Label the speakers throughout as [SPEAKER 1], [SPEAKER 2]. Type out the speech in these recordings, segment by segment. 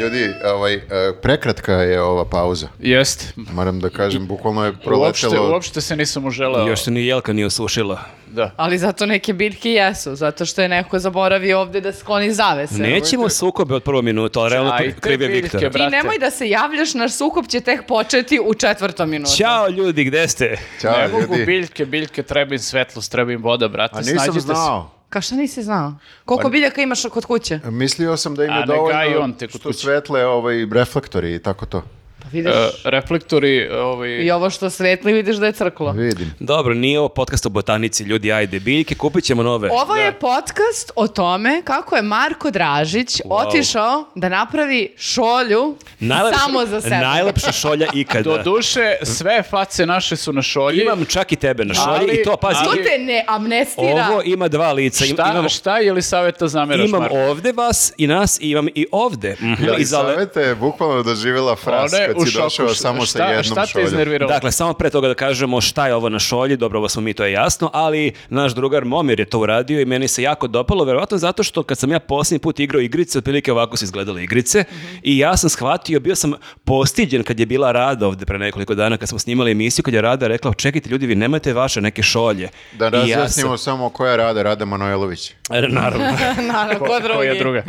[SPEAKER 1] ljudi, ovaj, e, prekratka je ova pauza.
[SPEAKER 2] Jeste.
[SPEAKER 1] Moram da kažem, bukvalno je
[SPEAKER 2] Uopšte,
[SPEAKER 1] proletelo...
[SPEAKER 2] uopšte se nisam uželeo.
[SPEAKER 3] Još se ni Jelka nije osušila.
[SPEAKER 2] Da.
[SPEAKER 4] Ali zato neke biljke jesu, zato što je neko zaboravio ovde da skloni zavese.
[SPEAKER 3] Nećemo sukobe od prvo minuta, ali realno
[SPEAKER 2] Ajde,
[SPEAKER 3] kriv je
[SPEAKER 2] biljke,
[SPEAKER 3] Viktor.
[SPEAKER 2] brate.
[SPEAKER 4] Ti nemoj da se javljaš, naš sukob će tek početi u četvrtom minutu.
[SPEAKER 3] Ćao ljudi, gde ste?
[SPEAKER 1] Ćao,
[SPEAKER 2] ne mogu
[SPEAKER 1] ljudi.
[SPEAKER 2] biljke, biljke, treba im svetlost, treba im voda, brate.
[SPEAKER 1] A nisam
[SPEAKER 2] snađite
[SPEAKER 1] znao.
[SPEAKER 4] Ka šta nisi znao? Koliko biljaka imaš kod kuće?
[SPEAKER 1] Mislio sam da im
[SPEAKER 2] A
[SPEAKER 1] je
[SPEAKER 2] ne gaji
[SPEAKER 1] dovoljno
[SPEAKER 2] on te kod
[SPEAKER 1] što
[SPEAKER 2] kuće.
[SPEAKER 1] svetle ovaj, reflektori i tako to.
[SPEAKER 4] Pa
[SPEAKER 2] Se.
[SPEAKER 4] vidiš,
[SPEAKER 2] E, reflektori, ovaj...
[SPEAKER 4] i ovo što svetli vidiš da je crklo.
[SPEAKER 1] Vidim.
[SPEAKER 3] Dobro, nije ovo podcast o botanici, ljudi, ajde, biljke, kupit ćemo nove.
[SPEAKER 4] Ovo je podcast o tome kako je Marko Dražić otišao da napravi šolju
[SPEAKER 3] Najlepša-
[SPEAKER 4] samo za sebe.
[SPEAKER 3] Najlepša šolja
[SPEAKER 2] Do
[SPEAKER 3] ikada.
[SPEAKER 2] duše, sve face naše su na šolji.
[SPEAKER 3] Imam čak i tebe na šolji
[SPEAKER 2] Ali-
[SPEAKER 3] i to, pazi,
[SPEAKER 4] To
[SPEAKER 2] ali-
[SPEAKER 4] te ne amnestira.
[SPEAKER 3] ovo ima dva lica. Im-
[SPEAKER 2] Šta,
[SPEAKER 3] imam,
[SPEAKER 2] šta je li saveta zameraš,
[SPEAKER 3] imam
[SPEAKER 2] Marko?
[SPEAKER 3] ovde vas i nas i imam i ovde. Mhm,
[SPEAKER 1] Ja,
[SPEAKER 3] i za le-
[SPEAKER 1] Saveta je bukvalno doživjela fras
[SPEAKER 2] Ona je
[SPEAKER 1] kad
[SPEAKER 2] u
[SPEAKER 1] si
[SPEAKER 2] šoku.
[SPEAKER 1] došao
[SPEAKER 2] Šta-
[SPEAKER 1] samo sa
[SPEAKER 2] šta-
[SPEAKER 1] jednom
[SPEAKER 2] Šta te
[SPEAKER 1] šoljom.
[SPEAKER 2] iznerviralo?
[SPEAKER 3] Dakle, samo pre toga da kažemo šta je ovo na šolji, dobro, ovo smo mi, to je jasno, ali naš drugar Momir je to uradio i meni se jako dopalo, verovatno zato što kad sam ja posljednji put igrao igrice, otprilike ovako su izgledale igrice, i ja sam shvatio, bio sam postiđen kad je bila Rada ovde pre nekoliko dana, kad smo snimali emisiju, kad je Rada rekla, čekajte ljudi, vi nemate vaše neke šolje.
[SPEAKER 1] Da
[SPEAKER 3] I ja
[SPEAKER 1] razjasnimo samo koja je rada, Rada Manojlović.
[SPEAKER 3] sam- Naravno.
[SPEAKER 4] Naravno, ko
[SPEAKER 2] Koja
[SPEAKER 4] drugi? E,
[SPEAKER 2] druga?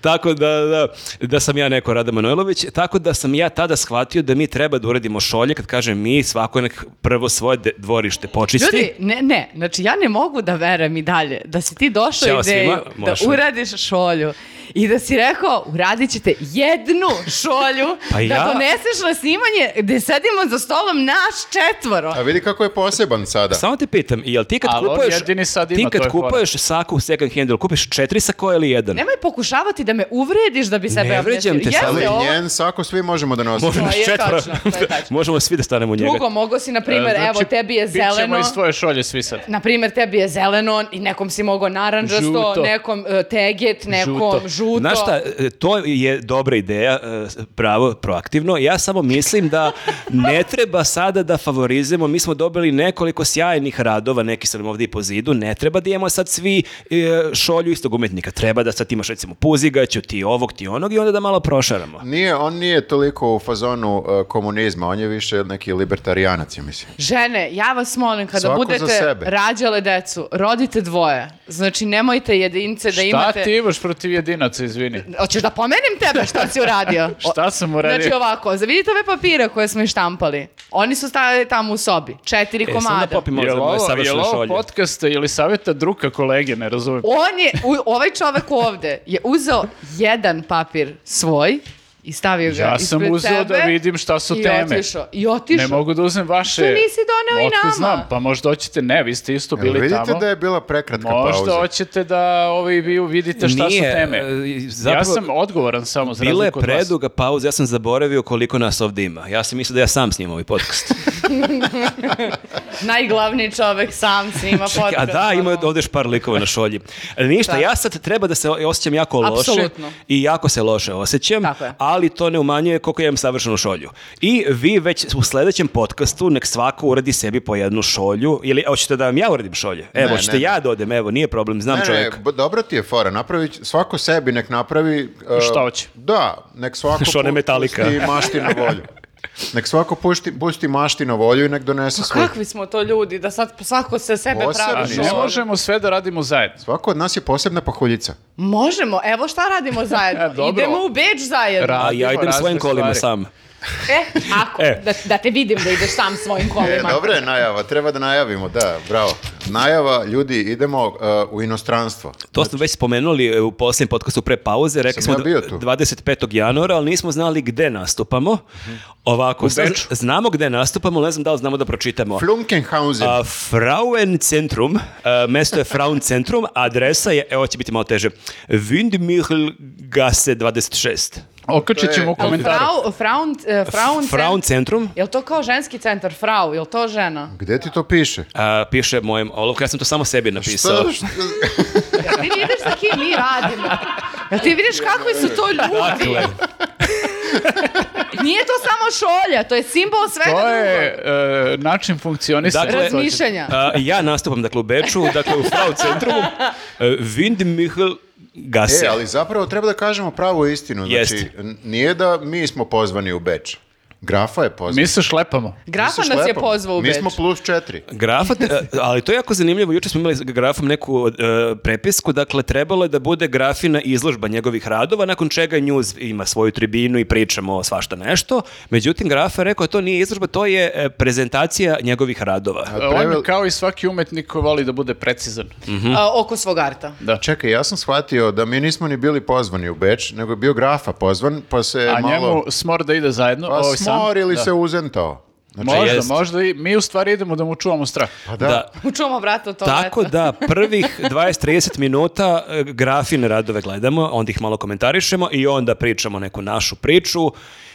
[SPEAKER 3] Tako da, da, da sam ja neko Rada Manojlović, tako da sam ja tada shvatio da mi treba da uradimo šolje, kad kažem mi, svako nek prvo svoje de- dvorište počisti.
[SPEAKER 4] Ljudi, ne, ne, znači ja ne mogu da verujem i dalje da si ti došao
[SPEAKER 3] Ćao
[SPEAKER 4] ideju
[SPEAKER 3] svima,
[SPEAKER 4] da
[SPEAKER 3] može.
[SPEAKER 4] uradiš šolju i da si rekao uradit ćete jednu šolju
[SPEAKER 3] Pa ja-
[SPEAKER 4] da doneseš na snimanje gde sedimo za stolom naš četvoro.
[SPEAKER 1] A vidi kako je poseban sada.
[SPEAKER 3] Samo te pitam, jel ti kad
[SPEAKER 2] Ali on
[SPEAKER 3] kupuješ,
[SPEAKER 2] jedini sad ima,
[SPEAKER 3] ti
[SPEAKER 2] to
[SPEAKER 3] kad
[SPEAKER 2] je fora.
[SPEAKER 3] kupuješ saku u second handu, kupiš četiri sakoje ili jedan?
[SPEAKER 4] Nemoj pokušavati da me uvrediš da bi sebe
[SPEAKER 3] vređam te,
[SPEAKER 4] amnestirao.
[SPEAKER 1] Ali
[SPEAKER 4] Jeste ovo-
[SPEAKER 1] njen sako svi možemo da nosimo.
[SPEAKER 3] Možemo
[SPEAKER 4] To Pa je
[SPEAKER 3] četvoro.
[SPEAKER 4] tačno, to je tačno.
[SPEAKER 3] Možemo svi da stanemo u njega.
[SPEAKER 4] Drugo, mogo si, na primjer,
[SPEAKER 2] Znači,
[SPEAKER 4] evo, tebi je
[SPEAKER 2] bit ćemo
[SPEAKER 4] zeleno.
[SPEAKER 2] iz tvoje šolje svi sad.
[SPEAKER 4] Na primjer, tebi je zeleno i nekom si mogao naranđasto,
[SPEAKER 2] Žuto.
[SPEAKER 4] nekom e, teget, nekom žuto.
[SPEAKER 2] Žuto.
[SPEAKER 3] Znaš šta, e, to je dobra ideja, e, pravo, proaktivno. Ja samo mislim da ne treba sada da favorizujemo. Mi smo dobili nekoliko sjajnih radova, neki su nam ovdje i po zidu. Ne treba da imamo sad svi e, šolju istog umetnika. Treba da sad imaš recimo puzigaću, ti ovog, ti onog i onda da malo prošaramo.
[SPEAKER 1] Nije, on nije toliko u fazonu uh, komunizma, on je više neki libertarijanac, ja mislim.
[SPEAKER 4] Žene, ja vas molim, kada
[SPEAKER 1] Svako za
[SPEAKER 4] budete
[SPEAKER 1] sebe.
[SPEAKER 4] rađale decu, rodite dvoje. Znači, nemojte jedince da
[SPEAKER 2] šta
[SPEAKER 4] imate...
[SPEAKER 2] ti imaš protiv jedinaca, izvini?
[SPEAKER 4] Hoćeš da pomenem tebe šta si uradio?
[SPEAKER 2] Šta sam uradio?
[SPEAKER 4] Znači ovako, vidite ove papire koje smo ištampali. Oni su stavili tamo u sobi. Četiri
[SPEAKER 3] E, sam da
[SPEAKER 4] komada.
[SPEAKER 3] popim malo za
[SPEAKER 2] Jel
[SPEAKER 3] moje
[SPEAKER 2] ovo, jel
[SPEAKER 3] savršeno
[SPEAKER 2] ovo
[SPEAKER 3] šolje.
[SPEAKER 2] podcast ili saveta druga kolege, ne razumijem.
[SPEAKER 4] On je, u- ovaj čovek ovde je uzeo jedan papir svoj i stavio ga
[SPEAKER 2] Ja sam
[SPEAKER 4] ispred
[SPEAKER 2] uzeo da
[SPEAKER 4] sebe
[SPEAKER 2] vidim šta su
[SPEAKER 4] i
[SPEAKER 2] teme.
[SPEAKER 4] Otišao, I otišao.
[SPEAKER 2] Ne mogu da uzmem vaše...
[SPEAKER 4] Što nisi doneo i
[SPEAKER 2] Otkud
[SPEAKER 4] nama?
[SPEAKER 2] znam, pa možda hoćete, ne, vi ste isto bili
[SPEAKER 1] Jel vidite
[SPEAKER 2] tamo.
[SPEAKER 1] da je bila prekratka
[SPEAKER 2] Možda
[SPEAKER 1] pauza.
[SPEAKER 2] hoćete da ovi vi vidite šta
[SPEAKER 3] Nije,
[SPEAKER 2] su teme.
[SPEAKER 3] e, zapravo-
[SPEAKER 2] ja sam odgovoran samo za
[SPEAKER 3] Bila je
[SPEAKER 2] razliku od vas.
[SPEAKER 3] preduga pauza, ja sam zaboravio koliko nas ovdje ima. Ja sam mislio da ja sam snimam ovaj podcast.
[SPEAKER 4] Najglavniji čovek sam snima podcast.
[SPEAKER 3] A da, ima
[SPEAKER 4] ono.
[SPEAKER 3] ovdje još par likova na šolji. E, Ništa, ja sad treba da se o- osjećam jako loše.
[SPEAKER 4] Apsolutno.
[SPEAKER 3] I jako se loše osjećam,
[SPEAKER 4] Tako je.
[SPEAKER 3] ali to ne umanjuje koliko ja imam savršenu šolju. I vi već u sljedećem podcastu nek svako uradi sebi po jednu šolju. Ili hoćete da vam ja uradim šolje? Evo,
[SPEAKER 1] Ne,
[SPEAKER 3] hoćete
[SPEAKER 1] ne, ne.
[SPEAKER 3] ja da odem, evo, nije problem, znam
[SPEAKER 1] Ne, ne,
[SPEAKER 3] čovjeka.
[SPEAKER 1] b- dobro ti je fora, napravi, svako sebi nek napravi... uh,
[SPEAKER 2] Šta hoće.
[SPEAKER 1] Da, nek svako
[SPEAKER 3] Šone
[SPEAKER 1] pu-
[SPEAKER 3] Metallica.
[SPEAKER 1] pusti mašti na volju. Nek svako pušti, pusti mašti na volju i nek donese svoj.
[SPEAKER 4] Pa Kakvi smo to ljudi, da sad svako se sebe
[SPEAKER 1] Posebni
[SPEAKER 4] pravi.
[SPEAKER 2] A
[SPEAKER 1] smo.
[SPEAKER 2] Ne možemo sve da radimo zajedno.
[SPEAKER 1] Svako od nas je posebna pahuljica.
[SPEAKER 4] Možemo, evo šta radimo zajedno.
[SPEAKER 2] E, dobro.
[SPEAKER 4] Idemo u Beč zajedno.
[SPEAKER 2] Ra-
[SPEAKER 3] A ja
[SPEAKER 2] radimo
[SPEAKER 3] idem svojim
[SPEAKER 2] razne
[SPEAKER 3] kolima
[SPEAKER 2] stvari.
[SPEAKER 3] sam.
[SPEAKER 4] E, ako,
[SPEAKER 3] E.
[SPEAKER 4] Da, da te vidim da ideš sam svojim
[SPEAKER 1] E,
[SPEAKER 4] kolima.
[SPEAKER 1] dobra je najava, treba da najavimo, da, bravo. Najava, ljudi, idemo uh, u inostranstvo.
[SPEAKER 3] To smo već spomenuli e, u posljednjem podcastu pre pauze, rekli
[SPEAKER 1] Znači- Sam
[SPEAKER 3] smo
[SPEAKER 1] ja bio
[SPEAKER 3] d-
[SPEAKER 1] tu.
[SPEAKER 3] 25. januara, ali nismo znali gde nastupamo.
[SPEAKER 1] Mhm.
[SPEAKER 3] Ovako, sad
[SPEAKER 2] Beču.
[SPEAKER 3] znamo gde nastupamo, ali ne znam da li znamo da pročitamo.
[SPEAKER 1] Flunkenhausen.
[SPEAKER 3] A, Frauen Centrum, a, mesto je Frauen Centrum, a adresa je, evo će biti malo teže, Windmühlgasse 26.
[SPEAKER 2] Okačit ćemo u
[SPEAKER 1] To je-
[SPEAKER 2] komentaru.
[SPEAKER 4] Frau, fraun, e, fraun,
[SPEAKER 3] Frauen Centrum,
[SPEAKER 4] Jel to kao ženski centar, frau, jel to žena?
[SPEAKER 1] Gde ti to piše? ono
[SPEAKER 3] a, e, piše mojem olovku, ja sam to samo sebi napisao.
[SPEAKER 1] Šta- šta-
[SPEAKER 4] Jel ti vidiš sa kim mi radimo? Jel ti vidiš kakvi su to ljudi?
[SPEAKER 3] Dakle,
[SPEAKER 4] Nije to samo šolja, to je simbol svega
[SPEAKER 2] To je
[SPEAKER 4] drugog.
[SPEAKER 2] e, način funkcionisanja.
[SPEAKER 3] Dakle-
[SPEAKER 4] Razmišljanja.
[SPEAKER 3] a, ja nastupam, dakle, u Beču, dakle, u Frauen Centrumu, e, Windmühl gase.
[SPEAKER 1] E, ali zapravo treba da kažemo pravu istinu. Znači,
[SPEAKER 3] Jeste.
[SPEAKER 1] n- nije da mi smo pozvani u Beč. Grafa je pozvan.
[SPEAKER 2] Mi se šlepamo.
[SPEAKER 4] Grafa
[SPEAKER 1] Mi se
[SPEAKER 4] nas je
[SPEAKER 1] šlepamo.
[SPEAKER 4] pozvao u
[SPEAKER 1] Mi
[SPEAKER 4] Beč.
[SPEAKER 1] smo plus četiri.
[SPEAKER 3] Grafa, e, ali to je jako zanimljivo. Juče smo imali s grafom neku e, prepisku, dakle trebalo je da bude grafina izložba njegovih radova, nakon čega News ima svoju tribinu i pričamo o svašta nešto. Međutim, grafa je rekao to nije izložba, to je e, prezentacija njegovih radova.
[SPEAKER 1] A
[SPEAKER 2] On
[SPEAKER 1] prevel-
[SPEAKER 2] je kao i svaki umetnik koji voli da bude precizan.
[SPEAKER 1] E,
[SPEAKER 4] A, E, oko svog arta.
[SPEAKER 2] Da.
[SPEAKER 1] Čekaj, ja sam shvatio da mi nismo ni bili pozvani u Beč, nego je bio grafa pozvan, pa se
[SPEAKER 2] A
[SPEAKER 1] malo...
[SPEAKER 2] njemu smor da ide zajedno.
[SPEAKER 1] Pa
[SPEAKER 2] ovaj sam.
[SPEAKER 1] smor ili
[SPEAKER 2] Da.
[SPEAKER 1] se uzentao. Znači,
[SPEAKER 2] Možda,
[SPEAKER 3] jest.
[SPEAKER 2] možda i mi u stvari idemo da mu čuvamo strah.
[SPEAKER 1] pa da.
[SPEAKER 3] Da.
[SPEAKER 4] Učuvamo vrata od toaleta.
[SPEAKER 3] Tako da prvih 20-30 minuta e, grafine radove gledamo, onda ih malo komentarišemo i onda pričamo neku našu priču.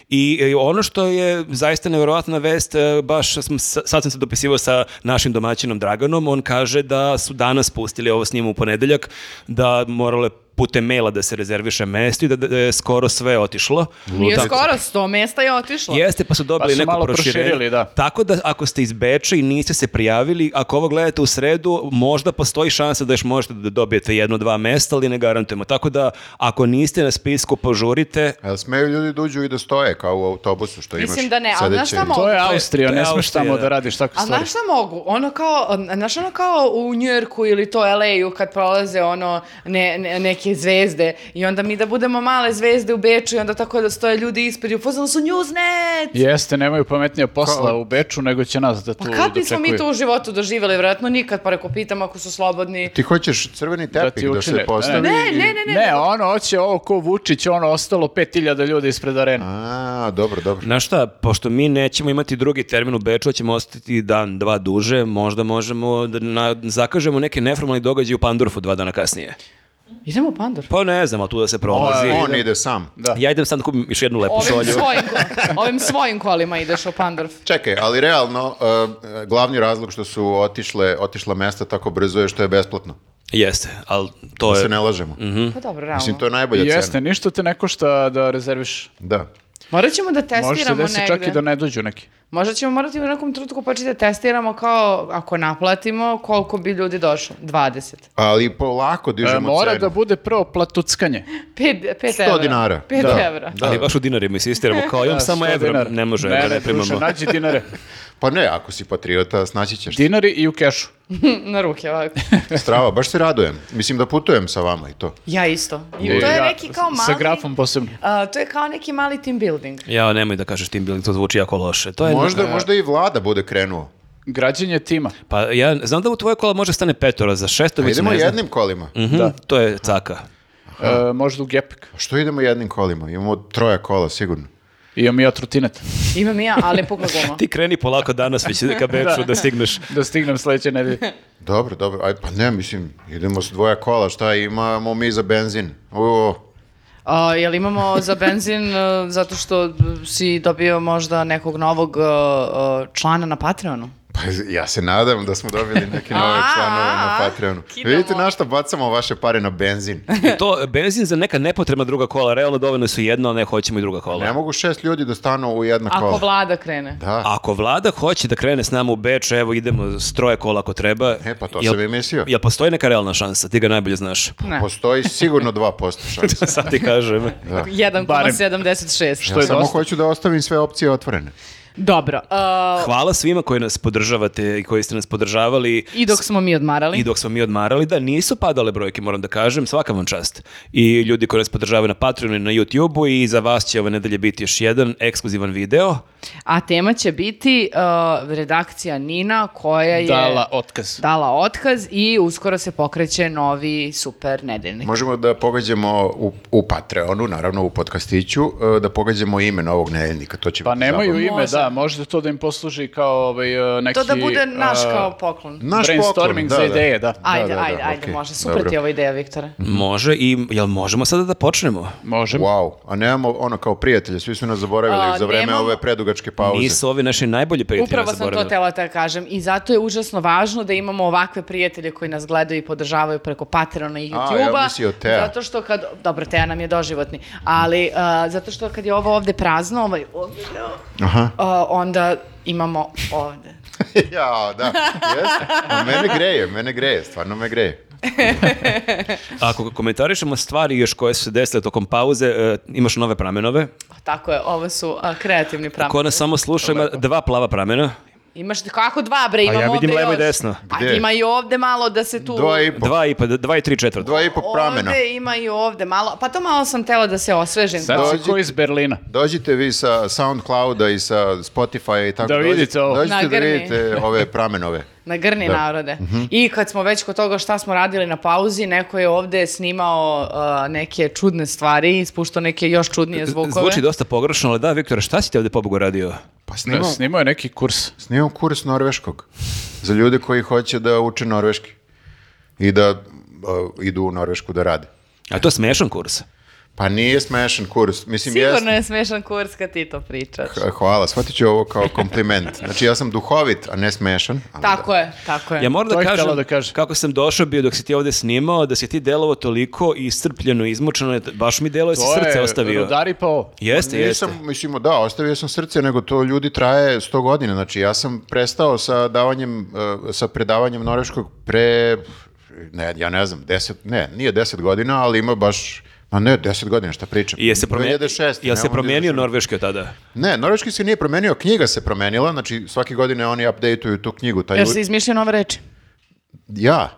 [SPEAKER 3] I e, ono što je zaista nevjerovatna vest, e, baš sam, sa- sad sam se dopisivao sa našim domaćinom Draganom, on kaže da su danas pustili ovo s njim u ponedeljak, da moralo je putem maila da se rezerviše mesto i da, da je skoro sve otišlo.
[SPEAKER 4] Nije
[SPEAKER 3] Tako-
[SPEAKER 4] skoro, sto mesta je otišlo.
[SPEAKER 3] Jeste, pa su dobili
[SPEAKER 2] Pa su
[SPEAKER 3] neko
[SPEAKER 2] malo
[SPEAKER 3] proširenje.
[SPEAKER 2] proširili, da.
[SPEAKER 3] Tako da ako ste iz Beča i niste se prijavili, ako ovo gledate u sredu, možda postoji šansa da još možete da dobijete jedno, dva mesta, ali ne garantujemo. Tako da ako niste na spisku, požurite.
[SPEAKER 1] A jel smeju ljudi da uđu i da stoje kao u autobusu što imaš?
[SPEAKER 4] Mislim da ne,
[SPEAKER 1] sedeće
[SPEAKER 4] ali znaš šta
[SPEAKER 1] i-
[SPEAKER 4] mo-
[SPEAKER 2] To je
[SPEAKER 3] to je-
[SPEAKER 2] Austrija,
[SPEAKER 3] to je
[SPEAKER 2] ne smeš
[SPEAKER 3] Austrija,
[SPEAKER 2] tamo
[SPEAKER 3] da.
[SPEAKER 2] da radiš takve
[SPEAKER 4] A
[SPEAKER 2] stvari.
[SPEAKER 4] znaš šta mogu? Ono kao, znaš ono kao u Njujorku ili to LA-u kad prolaze ono ne, ne- neke zvezde i onda mi da budemo male zvezde u Beču i onda tako da stoje ljudi ispred i u fazonu su Newsnet!
[SPEAKER 2] Jeste, nemaju pametnija posla
[SPEAKER 1] Kao-
[SPEAKER 2] u Beču nego će nas da tu
[SPEAKER 4] Pa kad bismo mi
[SPEAKER 2] dočekuju.
[SPEAKER 4] to u životu doživjeli? Vjerojatno nikad, pa reko pitam ako su slobodni.
[SPEAKER 1] Ti hoćeš crveni tepih da, se postavi?
[SPEAKER 4] Ne, ne, ne, ne,
[SPEAKER 2] Ne,
[SPEAKER 4] ne.
[SPEAKER 2] ono hoće ovo ko Vučić, ono ostalo 5000 ljudi ispred arene.
[SPEAKER 1] A, dobro, dobro.
[SPEAKER 3] Na šta, pošto mi nećemo imati drugi termin u Beču, ćemo ostati dan, dva duže, možda možemo da na- zakažemo neki neformalni događaj u Pandorfu dva dana kasnije.
[SPEAKER 4] Idemo u Pandor.
[SPEAKER 3] Pa ne znam, ali tu da se prolazi.
[SPEAKER 1] On ide sam.
[SPEAKER 2] Da.
[SPEAKER 3] Ja idem sad da kupim još jednu lepu
[SPEAKER 4] Ovim
[SPEAKER 3] šolju.
[SPEAKER 4] svojim, ovim svojim kolima ideš u Pandorf.
[SPEAKER 1] Čekaj, ali realno, e, glavni razlog što su otišle, otišla mesta tako brzo je što je besplatno.
[SPEAKER 3] Jeste, ali to
[SPEAKER 1] Da
[SPEAKER 3] je... Mhm.
[SPEAKER 1] se ne lažemo.
[SPEAKER 4] Pa dobro, realno.
[SPEAKER 1] Mislim, to je najbolja
[SPEAKER 2] Jeste,
[SPEAKER 1] cena.
[SPEAKER 2] ništa te ne košta da rezerviš.
[SPEAKER 1] Da.
[SPEAKER 4] Morat ćemo da testiramo
[SPEAKER 2] Može se desiti
[SPEAKER 4] negde.
[SPEAKER 2] čak i da ne dođu neki. E,
[SPEAKER 4] Možda ćemo morati u nekom trenutku početi da testiramo kao ako naplatimo koliko bi ljudi došlo. 20.
[SPEAKER 1] Ali polako dižemo
[SPEAKER 2] E, mora
[SPEAKER 1] cenu.
[SPEAKER 2] da bude prvo platuckanje.
[SPEAKER 4] 5, 5
[SPEAKER 1] 100
[SPEAKER 4] evra.
[SPEAKER 1] dinara.
[SPEAKER 4] 5
[SPEAKER 1] Da.
[SPEAKER 4] evra.
[SPEAKER 1] Da.
[SPEAKER 3] Ali baš u dinarima insistiramo, kao imam
[SPEAKER 2] Da,
[SPEAKER 3] samo
[SPEAKER 2] 100
[SPEAKER 3] evra,
[SPEAKER 2] dinara.
[SPEAKER 3] ne može, ne, ne primamo.
[SPEAKER 2] druže, nađi dinare.
[SPEAKER 1] Pa ne, ako si patriota, snaći ćeš.
[SPEAKER 2] Dinari i u kešu.
[SPEAKER 4] Na ruke ovako.
[SPEAKER 1] Strava, baš se radujem. Mislim da putujem sa vama i to.
[SPEAKER 4] Ja isto. I to je
[SPEAKER 2] Ja,
[SPEAKER 4] neki kao mali...
[SPEAKER 2] Sa grafom posebno.
[SPEAKER 4] a, to je kao neki mali team building.
[SPEAKER 3] Ja, nemoj da kažeš team building, to zvuči jako loše. To je,
[SPEAKER 1] Možda,
[SPEAKER 2] E.
[SPEAKER 1] možda i vlada bude krenuo.
[SPEAKER 2] Građenje tima.
[SPEAKER 3] Pa ja znam da u tvoje kola može stane petora, za šesto
[SPEAKER 1] Pa
[SPEAKER 3] već
[SPEAKER 1] idemo
[SPEAKER 3] ne znam.
[SPEAKER 1] jednim kolima.
[SPEAKER 3] Mhm, To je caka.
[SPEAKER 2] E, možda u gepik.
[SPEAKER 1] Što idemo jednim kolima? Imamo troja kola, sigurno.
[SPEAKER 2] Imam i ja trotinet.
[SPEAKER 4] Imam i ja, ali pukla guma.
[SPEAKER 3] Ti kreni polako danas, već ka Beču da stigneš.
[SPEAKER 2] Da stignem sledeće nedelje.
[SPEAKER 1] Dobro, dobro. Aj, pa ne, mislim, idemo s dvoja kola. Šta imamo mi za benzin? O,
[SPEAKER 4] A, jel imamo za benzin e, zato što e, si dobio možda nekog novog e, e, člana na Patreonu?
[SPEAKER 1] pa ja se nadam da smo dobili neke nove
[SPEAKER 4] A,
[SPEAKER 1] članove na
[SPEAKER 4] a,
[SPEAKER 1] Patreonu.
[SPEAKER 4] kidamo.
[SPEAKER 1] Vidite na šta bacamo vaše pare na benzin.
[SPEAKER 3] I to benzin za neka nepotrebna druga kola, realno dovoljno su jedno, ne hoćemo i druga kola.
[SPEAKER 1] Ne mogu šest ljudi da stanu u jedno
[SPEAKER 4] Ako
[SPEAKER 1] kola.
[SPEAKER 4] vlada krene.
[SPEAKER 1] Da,
[SPEAKER 3] Ako vlada hoće da krene s nama u Beč, evo idemo s troje kola ako treba.
[SPEAKER 1] E, pa to
[SPEAKER 3] Jel-
[SPEAKER 1] sam i mislio.
[SPEAKER 3] Jel postoji neka realna šansa? Ti ga najbolje znaš.
[SPEAKER 4] Ne.
[SPEAKER 1] postoji sigurno 2% šanse.
[SPEAKER 3] Sad ti kažem.
[SPEAKER 1] Da.
[SPEAKER 2] To
[SPEAKER 4] 1,76.
[SPEAKER 1] Ja
[SPEAKER 2] je
[SPEAKER 1] samo
[SPEAKER 2] dosta.
[SPEAKER 1] hoću da ostavim sve opcije otvorene.
[SPEAKER 4] Dobro. e,
[SPEAKER 3] Hvala svima koji nas podržavate i koji ste nas podržavali.
[SPEAKER 4] I dok smo mi odmarali.
[SPEAKER 3] I dok smo mi odmarali, da nisu padale brojke, moram da kažem, svaka vam čast. I ljudi koji nas podržavaju na Patreonu i na YouTubeu i za vas će ove nedelje biti još jedan ekskluzivan video.
[SPEAKER 4] A tema će biti uh, redakcija Nina koja je
[SPEAKER 2] Dala otkaz.
[SPEAKER 4] dala otkaz i uskoro se pokreće novi super nedeljnik.
[SPEAKER 1] Možemo da pogađamo u, u Patreonu, naravno u podcastiću, e, da pogađamo ime novog nedeljnika. To će
[SPEAKER 2] Pa
[SPEAKER 1] biti
[SPEAKER 2] nemaju
[SPEAKER 1] zabavno.
[SPEAKER 2] ime,
[SPEAKER 4] Može.
[SPEAKER 2] da, možda to da im posluži kao ovaj, e, neki...
[SPEAKER 4] To
[SPEAKER 1] Znači,
[SPEAKER 4] da bude
[SPEAKER 1] uh,
[SPEAKER 4] naš
[SPEAKER 2] a,
[SPEAKER 4] kao poklon.
[SPEAKER 1] Naš
[SPEAKER 2] brainstorming
[SPEAKER 1] poklon,
[SPEAKER 2] za ideje, da.
[SPEAKER 4] Ajde,
[SPEAKER 1] da, da,
[SPEAKER 4] ajde, ajde,
[SPEAKER 1] okej,
[SPEAKER 4] može. Super
[SPEAKER 1] dobro.
[SPEAKER 4] ti je ova ideja, Viktore.
[SPEAKER 3] Može i, jel možemo sada da počnemo?
[SPEAKER 2] Možemo.
[SPEAKER 1] Wow, a nemamo ono kao prijatelje, svi su nas zaboravili
[SPEAKER 4] A,
[SPEAKER 1] za vreme
[SPEAKER 4] nemamo-
[SPEAKER 1] ove predugačke pauze.
[SPEAKER 3] Nisu ovi naši najbolji prijatelji
[SPEAKER 4] Upravo
[SPEAKER 3] nas
[SPEAKER 4] sam to
[SPEAKER 3] zaboravili.
[SPEAKER 4] tela da kažem i zato je užasno važno da imamo ovakve prijatelje koji nas gledaju i podržavaju preko Patreona i
[SPEAKER 1] A,
[SPEAKER 4] YouTube-a.
[SPEAKER 1] ja mislio Tea.
[SPEAKER 4] Zato što kad, dobro, Teja nam je doživotni, ali uh, zato što kad je ovo ovde prazno, ovaj, ovde,
[SPEAKER 1] Aha.
[SPEAKER 4] uh, onda imamo ovde.
[SPEAKER 1] Jao, da, jeste. A mene greje, mene greje, stvarno me greje.
[SPEAKER 3] Ako komentarišemo stvari još koje su se desile tokom pauze, e, imaš nove pramenove.
[SPEAKER 4] Pa Tako je, ovo su a, kreativni prameni.
[SPEAKER 3] Ko nas samo sluša ima dva plava pramena.
[SPEAKER 4] Imaš kako dva bre, imamo
[SPEAKER 3] Pa ja vidim
[SPEAKER 4] ovde
[SPEAKER 3] levo i
[SPEAKER 4] još.
[SPEAKER 3] desno.
[SPEAKER 4] Pa
[SPEAKER 1] Gde?
[SPEAKER 4] ima i ovde malo da se tu...
[SPEAKER 1] Dva i po,
[SPEAKER 3] Dva i, pa, dva i tri četvrta.
[SPEAKER 1] dva i po pramena.
[SPEAKER 4] Ovde ima i ovde malo, pa to malo sam tela da se osvežim.
[SPEAKER 2] Sad si
[SPEAKER 1] Dođi.
[SPEAKER 2] ko iz Berlina.
[SPEAKER 1] Dođite vi sa SoundClouda i sa Spotify i tako.
[SPEAKER 2] Da
[SPEAKER 1] dođite-
[SPEAKER 2] vidite ovo.
[SPEAKER 1] Dođite da
[SPEAKER 4] Nagrni.
[SPEAKER 1] vidite ove pramenove.
[SPEAKER 4] Na grni narode.
[SPEAKER 3] Mhm.
[SPEAKER 4] I kad smo već kod toga šta smo radili na pauzi, neko je ovde snimao uh, neke čudne stvari, ispuštao neke još čudnije zvukove.
[SPEAKER 3] Zvuči dosta pogrešno, ali da, Viktor, šta si ti ovdje pobogu radio?
[SPEAKER 1] Pa
[SPEAKER 2] Da,
[SPEAKER 1] snimam,
[SPEAKER 2] snimao je neki kurs.
[SPEAKER 1] snimam kurs norveškog za ljude koji hoće da uče norveški i da uh, idu u Norvešku da rade.
[SPEAKER 3] A to je smešan kurs.
[SPEAKER 1] Pa nije smešan kurs. Mislim,
[SPEAKER 4] Sigurno
[SPEAKER 1] jeste.
[SPEAKER 4] je smešan kurs kad ti to pričaš.
[SPEAKER 1] Hvala, shvatit ću ovo kao kompliment. Znači, ja sam duhovit, a ne smešan. ali
[SPEAKER 4] Tako je, tako je.
[SPEAKER 3] Ja moram
[SPEAKER 2] To
[SPEAKER 3] da
[SPEAKER 2] je htjela
[SPEAKER 3] kažem,
[SPEAKER 2] da kažem.
[SPEAKER 3] kako sam došao bio dok si ti ovdje snimao, da si ti delovo toliko iscrpljeno, izmučeno, je- baš mi delo je si
[SPEAKER 2] To
[SPEAKER 3] srce
[SPEAKER 2] je
[SPEAKER 3] ostavio.
[SPEAKER 2] Rudari pa ovo.
[SPEAKER 3] Jeste, jeste.
[SPEAKER 1] Nisam, mislim, da, ostavio sam srce, nego to ljudi traje 100 godina. Znači, ja sam prestao sa davanjem, eh, sa predavanjem norveškog pre, ne, ja ne znam, 10, ne, nije 10 godina, ali ima baš, ma ne, 10 godina, šta pričam.
[SPEAKER 3] I je se promijenio,
[SPEAKER 1] 2006,
[SPEAKER 3] jel se
[SPEAKER 1] nemamo
[SPEAKER 3] promijenio
[SPEAKER 1] 2006.
[SPEAKER 3] norveški od tada?
[SPEAKER 1] Ne, norveški se nije promenio, knjiga se promenila, znači svake godine oni updateuju tu knjigu. Taj,
[SPEAKER 4] Jer
[SPEAKER 1] u-
[SPEAKER 4] se izmišljaju nove reči.
[SPEAKER 1] Ja.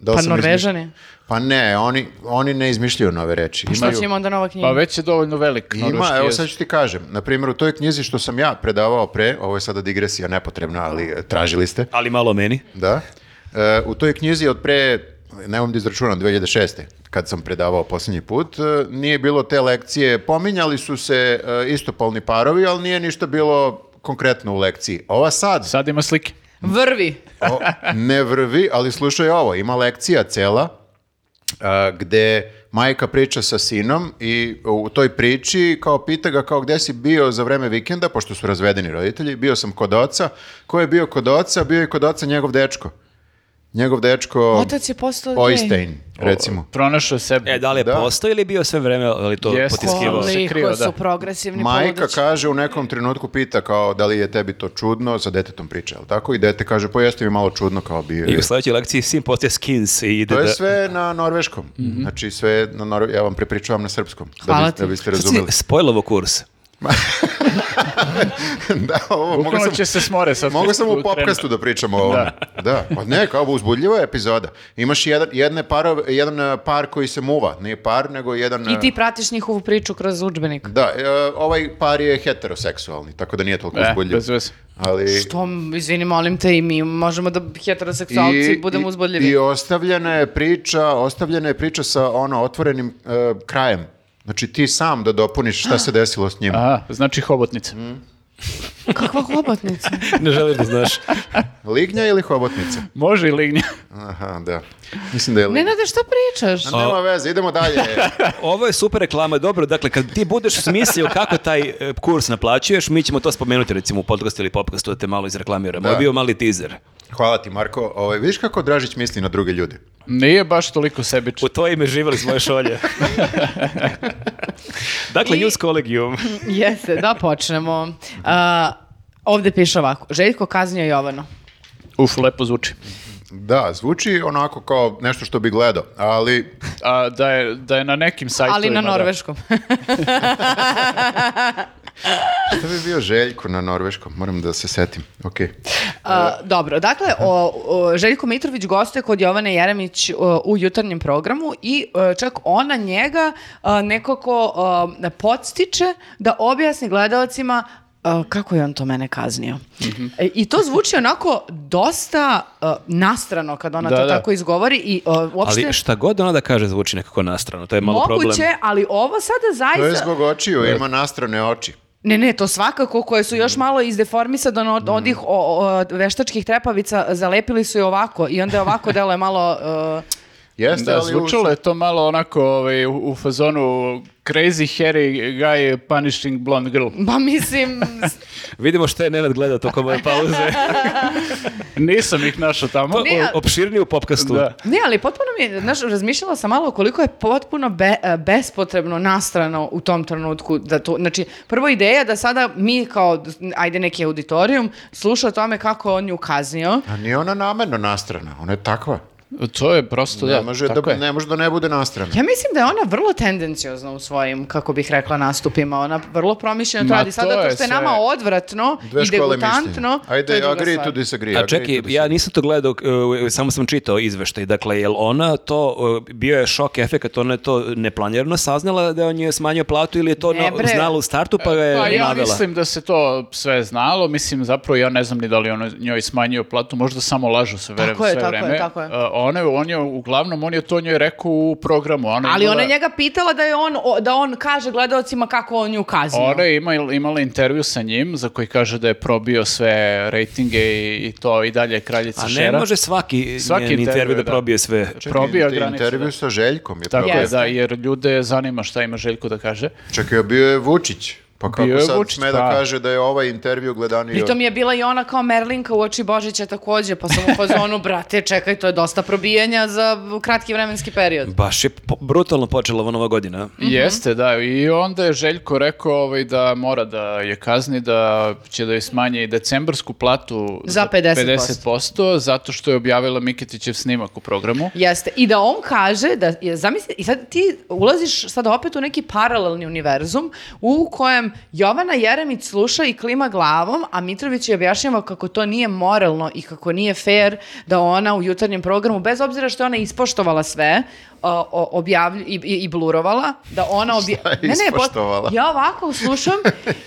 [SPEAKER 1] Da li
[SPEAKER 4] Pa
[SPEAKER 1] sam izmišljao?
[SPEAKER 4] Norvežani.
[SPEAKER 1] Pa ne, oni, oni ne izmišljaju nove reči.
[SPEAKER 4] Šta će im onda nova knjiga?
[SPEAKER 2] Pa već je dovoljno velik ono
[SPEAKER 1] Ima,
[SPEAKER 2] norveški
[SPEAKER 1] evo
[SPEAKER 2] jezik.
[SPEAKER 1] sad ću ti kažem. Na primjer, u toj knjizi što sam ja predavao pre, ovo je sada digresija nepotrebna, ali e, tražili ste,
[SPEAKER 3] Ali malo o meni.
[SPEAKER 1] da. E, u toj knjizi od pre, nemam da izračunam, 2006. kad sam predavao posljednji put, e, nije bilo te lekcije, pominjali su se e, istopolni parovi, ali nije ništa bilo konkretno u lekciji. Ova sad,
[SPEAKER 2] Sad ima slike.
[SPEAKER 4] Vrvi.
[SPEAKER 1] o, ne vrvi, ali slušaj ovo, ima lekcija cela a, gde majka priča sa sinom i u toj priči kao pita ga kao gde si bio za vreme vikenda, pošto su razvedeni roditelji, bio sam kod oca. Ko je bio kod oca? Bio je kod oca njegov dečko. Njegov dečko...
[SPEAKER 4] Otac je postao gej.
[SPEAKER 1] Oystein, recimo.
[SPEAKER 2] Pronašao je sebe.
[SPEAKER 3] E, da li je
[SPEAKER 1] Da.
[SPEAKER 3] postao ili je bio sve vreme, ali to
[SPEAKER 2] Jeste.
[SPEAKER 3] potiskivao?
[SPEAKER 2] se krio,
[SPEAKER 4] Koliko
[SPEAKER 2] da.
[SPEAKER 4] su progresivni
[SPEAKER 1] Majka
[SPEAKER 4] poludići.
[SPEAKER 1] kaže u nekom trenutku pita kao da li je tebi to čudno, sa detetom priča, jel tako? I dete kaže, pa jeste mi malo čudno kao bio.
[SPEAKER 3] I
[SPEAKER 1] je."
[SPEAKER 3] u sledećoj lekciji sin postaje skins i ide
[SPEAKER 1] To je
[SPEAKER 3] da- Mhm.
[SPEAKER 1] sve na norveškom. Znači sve je na norve... ja vam prepričavam na srpskom da,
[SPEAKER 4] Hvala
[SPEAKER 1] biste,
[SPEAKER 4] ti.
[SPEAKER 1] da biste
[SPEAKER 3] Sad si
[SPEAKER 1] razumeli.
[SPEAKER 3] spojlovo kurs.
[SPEAKER 1] da, ovo mogu
[SPEAKER 2] Bukvalno
[SPEAKER 1] sam
[SPEAKER 2] će se smore sad.
[SPEAKER 1] Mogu sam u
[SPEAKER 2] trenu.
[SPEAKER 1] popkastu da pričam o ovome. da. Pa ne, kao ovo uzbudljiva je epizoda. Imaš jedan, jedne parove- jedan e, par koji se muva. Nije par, nego jedan...
[SPEAKER 4] I ti
[SPEAKER 1] e,
[SPEAKER 4] pratiš njihovu priču kroz udžbenik.
[SPEAKER 1] Da, e, ovaj par je heteroseksualni, tako da nije toliko
[SPEAKER 2] E,
[SPEAKER 1] uzbudljiv.
[SPEAKER 2] bez veze.
[SPEAKER 1] Ali...
[SPEAKER 4] Što, izvini, molim te i mi možemo da heteroseksualci budemo uzbudljivi.
[SPEAKER 1] I ostavljena je priča, ostavljena je priča sa ono otvorenim e, krajem. Znači ti sam da dopuniš šta se desilo s njima.
[SPEAKER 2] Aha, znači hobotnica.
[SPEAKER 4] Mm. Kakva hobotnica?
[SPEAKER 3] Ne želiš da znaš.
[SPEAKER 1] Lignja ili hobotnica?
[SPEAKER 2] Može i lignja.
[SPEAKER 1] Aha, da. Mislim da je lignja.
[SPEAKER 4] Nenade, što pričaš?
[SPEAKER 1] A Nema veze, idemo dalje.
[SPEAKER 3] Ovo je super reklama, dobro, dakle, kad ti budeš smislio kako taj e, kurs naplaćuješ, mi ćemo to spomenuti, recimo, u podcastu ili popcastu, da te malo izreklamiramo. Ovo je bio mali teaser.
[SPEAKER 1] Hvala ti, Marko. Ovaj, vidiš kako Dražić misli na druge ljude?
[SPEAKER 2] Nije baš toliko sebičan.
[SPEAKER 3] U to ime živali smo još olje. dakle,
[SPEAKER 4] I- Mm,
[SPEAKER 3] News Collegium.
[SPEAKER 4] Jeste, da počnemo. A, ovde piše ovako. Željko kaznio Jovano.
[SPEAKER 2] Uf, lepo zvuči.
[SPEAKER 1] Da, zvuči onako kao nešto što bi gledao, ali
[SPEAKER 2] A, da, je, da je na nekim sajtovima.
[SPEAKER 4] Ali na
[SPEAKER 2] da.
[SPEAKER 4] norveškom.
[SPEAKER 1] šta bi bio Željko na norveškom? Moram da se setim. Ok.
[SPEAKER 4] A, dobro, dakle, o, o, Željko Mitrović gostuje kod Jovane Jeremić o, u jutarnjem programu i e, čak ona njega a, nekako a, podstiče da objasni gledalcima a, kako je on to mene kaznio.
[SPEAKER 3] Mhm.
[SPEAKER 4] E, I to zvuči onako dosta a, nastrano kad ona
[SPEAKER 2] Da,
[SPEAKER 4] to
[SPEAKER 2] da.
[SPEAKER 4] tako izgovori i a, uopšte...
[SPEAKER 3] Ali šta god ona da kaže zvuči nekako nastrano, to je malo problem.
[SPEAKER 4] Moguće, ali ovo sada zaista...
[SPEAKER 1] To je zbog očiju, ima nastrane oči.
[SPEAKER 4] Ne, ne, to svakako koje su još malo izdeformisane od onih o, o, veštačkih trepavica zalepili su je ovako i onda je ovako delo je malo... uh,
[SPEAKER 1] Jeste,
[SPEAKER 2] Da,
[SPEAKER 1] ali u-
[SPEAKER 2] zvučalo je to malo onako ovaj, u, u fazonu Crazy Harry Guy Punishing Blonde Girl.
[SPEAKER 4] ba mislim, s-
[SPEAKER 3] Vidimo šta je Nenad gledao tokom ove pauze.
[SPEAKER 2] Nisam ih našao tamo.
[SPEAKER 4] Ne, a-
[SPEAKER 3] O- Opširnije u popkastu.
[SPEAKER 2] Da.
[SPEAKER 4] ne, ali potpuno mi je, znaš, razmišljala sam malo koliko je potpuno be- e, bespotrebno nastrano u tom trenutku. Da to, znači, prvo ideja da sada mi kao, ajde neki auditorijum, sluša o tome kako je on ju kaznio.
[SPEAKER 1] Pa A nije ona namerno nastrana, ona je takva.
[SPEAKER 2] To je prosto,
[SPEAKER 1] Ne
[SPEAKER 2] da,
[SPEAKER 1] može,
[SPEAKER 2] tako
[SPEAKER 1] da,
[SPEAKER 2] je.
[SPEAKER 1] ne može da ne bude na stranu.
[SPEAKER 4] Ja mislim da je ona vrlo tendencijozna u svojim, kako bih rekla, nastupima. Ona vrlo promišljeno to
[SPEAKER 2] Ma,
[SPEAKER 4] radi. Sad
[SPEAKER 2] to
[SPEAKER 4] zato
[SPEAKER 2] je
[SPEAKER 4] što je
[SPEAKER 2] sve-
[SPEAKER 4] nama odvratno
[SPEAKER 1] Dve škole
[SPEAKER 4] i
[SPEAKER 1] mišljenja.
[SPEAKER 4] degutantno. to je
[SPEAKER 1] Ajde,
[SPEAKER 4] druga
[SPEAKER 1] agree
[SPEAKER 4] stvar.
[SPEAKER 1] to disagree.
[SPEAKER 3] A
[SPEAKER 1] agree to
[SPEAKER 3] čekaj, ja nisam to gledao, e, samo sam čitao izveštaj. Dakle, jel ona to, e, bio je šok efekt, ona je to neplanirano saznala da on je smanjio platu ili je to na-
[SPEAKER 4] Ne, bre.
[SPEAKER 3] znala u startu pa ga je
[SPEAKER 2] Pa ja
[SPEAKER 3] navela?
[SPEAKER 2] mislim da se to sve znalo, mislim zapravo ja ne znam ni da li on njoj smanjio platu, možda samo lažu se vere,
[SPEAKER 4] Tako je,
[SPEAKER 2] sve
[SPEAKER 4] tako je,
[SPEAKER 2] vreme.
[SPEAKER 4] tako je.
[SPEAKER 2] E, ona je- on je, uglavnom, on je to njoj rekao u programu. ono, Ona je
[SPEAKER 4] Ali
[SPEAKER 2] imala-
[SPEAKER 4] ona je njega pitala da je on, o- da on kaže gledalcima kako on nju kaznio.
[SPEAKER 2] Ona je ima, imala intervju sa njim za koji kaže da je probio sve rejtinge i, i to i dalje je kraljica
[SPEAKER 3] A ne
[SPEAKER 2] šera.
[SPEAKER 3] može svaki,
[SPEAKER 2] Svaki
[SPEAKER 3] njen intervju
[SPEAKER 2] intervju,
[SPEAKER 3] da
[SPEAKER 2] da.
[SPEAKER 3] probije sve.
[SPEAKER 2] probio
[SPEAKER 1] Čekaj,
[SPEAKER 2] granicu,
[SPEAKER 1] intervju
[SPEAKER 2] da.
[SPEAKER 1] sa Željkom je
[SPEAKER 2] Tako
[SPEAKER 1] probio.
[SPEAKER 2] je,
[SPEAKER 4] Jeste.
[SPEAKER 2] da, jer ljude zanima šta ima Željko da kaže.
[SPEAKER 1] Čekaj, bio je Vučić. Pa kako
[SPEAKER 2] Bio je
[SPEAKER 1] sad
[SPEAKER 2] Vučić,
[SPEAKER 1] sme da
[SPEAKER 2] pa.
[SPEAKER 1] kaže da je ovaj intervju gledaniji od-
[SPEAKER 4] Pritom je bila i ona kao Merlinka u oči Božića takođe, pa sam u fazonu, brate, čekaj, to je dosta probijanja za kratki vremenski period.
[SPEAKER 3] Baš je po- brutalno počela ova nova godina.
[SPEAKER 2] Jeste, da, i onda je Željko rekao ovaj, da mora da je kazni, da će da je smanje i decembarsku platu
[SPEAKER 4] Za 50%.
[SPEAKER 2] 50%, zato što je objavila Miketićev snimak u programu.
[SPEAKER 4] Jeste. I da on kaže da je zamisli i sad ti ulaziš sad opet u neki paralelni univerzum u kojem Jovana Jeremić sluša i klima glavom, a Mitrović je objašnjava kako to nije moralno i kako nije fair da ona u jutarnjem programu bez obzira što je ona ispoštovala sve, o- o- objavlju i, i, i blurovala da ona obja...
[SPEAKER 1] Šta je
[SPEAKER 4] pot-
[SPEAKER 1] ispoštovala?
[SPEAKER 4] ja ovako slušam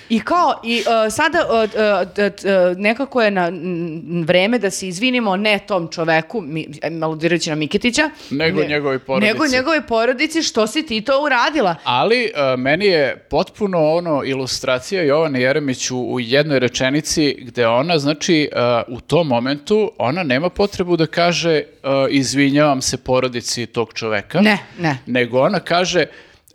[SPEAKER 4] i kao i uh, sada uh, uh, t- t- uh, nekako je na n- vreme da se izvinimo ne tom čoveku, mi, e, maludirajući na Miketića.
[SPEAKER 2] Nego njegovoj porodici.
[SPEAKER 4] Nego njegovoj porodici što si ti to uradila.
[SPEAKER 2] Ali e, meni je potpuno ono ilustracija Jovane Jeremić u, u jednoj rečenici gde ona, znači, e, u tom momentu ona nema potrebu da kaže e, izvinjavam se porodici tog čoveka.
[SPEAKER 4] Ne, ne.
[SPEAKER 2] Nego ona kaže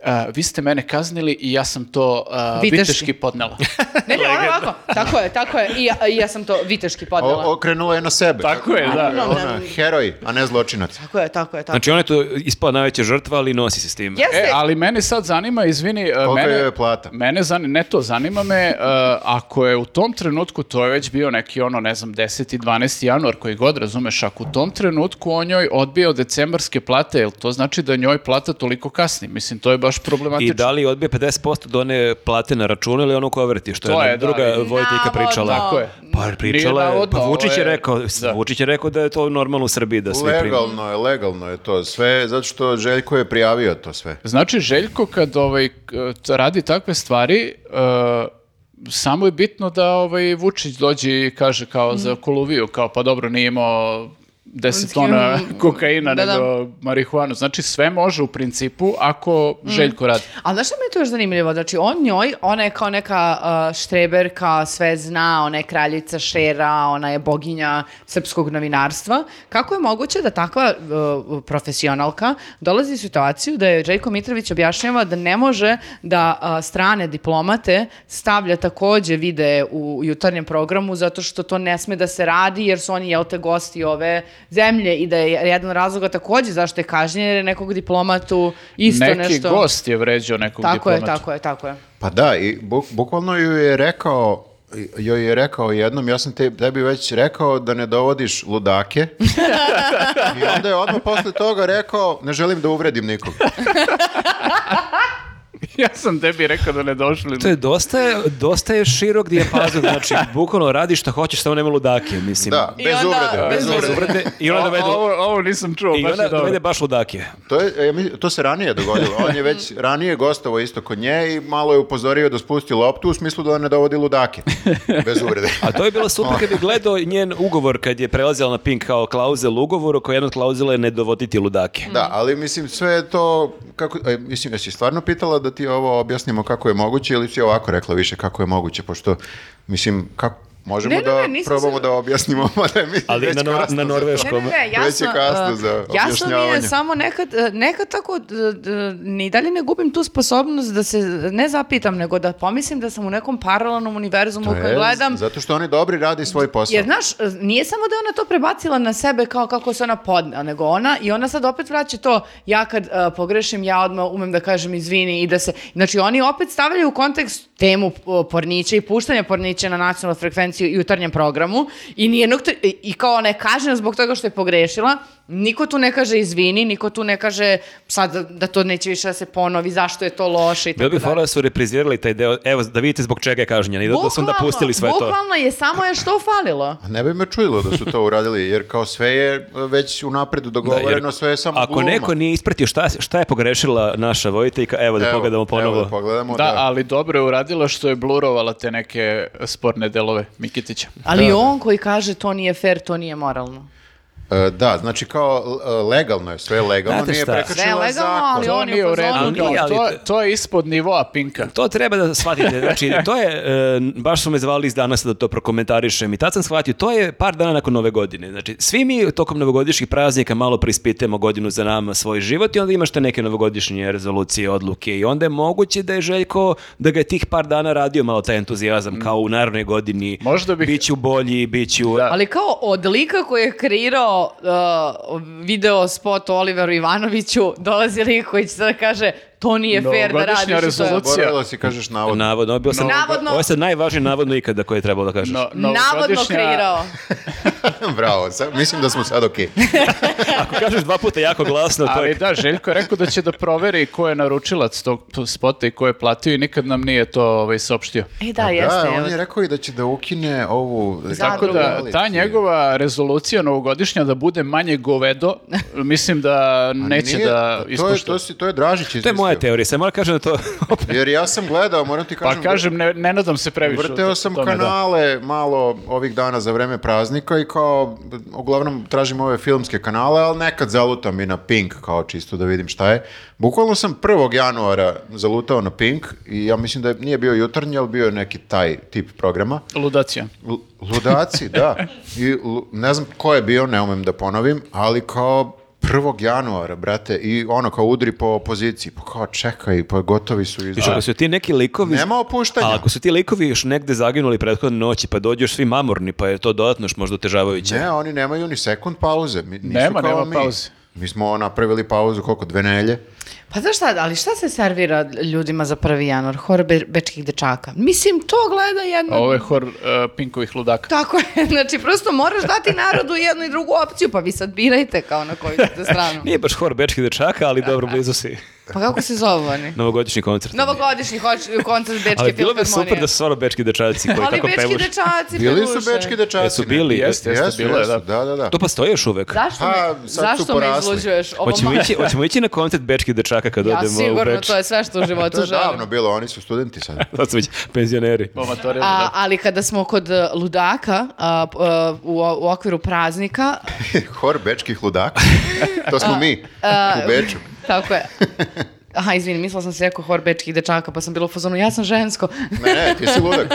[SPEAKER 2] e, vi ste mene kaznili i ja sam to e,
[SPEAKER 4] Viteški.
[SPEAKER 2] viteški podnela.
[SPEAKER 4] Ne, ne, ona ovako. Tako je, tako je. I ja, i ja sam to viteški podnela.
[SPEAKER 1] O, okrenula je na sebe.
[SPEAKER 2] Tako je, da.
[SPEAKER 1] Ona, heroj, a ne zločinac.
[SPEAKER 4] Tako je, tako je, tako je.
[SPEAKER 3] Znači ona je to ispala najveća žrtva, ali nosi se s tim.
[SPEAKER 4] Jeste,
[SPEAKER 2] E, ali mene sad zanima, izvini, e,
[SPEAKER 1] Koliko
[SPEAKER 2] mene,
[SPEAKER 1] joj je plata?
[SPEAKER 2] Mene zani, ne to, zanima me, e, ako je u tom trenutku, to je već bio neki ono, ne znam, 10. i 12. januar, koji god razumeš, ako u tom trenutku on njoj odbio decembarske plate, jel to znači da njoj plata toliko kasni? Mislim, to je baš problematično.
[SPEAKER 3] I da li odbije 50% do one plate na računu ili ono koja vrti, što
[SPEAKER 2] To
[SPEAKER 3] je,
[SPEAKER 2] je, da,
[SPEAKER 3] druga
[SPEAKER 2] i-
[SPEAKER 3] vojiteljka pričala.
[SPEAKER 4] Navodno. Tako
[SPEAKER 2] je.
[SPEAKER 3] Pa pričala,
[SPEAKER 2] Nije
[SPEAKER 3] je,
[SPEAKER 2] navodno,
[SPEAKER 3] pa Vučić
[SPEAKER 2] ovo
[SPEAKER 3] je
[SPEAKER 2] je-
[SPEAKER 3] rekao,
[SPEAKER 2] Da.
[SPEAKER 3] Vučić je rekao da je to normalno u Srbiji da svi primi.
[SPEAKER 1] Legalno je, legalno je to sve, zato što Željko je prijavio to sve.
[SPEAKER 2] Znači, Željko kad ovaj, k- t- radi takve stvari, e, samo je bitno da ovaj Vučić dođe i kaže kao
[SPEAKER 4] Mhm.
[SPEAKER 2] za Koluviju, kao pa dobro, nije imao 10 tona kokaina,
[SPEAKER 4] Da, Mhm. da.
[SPEAKER 2] nego marihuanu. Znači, sve može u principu ako Željko radi.
[SPEAKER 4] Ali znaš što mi je tu još zanimljivo? Znači, on njoj, ona je kao neka uh, štreberka, sve zna, ona je kraljica šera, ona je boginja srpskog novinarstva. Kako je moguće da takva uh, profesionalka dolazi u situaciju da je Željko Mitrović objašnjava da ne može da uh, strane diplomate stavlja takođe vide u jutarnjem programu zato što to ne sme da se radi jer su oni, jel te, gosti ove zemlje i da je jedan od razloga takođe zašto je kažnjen jer je nekog diplomatu isto
[SPEAKER 2] Neki
[SPEAKER 4] nešto...
[SPEAKER 2] gost je vređao nekog
[SPEAKER 4] Tako je,
[SPEAKER 2] diplomata.
[SPEAKER 4] tako je, tako je.
[SPEAKER 1] Pa da, i bu- bukvalno ju je rekao joj je rekao jednom, ja sam te, tebi već rekao da ne dovodiš ludake. I onda je odmah posle toga rekao, ne želim da uvredim nikog.
[SPEAKER 2] ja sam tebi rekao da ne došli.
[SPEAKER 3] To je dosta, je- dosta je širok dijapazon, znači bukvalno radi šta hoćeš, samo nema ludake, mislim.
[SPEAKER 1] Da,
[SPEAKER 4] I
[SPEAKER 1] bez
[SPEAKER 4] onda-
[SPEAKER 1] uvrede, bez
[SPEAKER 3] Bez
[SPEAKER 1] uvrede.
[SPEAKER 3] uvrede. I ona
[SPEAKER 2] O-
[SPEAKER 3] dovede,
[SPEAKER 2] ovo, ovo nisam čuo,
[SPEAKER 3] i
[SPEAKER 2] baš
[SPEAKER 3] ona
[SPEAKER 2] je dobro.
[SPEAKER 3] dovede baš ludake.
[SPEAKER 1] To, je, ja mislim, to se ranije dogodilo. On je već ranije gostovao isto kod nje i malo je upozorio da spusti loptu u smislu da ne dovodi ludake. Bez uvrede.
[SPEAKER 3] A to je bilo super kad je gledao njen ugovor kad je prelazila na Pink kao klauzel ugovoru, koja jedna od klauzela je ne dovoditi ludake.
[SPEAKER 1] Da, ali mislim sve je to kako e, mislim jesi stvarno pitala da ti ovo objasnimo kako je moguće ili si ovako rekla više kako je moguće pošto mislim kako možemo
[SPEAKER 4] Ne, ne,
[SPEAKER 1] da
[SPEAKER 4] ne, nisam
[SPEAKER 1] probamo
[SPEAKER 4] se-
[SPEAKER 1] da objasnimo mada mi
[SPEAKER 3] Ali
[SPEAKER 1] već
[SPEAKER 3] na, nor-
[SPEAKER 1] kasno
[SPEAKER 3] na
[SPEAKER 1] za to.
[SPEAKER 4] Ne,
[SPEAKER 3] norveškom.
[SPEAKER 4] ne, ne, jasno,
[SPEAKER 1] Već je kasno
[SPEAKER 4] uh,
[SPEAKER 1] za
[SPEAKER 4] jasno mi je
[SPEAKER 1] objašnjavanje.
[SPEAKER 4] samo nekad, uh, nekad tako, d- d- ni dalje ne gubim tu sposobnost da se ne zapitam, nego da pomislim da sam u nekom paralelnom univerzumu u kojem
[SPEAKER 1] E,
[SPEAKER 4] gledam.
[SPEAKER 1] Zato što oni dobri radi svoj posao.
[SPEAKER 4] Jer, znaš, uh, nije samo da je ona to prebacila na sebe kao kako se ona podna, nego ona, i ona sad opet vraća to, ja kad uh, pogrešim, ja odmah umem da kažem izvini i da se, znači oni opet stavljaju u kontekst temu uh, pornića i puštanja pornića na e, nacionalnu frekvenciju i jutarnjem programu i nijednog, tre- i i kao ona je kažnjena zbog toga što je pogrešila, niko tu ne kaže izvini, niko tu ne kaže sad da, da to neće više da se ponovi, zašto je to loše i
[SPEAKER 3] Bilo
[SPEAKER 4] tako
[SPEAKER 3] bi fora
[SPEAKER 4] dalje.
[SPEAKER 3] da su reprizirali taj deo, evo da vidite zbog čega je kažnjen i da, da su onda
[SPEAKER 4] Bukvalno-
[SPEAKER 3] pustili sve to.
[SPEAKER 4] Bukvalno je samo je što falilo.
[SPEAKER 1] A Ne bi me čudilo da su to uradili, jer kao sve je e, već unapredu
[SPEAKER 3] Da, jer
[SPEAKER 1] dogovoreno, sve je samo
[SPEAKER 3] Ako
[SPEAKER 1] gluma.
[SPEAKER 3] neko nije ispratio šta, šta je pogrešila naša vojiteljka, evo da
[SPEAKER 1] Evo,
[SPEAKER 3] pogledamo ponovo.
[SPEAKER 1] Evo da pogledamo,
[SPEAKER 2] Da,
[SPEAKER 1] da.
[SPEAKER 2] ali dobro je uradila što je blurovala te neke sporne delove Mikitića.
[SPEAKER 4] Ali on koji kaže to nije fair, to nije moralno.
[SPEAKER 1] E, da, znači kao e, legalno je, sve je legalno,
[SPEAKER 3] Znate
[SPEAKER 1] nije
[SPEAKER 3] šta?
[SPEAKER 1] prekršila
[SPEAKER 4] Sve je legalno,
[SPEAKER 1] zakon.
[SPEAKER 4] ali
[SPEAKER 2] To
[SPEAKER 4] on je
[SPEAKER 2] nije
[SPEAKER 4] u
[SPEAKER 2] u redu,
[SPEAKER 4] fazonu
[SPEAKER 2] kao,
[SPEAKER 3] Ali, ali-
[SPEAKER 2] to, to je ispod nivoa Pinka.
[SPEAKER 3] To treba da shvatite, znači to je, e, baš su me zvali iz danas da to prokomentarišem i tad sam shvatio, to je par dana nakon nove godine, znači svi mi tokom novogodišnjih praznika malo preispitujemo godinu za nama svoj život i onda imaš te neke novogodišnje rezolucije, odluke i onda je moguće da je Željko, da ga je tih par dana radio malo taj entuzijazam kao u narednoj godini,
[SPEAKER 2] Možda bih-
[SPEAKER 3] bit ću bolji, bit ću...
[SPEAKER 2] Da.
[SPEAKER 4] Ali kao od lika koji je kreirao uh, video spot o Oliveru Ivanoviću, dolazi lik koji će sada kaže to nije fair da
[SPEAKER 2] Novogodišnja
[SPEAKER 4] radiš. i to je-"
[SPEAKER 2] rezolucija.
[SPEAKER 1] Zaboravila si, kažeš navod.
[SPEAKER 3] Navodno, ovo je bio sam,
[SPEAKER 4] Navodno.
[SPEAKER 3] ovo je sad najvažniji navodno ikada koje je trebalo da kažeš.
[SPEAKER 2] No,
[SPEAKER 4] Navodno
[SPEAKER 2] novogodišnja-
[SPEAKER 4] kreirao.
[SPEAKER 1] Bravo, sad- mislim da smo sad okej.
[SPEAKER 3] Ako kažeš dva puta jako glasno, to
[SPEAKER 2] Ali
[SPEAKER 3] je...
[SPEAKER 2] da, Željko je rekao da će da proveri ko je naručilac tog spota i ko je platio i nikad nam nije to ovaj, saopštio.
[SPEAKER 4] E da, jeste.
[SPEAKER 1] Da,
[SPEAKER 4] evo.
[SPEAKER 1] on je rekao i da će da ukine ovu...
[SPEAKER 2] Tako da, ta njegova rezolucija novogodišnja da bude manje govedo, mislim da
[SPEAKER 1] A
[SPEAKER 2] neće
[SPEAKER 1] nije-
[SPEAKER 2] da
[SPEAKER 1] To je,
[SPEAKER 2] ispoštuje.
[SPEAKER 1] to, si, to je Dražić
[SPEAKER 3] To je moja
[SPEAKER 1] izmislio.
[SPEAKER 3] teorija, sad moram kažem da to...
[SPEAKER 1] Jer ja sam gledao, moram ti
[SPEAKER 2] Pa
[SPEAKER 1] kažem...
[SPEAKER 2] kažem, ne, ne nadam se previše. o
[SPEAKER 1] Vrteo
[SPEAKER 2] to-
[SPEAKER 1] sam
[SPEAKER 2] tome, da.
[SPEAKER 1] kanale malo ovih dana za vreme praznika i kao, uglavnom tražim ove filmske kanale, ali nekad zalutam i na Pink, kao čisto da vidim šta je. Bukvalno sam 1. januara zalutao na Pink i ja mislim da je- nije bio jutarnji, ali bio je neki taj tip programa.
[SPEAKER 2] Ludacija.
[SPEAKER 1] L- Ludaci, da. I, lu- ne znam ko je bio, ne umem da ponovim, ali kao 1. januara, brate, i ono kao udri po opoziciji, pa kao čekaj, pa gotovi su
[SPEAKER 3] Više,
[SPEAKER 1] izbori.
[SPEAKER 3] ako su ti neki likovi...
[SPEAKER 1] Nema opuštanja.
[SPEAKER 3] A ako su ti likovi još negde zaginuli prethodne noći, pa dođu još svi mamorni, pa je to dodatno još možda otežavajuće.
[SPEAKER 1] Ne, oni nemaju ni sekund pauze. Mi, nisu
[SPEAKER 2] Nema,
[SPEAKER 1] kao
[SPEAKER 2] nema
[SPEAKER 1] mi.
[SPEAKER 2] pauze.
[SPEAKER 1] Mi smo napravili pauzu, koliko, dve nelje?
[SPEAKER 4] Pa znaš šta, ali šta se servira ljudima za 1. januar? Hor be- bečkih dečaka. Mislim, to gleda jedno...
[SPEAKER 2] A Ovo je hor e, Pinkovih ludaka.
[SPEAKER 4] Tako je, znači prosto moraš dati narodu jednu i drugu opciju, pa vi sad birajte kao na koju ćete stranu.
[SPEAKER 3] Nije baš hor bečkih dečaka, ali dobro, blizu si.
[SPEAKER 4] Pa kako se zove oni?
[SPEAKER 3] Novogodišnji koncert.
[SPEAKER 4] Novogodišnji hoć- koncert Bečke
[SPEAKER 3] ali bilo bi
[SPEAKER 4] filharmonije.
[SPEAKER 3] super da su stvarno bečki dečaci koji
[SPEAKER 4] Ali
[SPEAKER 3] tako
[SPEAKER 4] bečki
[SPEAKER 3] pevuš.
[SPEAKER 4] dečaci,
[SPEAKER 1] Bili su
[SPEAKER 4] peruše.
[SPEAKER 1] bečki dečaci.
[SPEAKER 3] Jesu
[SPEAKER 1] ne?
[SPEAKER 3] bili?
[SPEAKER 2] Jeste, jeste,
[SPEAKER 1] Jesu,
[SPEAKER 2] bilo je,
[SPEAKER 1] jesu,
[SPEAKER 2] da.
[SPEAKER 1] da, da, da.
[SPEAKER 3] To postoji još uvek.
[SPEAKER 4] Zašto,
[SPEAKER 1] Pa, sad
[SPEAKER 4] me,
[SPEAKER 1] su
[SPEAKER 4] zašto me
[SPEAKER 1] porasli.
[SPEAKER 4] izluđuješ? Ovo
[SPEAKER 3] Hoćemo
[SPEAKER 4] ma-
[SPEAKER 3] ići, hoćemo ići na koncert bečkih dečaka kad
[SPEAKER 4] Ja
[SPEAKER 3] odemo u
[SPEAKER 4] sigurno,
[SPEAKER 3] Beč.
[SPEAKER 4] to je sve što u životu
[SPEAKER 1] To je
[SPEAKER 4] želim.
[SPEAKER 1] davno bilo, oni su studenti sad.
[SPEAKER 3] Sad su već penzioneri.
[SPEAKER 2] Omatorijali,
[SPEAKER 4] A,
[SPEAKER 2] da.
[SPEAKER 4] ali kada smo kod e, ludaka a, p- e, u, u okviru praznika,
[SPEAKER 1] Hor bečkih ludaka. To smo mi u Beču.
[SPEAKER 4] tako je. Aha, izvini, mislila sam se rekao hor bečkih dečaka, pa sam bila u fazonu, ja sam žensko.
[SPEAKER 1] Ne, ne, ti si ludak.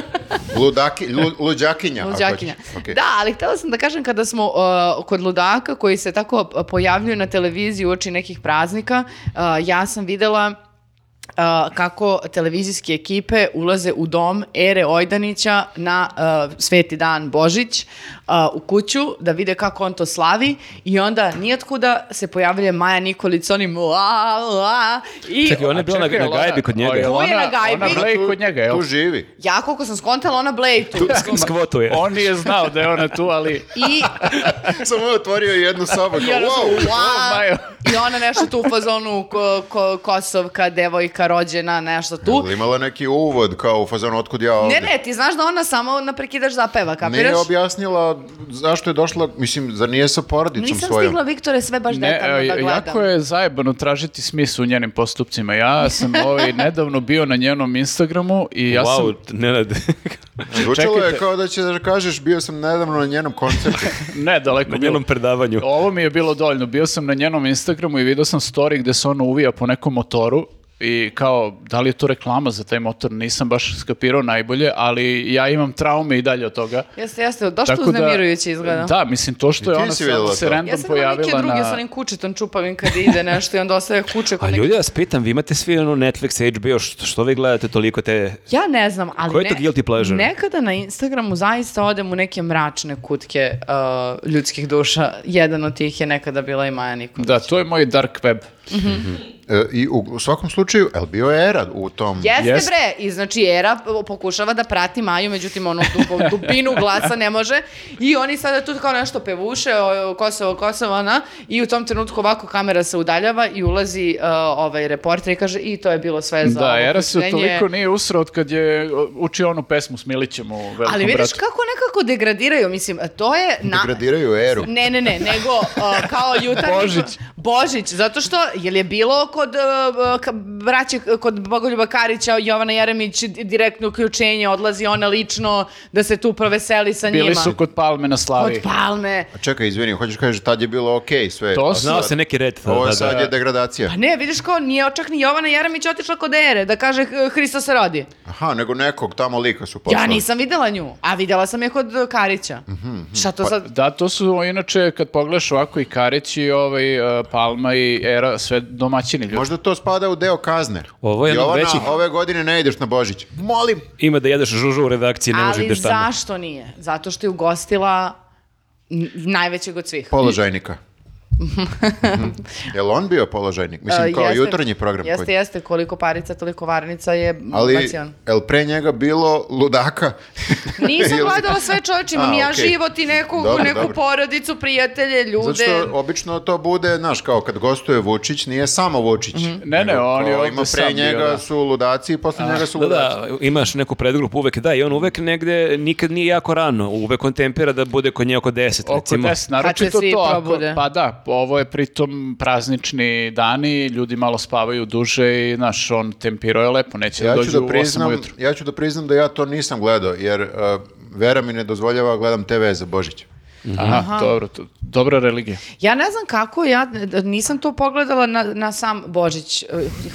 [SPEAKER 1] Ludaki, lu, luđakinja. ako
[SPEAKER 4] Luđakinja.
[SPEAKER 1] hoćeš. Okej.
[SPEAKER 4] Da, ali htela sam da kažem kada smo uh, kod ludaka koji se tako uh, pojavljuju na televiziji uoči nekih praznika, uh, ja sam videla uh, kako televizijske ekipe ulaze u dom Ere Ojdanića na uh, Sveti dan Božić uh, u kuću da vide kako on to slavi i onda nijotkuda se pojavlja Maja Nikolić s onim la, la, i
[SPEAKER 3] Čekaj, ona je
[SPEAKER 2] A
[SPEAKER 3] bila na,
[SPEAKER 2] čekaj,
[SPEAKER 3] na
[SPEAKER 2] jel
[SPEAKER 3] gajbi kod njega.
[SPEAKER 2] ona- jel
[SPEAKER 4] Tu je na
[SPEAKER 2] ona-
[SPEAKER 4] gajbi.
[SPEAKER 2] Ona bleji
[SPEAKER 1] Tu-
[SPEAKER 2] kod njega, jel?
[SPEAKER 1] Tu živi.
[SPEAKER 4] ja koliko sam skontala, ona bleji tu.
[SPEAKER 3] Skvotuje.
[SPEAKER 2] On nije znao da je ona tu, ali...
[SPEAKER 4] I
[SPEAKER 1] Samo je otvorio jednu sobu.
[SPEAKER 4] I ona,
[SPEAKER 1] Wow.
[SPEAKER 4] wow,
[SPEAKER 2] Majo.
[SPEAKER 4] I ona nešto tu u fazonu ko, ko, Kosovka, devojka, rođena, nešto tu.
[SPEAKER 1] Jel Imala neki uvod kao u fazonu otkud ja ovde.
[SPEAKER 4] Ne, ne, ti znaš da ona samo na prekidaš zapeva, kapiraš?
[SPEAKER 1] Nije objasnila zašto je došla, mislim, zar nije sa porodicom
[SPEAKER 4] Nisam
[SPEAKER 1] svojom?
[SPEAKER 4] stigla Viktore sve baš
[SPEAKER 2] Ne,
[SPEAKER 4] detaljno da
[SPEAKER 2] e,
[SPEAKER 4] gledam.
[SPEAKER 2] jako je zajebano tražiti smislu u njenim postupcima. Ja sam ovaj, nedavno bio na njenom Instagramu i ja sam
[SPEAKER 3] Wow, Nenad.
[SPEAKER 1] Zvučalo je
[SPEAKER 2] Čekajte.
[SPEAKER 1] kao da će da kažeš bio sam nedavno na njenom koncertu.
[SPEAKER 2] Ne, daleko
[SPEAKER 3] na
[SPEAKER 2] bilo.
[SPEAKER 3] njenom predavanju.
[SPEAKER 2] Ovo mi je bilo dovoljno. Bio sam na njenom Instagramu i vidio sam story gde se ona uvija po nekom motoru i kao, da li je to reklama za taj motor? Nisam baš skapirao najbolje, ali ja imam traume i dalje od toga.
[SPEAKER 4] Jeste, jeste, došto
[SPEAKER 2] Tako da-
[SPEAKER 4] uznemirujuće izgleda.
[SPEAKER 2] Da, mislim, to što
[SPEAKER 1] I
[SPEAKER 2] je
[SPEAKER 1] ti
[SPEAKER 2] ona
[SPEAKER 1] si videla
[SPEAKER 2] samo se
[SPEAKER 1] to?
[SPEAKER 2] random
[SPEAKER 4] Ja sam imala neke
[SPEAKER 2] pojavila
[SPEAKER 4] druge
[SPEAKER 2] na...
[SPEAKER 4] sa onim kučetom čupavim kad ide nešto i onda ostaje kuče
[SPEAKER 3] A
[SPEAKER 4] kod
[SPEAKER 3] ljudi,
[SPEAKER 4] neke...
[SPEAKER 3] ja vas pitam, vi imate svi ono Netflix, HBO, što, što vi gledate toliko te...
[SPEAKER 4] Ja ne znam, ali
[SPEAKER 3] Koji je to
[SPEAKER 4] ne-
[SPEAKER 3] guilty pleasure?
[SPEAKER 4] nekada na Instagramu zaista odem u neke mračne kutke uh, ljudskih duša. Jedan od tih je nekada bila i Maja Nikolić.
[SPEAKER 2] Da, to je moj dark web.
[SPEAKER 1] E, I u, u svakom slučaju, el bio je Erad u tom...
[SPEAKER 4] Jeste
[SPEAKER 2] Jest.
[SPEAKER 4] bre, i znači Era pokušava da prati Maju, međutim ono dubo, dubinu glasa ne može i oni sada tu kao nešto pevuše o, o Kosovo, Kosovo, ona i u tom trenutku ovako kamera se udaljava i ulazi e, ovaj reporter i kaže i to je bilo sve za
[SPEAKER 2] Da,
[SPEAKER 4] ovo
[SPEAKER 2] Era se
[SPEAKER 4] proširenje."
[SPEAKER 2] toliko nije usrao od kad je o, učio onu pesmu s Milićem u Velikom
[SPEAKER 4] Ali vidiš
[SPEAKER 2] bratu.
[SPEAKER 4] kako nekako degradiraju, mislim, to je... Na...
[SPEAKER 1] Degradiraju eru.
[SPEAKER 4] Ne, ne, ne, nego uh, kao jutarnji...
[SPEAKER 2] Božić.
[SPEAKER 4] Božić, zato što, jel je bilo kod uh, ka- braće, kod Bogoljuba Karića, Jovana Jeremić, di- direktno uključenje, odlazi ona lično da se tu proveseli sa njima.
[SPEAKER 2] Bili su kod Palme na
[SPEAKER 4] Kod
[SPEAKER 2] Slavi.
[SPEAKER 4] palme.
[SPEAKER 1] A čekaj, izvini, hoćeš kažeš, tad je bilo okej sve.
[SPEAKER 2] To
[SPEAKER 1] a
[SPEAKER 2] su-
[SPEAKER 3] Znao
[SPEAKER 1] sad-
[SPEAKER 3] se neki red.
[SPEAKER 1] Ovo
[SPEAKER 3] da, da.
[SPEAKER 1] sad je degradacija.
[SPEAKER 4] Pa ne, vidiš kao nije čak ni Jovana Jeremić otišla kod Ere da kaže "H- Hristo se rodi.
[SPEAKER 1] Aha, nego nekog tamo lika su poslali.
[SPEAKER 4] Ja nisam videla nju, a videla sam je kod uh, Karića.
[SPEAKER 3] Mhm,
[SPEAKER 4] Šta
[SPEAKER 3] Pa,
[SPEAKER 4] to sad...
[SPEAKER 2] Da, to su, inače, kad pogledaš ovako i Karić i ovaj, e, Palma i Era, sve domaćini ljudi.
[SPEAKER 1] Možda to spada u deo kazne.
[SPEAKER 3] Ovo je jedan od
[SPEAKER 1] Jovana,
[SPEAKER 3] većih-
[SPEAKER 1] ove godine ne ideš na Božić. Molim.
[SPEAKER 3] Ima da jedeš žužu u redakciji, ne možeš
[SPEAKER 4] Ali
[SPEAKER 3] ideš tamo.
[SPEAKER 4] zašto nije? Zato što je ugostila n- najvećeg od svih.
[SPEAKER 1] Položajnika. Mhm. Jel on bio položajnik? Mislim,
[SPEAKER 4] E,
[SPEAKER 1] kao
[SPEAKER 4] jeste-
[SPEAKER 1] jutarnji program. koji-
[SPEAKER 4] Jeste, jeste, koliko parica, toliko varnica je
[SPEAKER 1] Ali,
[SPEAKER 4] bacion.
[SPEAKER 1] jel pre njega bilo ludaka?
[SPEAKER 4] Nisam
[SPEAKER 1] Ili-
[SPEAKER 4] gledala sve čoveče, imam
[SPEAKER 1] A,
[SPEAKER 4] ja
[SPEAKER 1] okej.
[SPEAKER 4] život i neku,
[SPEAKER 1] Dobro,
[SPEAKER 4] neku
[SPEAKER 1] dobro.
[SPEAKER 4] porodicu, prijatelje,
[SPEAKER 1] Zato
[SPEAKER 4] ljude.
[SPEAKER 1] što obično to bude, znaš, kao kad gostuje Vučić, nije samo Vučić.
[SPEAKER 4] Mhm.
[SPEAKER 2] Ne, ne,
[SPEAKER 1] Nego
[SPEAKER 2] on je
[SPEAKER 1] kao
[SPEAKER 2] ovdje
[SPEAKER 1] Ima
[SPEAKER 2] Pa sam
[SPEAKER 1] pre
[SPEAKER 2] bio,
[SPEAKER 1] njega
[SPEAKER 2] da.
[SPEAKER 1] su ludaci i
[SPEAKER 4] Ah,
[SPEAKER 1] posle njega su
[SPEAKER 3] Da,
[SPEAKER 1] ludaci.
[SPEAKER 3] da, imaš neku predgrupu uvek, da, i on uvek negde, nikad nije jako rano, uvek on tempira da bude kod nje oko 10,
[SPEAKER 2] Oko
[SPEAKER 3] recimo.
[SPEAKER 2] 10, naročito
[SPEAKER 4] Kad se svi
[SPEAKER 2] to. ako-
[SPEAKER 4] probude.
[SPEAKER 2] pa da, ovo je pritom praznični dani, ljudi malo spavaju duže i, znaš, on tempirao je lepo, neće
[SPEAKER 1] Ja
[SPEAKER 2] da
[SPEAKER 1] ću
[SPEAKER 2] dođu
[SPEAKER 1] da,
[SPEAKER 2] u 8
[SPEAKER 1] priznam,
[SPEAKER 2] ujutru.
[SPEAKER 1] ja ću da priznam da ja to nisam gledao, jer uh, Vera mi ne dozvoljava gledam TV za Božić.
[SPEAKER 4] Mhm.
[SPEAKER 2] Aha, dobro, to- dobra religija.
[SPEAKER 4] Ja ne znam kako, ja n- nisam to pogledala na, na sam Božić. E,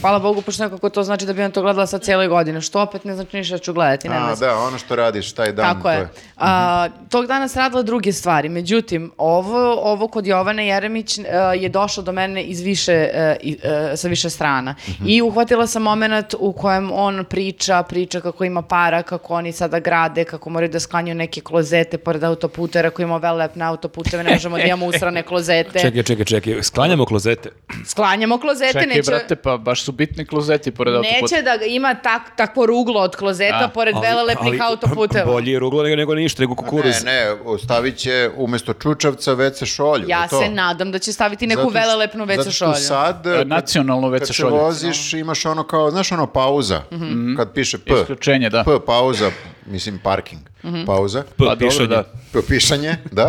[SPEAKER 4] Hvala Bogu, pošto nekako to znači da bi on to gledala sad cijele godine, što opet ne znači ništa da ću gledati. nema
[SPEAKER 1] A,
[SPEAKER 4] veze.
[SPEAKER 1] da, ono što radiš taj dan.
[SPEAKER 4] Tako
[SPEAKER 1] to
[SPEAKER 4] je. A, tog dana sam radila druge stvari. Međutim, ovo, ovo kod Jovane Jeremić e, je došlo do mene iz više, e, i- e, sa više strana.
[SPEAKER 1] Mhm.
[SPEAKER 4] I uhvatila sam moment u kojem on priča, priča kako ima para, kako oni sada grade, kako moraju da sklanjaju neke klozete pored autoputera, koji ima velelepne autoputeve, ne možemo da imamo usrane klozete.
[SPEAKER 3] Čekaj, čekaj, čekaj, sklanjamo klozete.
[SPEAKER 4] Sklanjamo klozete,
[SPEAKER 2] Čekaj,
[SPEAKER 4] neće...
[SPEAKER 2] brate, pa baš su bitni klozeti pored autoputa.
[SPEAKER 4] Neće da ga ima tak, takvo ruglo od klozeta
[SPEAKER 2] A,
[SPEAKER 4] pored velelepnih autoputeva.
[SPEAKER 3] Bolji je ruglo nego, nego ništa, nego kukuruz.
[SPEAKER 1] Ne, ne, stavit će umjesto čučavca WC šolju.
[SPEAKER 4] Ja
[SPEAKER 1] to.
[SPEAKER 4] se nadam da će staviti neku
[SPEAKER 1] Zato što-
[SPEAKER 4] velelepnu WC šolju.
[SPEAKER 1] Zato što sad,
[SPEAKER 2] E,
[SPEAKER 1] kad-
[SPEAKER 2] Nacionalno
[SPEAKER 1] kad
[SPEAKER 2] WC
[SPEAKER 1] se
[SPEAKER 2] šolje.
[SPEAKER 1] voziš, imaš ono kao, znaš ono pauza,
[SPEAKER 4] Mhm.
[SPEAKER 1] kad piše P.
[SPEAKER 2] Isključenje, da.
[SPEAKER 1] P, pauza, mislim parking, pauza.
[SPEAKER 3] P,
[SPEAKER 2] Pa dobro,
[SPEAKER 3] pišanje.
[SPEAKER 2] da.
[SPEAKER 1] P, pišanje, da.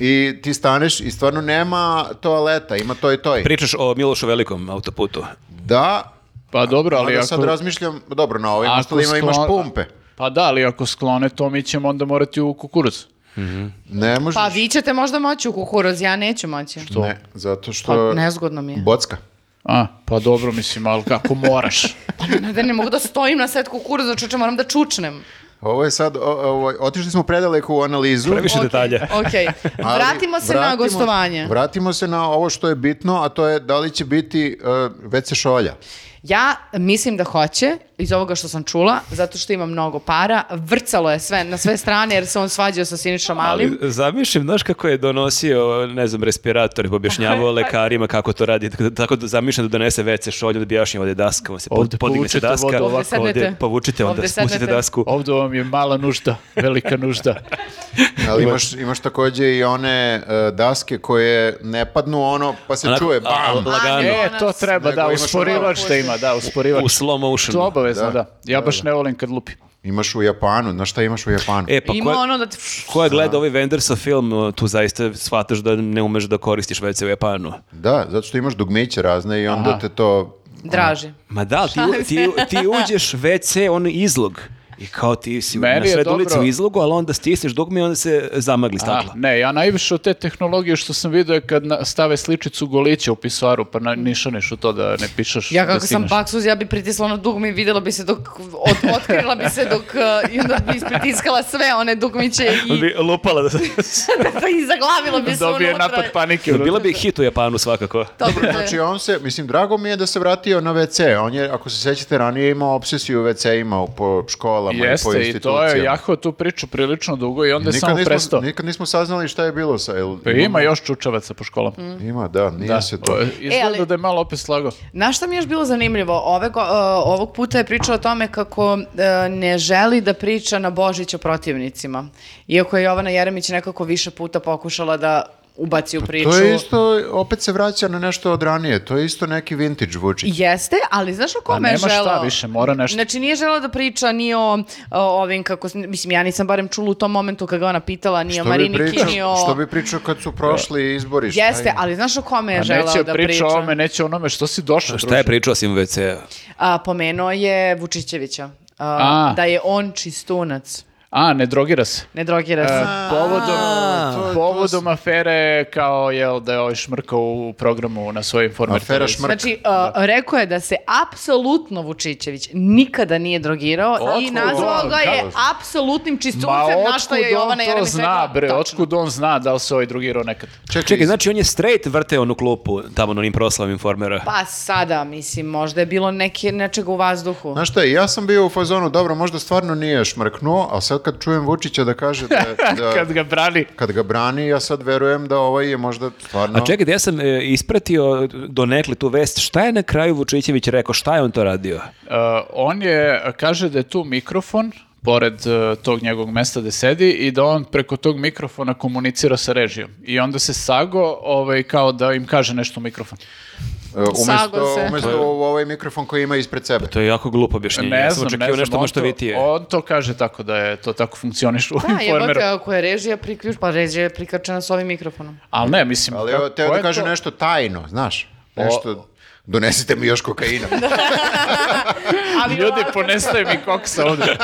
[SPEAKER 1] I ti staneš i stvarno nema toaleta, ima to i to.
[SPEAKER 3] Pričaš o Milošu Velikom autoputu.
[SPEAKER 1] Da,
[SPEAKER 2] Pa dobro, ali
[SPEAKER 1] ali
[SPEAKER 2] ako...
[SPEAKER 1] sad razmišljam, dobro, na ovim
[SPEAKER 2] ako
[SPEAKER 1] ostalima imaš
[SPEAKER 2] sklon-
[SPEAKER 1] pumpe.
[SPEAKER 2] Pa da, ali ako sklone to, mi ćemo onda morati u kukuruz.
[SPEAKER 1] Ne možeš.
[SPEAKER 4] Pa vi ćete možda moći u kukuruz, ja neću moći.
[SPEAKER 1] Ne, zato što...
[SPEAKER 4] Pa nezgodno mi je.
[SPEAKER 1] Bocka.
[SPEAKER 2] A, pa dobro, mislim, ali kako moraš.
[SPEAKER 4] Ne, ne, ne mogu da stojim na set kukuruza, čuče, moram da čučnem.
[SPEAKER 1] Ovo je sad, o- ovo, otišli smo predaleko u analizu.
[SPEAKER 3] Previše detalja.
[SPEAKER 4] Ok,
[SPEAKER 1] Ali
[SPEAKER 4] vratimo se na
[SPEAKER 1] vratimo-
[SPEAKER 4] gostovanje.
[SPEAKER 1] Vratimo se na ovo što je bitno, a to je da li će biti uh, WC šolja.
[SPEAKER 4] Ja mislim da hoće, iz ovoga što sam čula, zato što ima mnogo para. Vrcalo je sve, na sve strane, jer se on svađao sa Sinišom Malim.
[SPEAKER 3] Ali zamišljam, znaš kako je donosio, ne znam, respirator i objašnjavao lekarima kako to radi, tako da- tako da zamišljam da donese WC šolju, da objašnjava ovde daskama se, pod-
[SPEAKER 2] Ovde
[SPEAKER 3] podigne se
[SPEAKER 2] povučete
[SPEAKER 3] daska,
[SPEAKER 2] vodu ovako.
[SPEAKER 4] Ovde
[SPEAKER 3] ovde
[SPEAKER 4] sednete.
[SPEAKER 3] povučite, onda
[SPEAKER 4] Ovde
[SPEAKER 3] spustite
[SPEAKER 4] sednete.
[SPEAKER 3] dasku.
[SPEAKER 2] Ovdje vam je mala nužda, velika nužda.
[SPEAKER 1] Ali imaš, imaš takođe i one uh, daske koje ne padnu ono, pa se
[SPEAKER 3] Onako,
[SPEAKER 1] čuje
[SPEAKER 3] a,
[SPEAKER 1] bam.
[SPEAKER 4] Ono
[SPEAKER 3] Lagano.
[SPEAKER 2] E, to treba,
[SPEAKER 1] Nego
[SPEAKER 2] da,
[SPEAKER 1] imaš ono-
[SPEAKER 2] usporivač
[SPEAKER 4] malo-
[SPEAKER 2] da ima, da, usporivač.
[SPEAKER 3] U slow
[SPEAKER 2] To
[SPEAKER 3] motionu.
[SPEAKER 2] obavezno, da. Ja baš ne volim kad lupi.
[SPEAKER 1] Imaš u Japanu, znaš šta imaš u Japanu?
[SPEAKER 3] E, pa
[SPEAKER 4] Ima
[SPEAKER 3] ko,
[SPEAKER 4] ono da... ti-
[SPEAKER 3] ko je gleda ovaj Vendersa film, tu zaista shvataš da ne umeš da koristiš WC u Japanu.
[SPEAKER 1] Da, zato što imaš dugmiće razne i onda te to...
[SPEAKER 4] Draži.
[SPEAKER 3] Ma da, ali ti, u- ti, u- ti uđeš WC, on je izlog. I kao ti si
[SPEAKER 2] Meni
[SPEAKER 3] na
[SPEAKER 2] je
[SPEAKER 3] sred
[SPEAKER 2] dobro.
[SPEAKER 3] ulice u izlogu, ali onda stisneš dugme i onda se zamagli
[SPEAKER 2] A,
[SPEAKER 3] stakla.
[SPEAKER 2] ne, ja najviše od te tehnologije što sam vidio je kad na- stave sličicu golića u pisaru, pa na, nišaneš u to da ne pišeš.
[SPEAKER 4] Ja
[SPEAKER 2] da
[SPEAKER 4] kako sam
[SPEAKER 2] stigneš.
[SPEAKER 4] baksuz, ja bi pritisla ono dugme i vidjela bi se dok, od, otkrila bi se dok, uh, i onda bi ispritiskala sve one dugmiće i
[SPEAKER 3] Bi lupala da
[SPEAKER 4] i zaglavilo bi se
[SPEAKER 2] Dobije
[SPEAKER 4] unutra.
[SPEAKER 2] napad pa- panike. ono-
[SPEAKER 3] Bila bi hit u Japanu svakako.
[SPEAKER 4] Dobro, to je.
[SPEAKER 1] Znači on se, mislim, drago mi je da se vratio na WC. On je, ako se sećate, ranije imao obsesiju WC-ima po hodala mu je po
[SPEAKER 2] Jeste, i to
[SPEAKER 1] institucijama.
[SPEAKER 2] je jahao tu priču prilično dugo i onda je
[SPEAKER 1] Nikad
[SPEAKER 2] samo prestao.
[SPEAKER 1] nismo, nikad nismo saznali šta je bilo sa... Jel,
[SPEAKER 2] Pa ima još čučavaca po školama.
[SPEAKER 1] Ima, da, nije se to...
[SPEAKER 2] O, Izgleda
[SPEAKER 4] Mhm. E, ali-
[SPEAKER 2] da je malo opet slago.
[SPEAKER 4] Znaš šta mi je još bilo zanimljivo? Ove, go- e, ovog puta je pričala o tome kako e, ne želi da priča na Božić o protivnicima. Iako je Jovana Jeremić nekako više puta pokušala da ubaci u priču.
[SPEAKER 1] To je isto, opet se vraća na nešto od ranije, to je isto neki vintage Vučić.
[SPEAKER 4] Jeste, ali znaš o kome je
[SPEAKER 2] nema šta
[SPEAKER 4] želeo?
[SPEAKER 2] više, mora nešto.
[SPEAKER 4] Znači nije želeo da priča ni o, o ovim kako, s- mislim ja nisam barem čula u tom momentu kad ga ona pitala, ni o
[SPEAKER 1] Što bi,
[SPEAKER 4] Marini
[SPEAKER 1] pričao,
[SPEAKER 4] Kini, o...
[SPEAKER 1] što bi pričao kad su prošli izbori? šta
[SPEAKER 4] Jeste,
[SPEAKER 1] je?
[SPEAKER 4] ali znaš o kome je
[SPEAKER 2] A
[SPEAKER 4] želeo
[SPEAKER 2] neće
[SPEAKER 4] da
[SPEAKER 2] priča
[SPEAKER 4] priča?
[SPEAKER 2] o ovome, neće o onome što si došao.
[SPEAKER 3] Šta je pričao s WC?
[SPEAKER 4] A, pomenuo je Vučićevića. A,
[SPEAKER 2] A.
[SPEAKER 4] Da je on čistunac.
[SPEAKER 2] A, ne drogira se.
[SPEAKER 4] Ne drogira se.
[SPEAKER 2] E, povodom,
[SPEAKER 1] to-
[SPEAKER 2] povodom afere kao jel da je ovaj šmrkao u programu na svojoj informer.
[SPEAKER 1] Afera
[SPEAKER 2] televiziji.
[SPEAKER 1] šmrk.
[SPEAKER 4] Znači, uh, rekao je da se apsolutno Vučićević nikada nije drogirao i
[SPEAKER 3] Otkud
[SPEAKER 4] nazvao
[SPEAKER 1] on?
[SPEAKER 4] ga je
[SPEAKER 1] Kako?
[SPEAKER 4] apsolutnim
[SPEAKER 2] Ma
[SPEAKER 4] čistuncem, na što
[SPEAKER 2] otkud
[SPEAKER 4] je Jovana
[SPEAKER 2] on to
[SPEAKER 4] Jeremić rekla.
[SPEAKER 2] zna, bre,
[SPEAKER 4] Tačno.
[SPEAKER 2] otkud on zna da li se ovaj drugirao nekad.
[SPEAKER 3] Čekaj, znači on je straight vrteo onu klupu tamo na onim proslavim informera.
[SPEAKER 4] Pa sada, mislim, možda je bilo neke, nečega u vazduhu.
[SPEAKER 1] Znaš šta, i ja sam bio u fazonu, dobro, možda stvarno nije šmrknuo, ali sad kad čujem Vučića da kaže da, da
[SPEAKER 2] Kad ga brani.
[SPEAKER 1] kad ga brani, ja sad verujem da ovaj je možda stvarno...
[SPEAKER 3] A čekaj, ja sam e, ispratio donekle tu vest, šta je na kraju Vučićević rekao, šta je on to radio?
[SPEAKER 2] Uh, on je, kaže da je tu mikrofon pored uh, tog njegovog mesta gde sedi i da on preko tog mikrofona komunicira sa režijom. I onda se sago ovaj, kao da im kaže nešto u mikrofon.
[SPEAKER 1] E, Umesto,
[SPEAKER 4] Sago se.
[SPEAKER 1] umesto u ovaj mikrofon koji ima ispred sebe.
[SPEAKER 3] To je jako glupo objašnjenje.
[SPEAKER 2] Ne
[SPEAKER 3] ja sam
[SPEAKER 2] znam, ne
[SPEAKER 3] očekivao
[SPEAKER 2] znam.
[SPEAKER 3] nešto
[SPEAKER 2] on
[SPEAKER 3] možda e,
[SPEAKER 2] to-
[SPEAKER 3] vitije.
[SPEAKER 2] On to kaže tako da je to tako funkcioniš u
[SPEAKER 4] Da, jebote,
[SPEAKER 2] informeru.
[SPEAKER 4] ako je režija priključ, pa režija je prikačena s ovim mikrofonom.
[SPEAKER 2] Ali ne, mislim...
[SPEAKER 1] Ali
[SPEAKER 2] kako-
[SPEAKER 1] evo, teo
[SPEAKER 2] ko
[SPEAKER 1] da
[SPEAKER 2] je
[SPEAKER 1] kaže
[SPEAKER 2] to-
[SPEAKER 1] nešto tajno, znaš. Nešto, donesite mi još kokaina.
[SPEAKER 4] Ali
[SPEAKER 2] Ljudi, ponestaje mi koksa ovdje.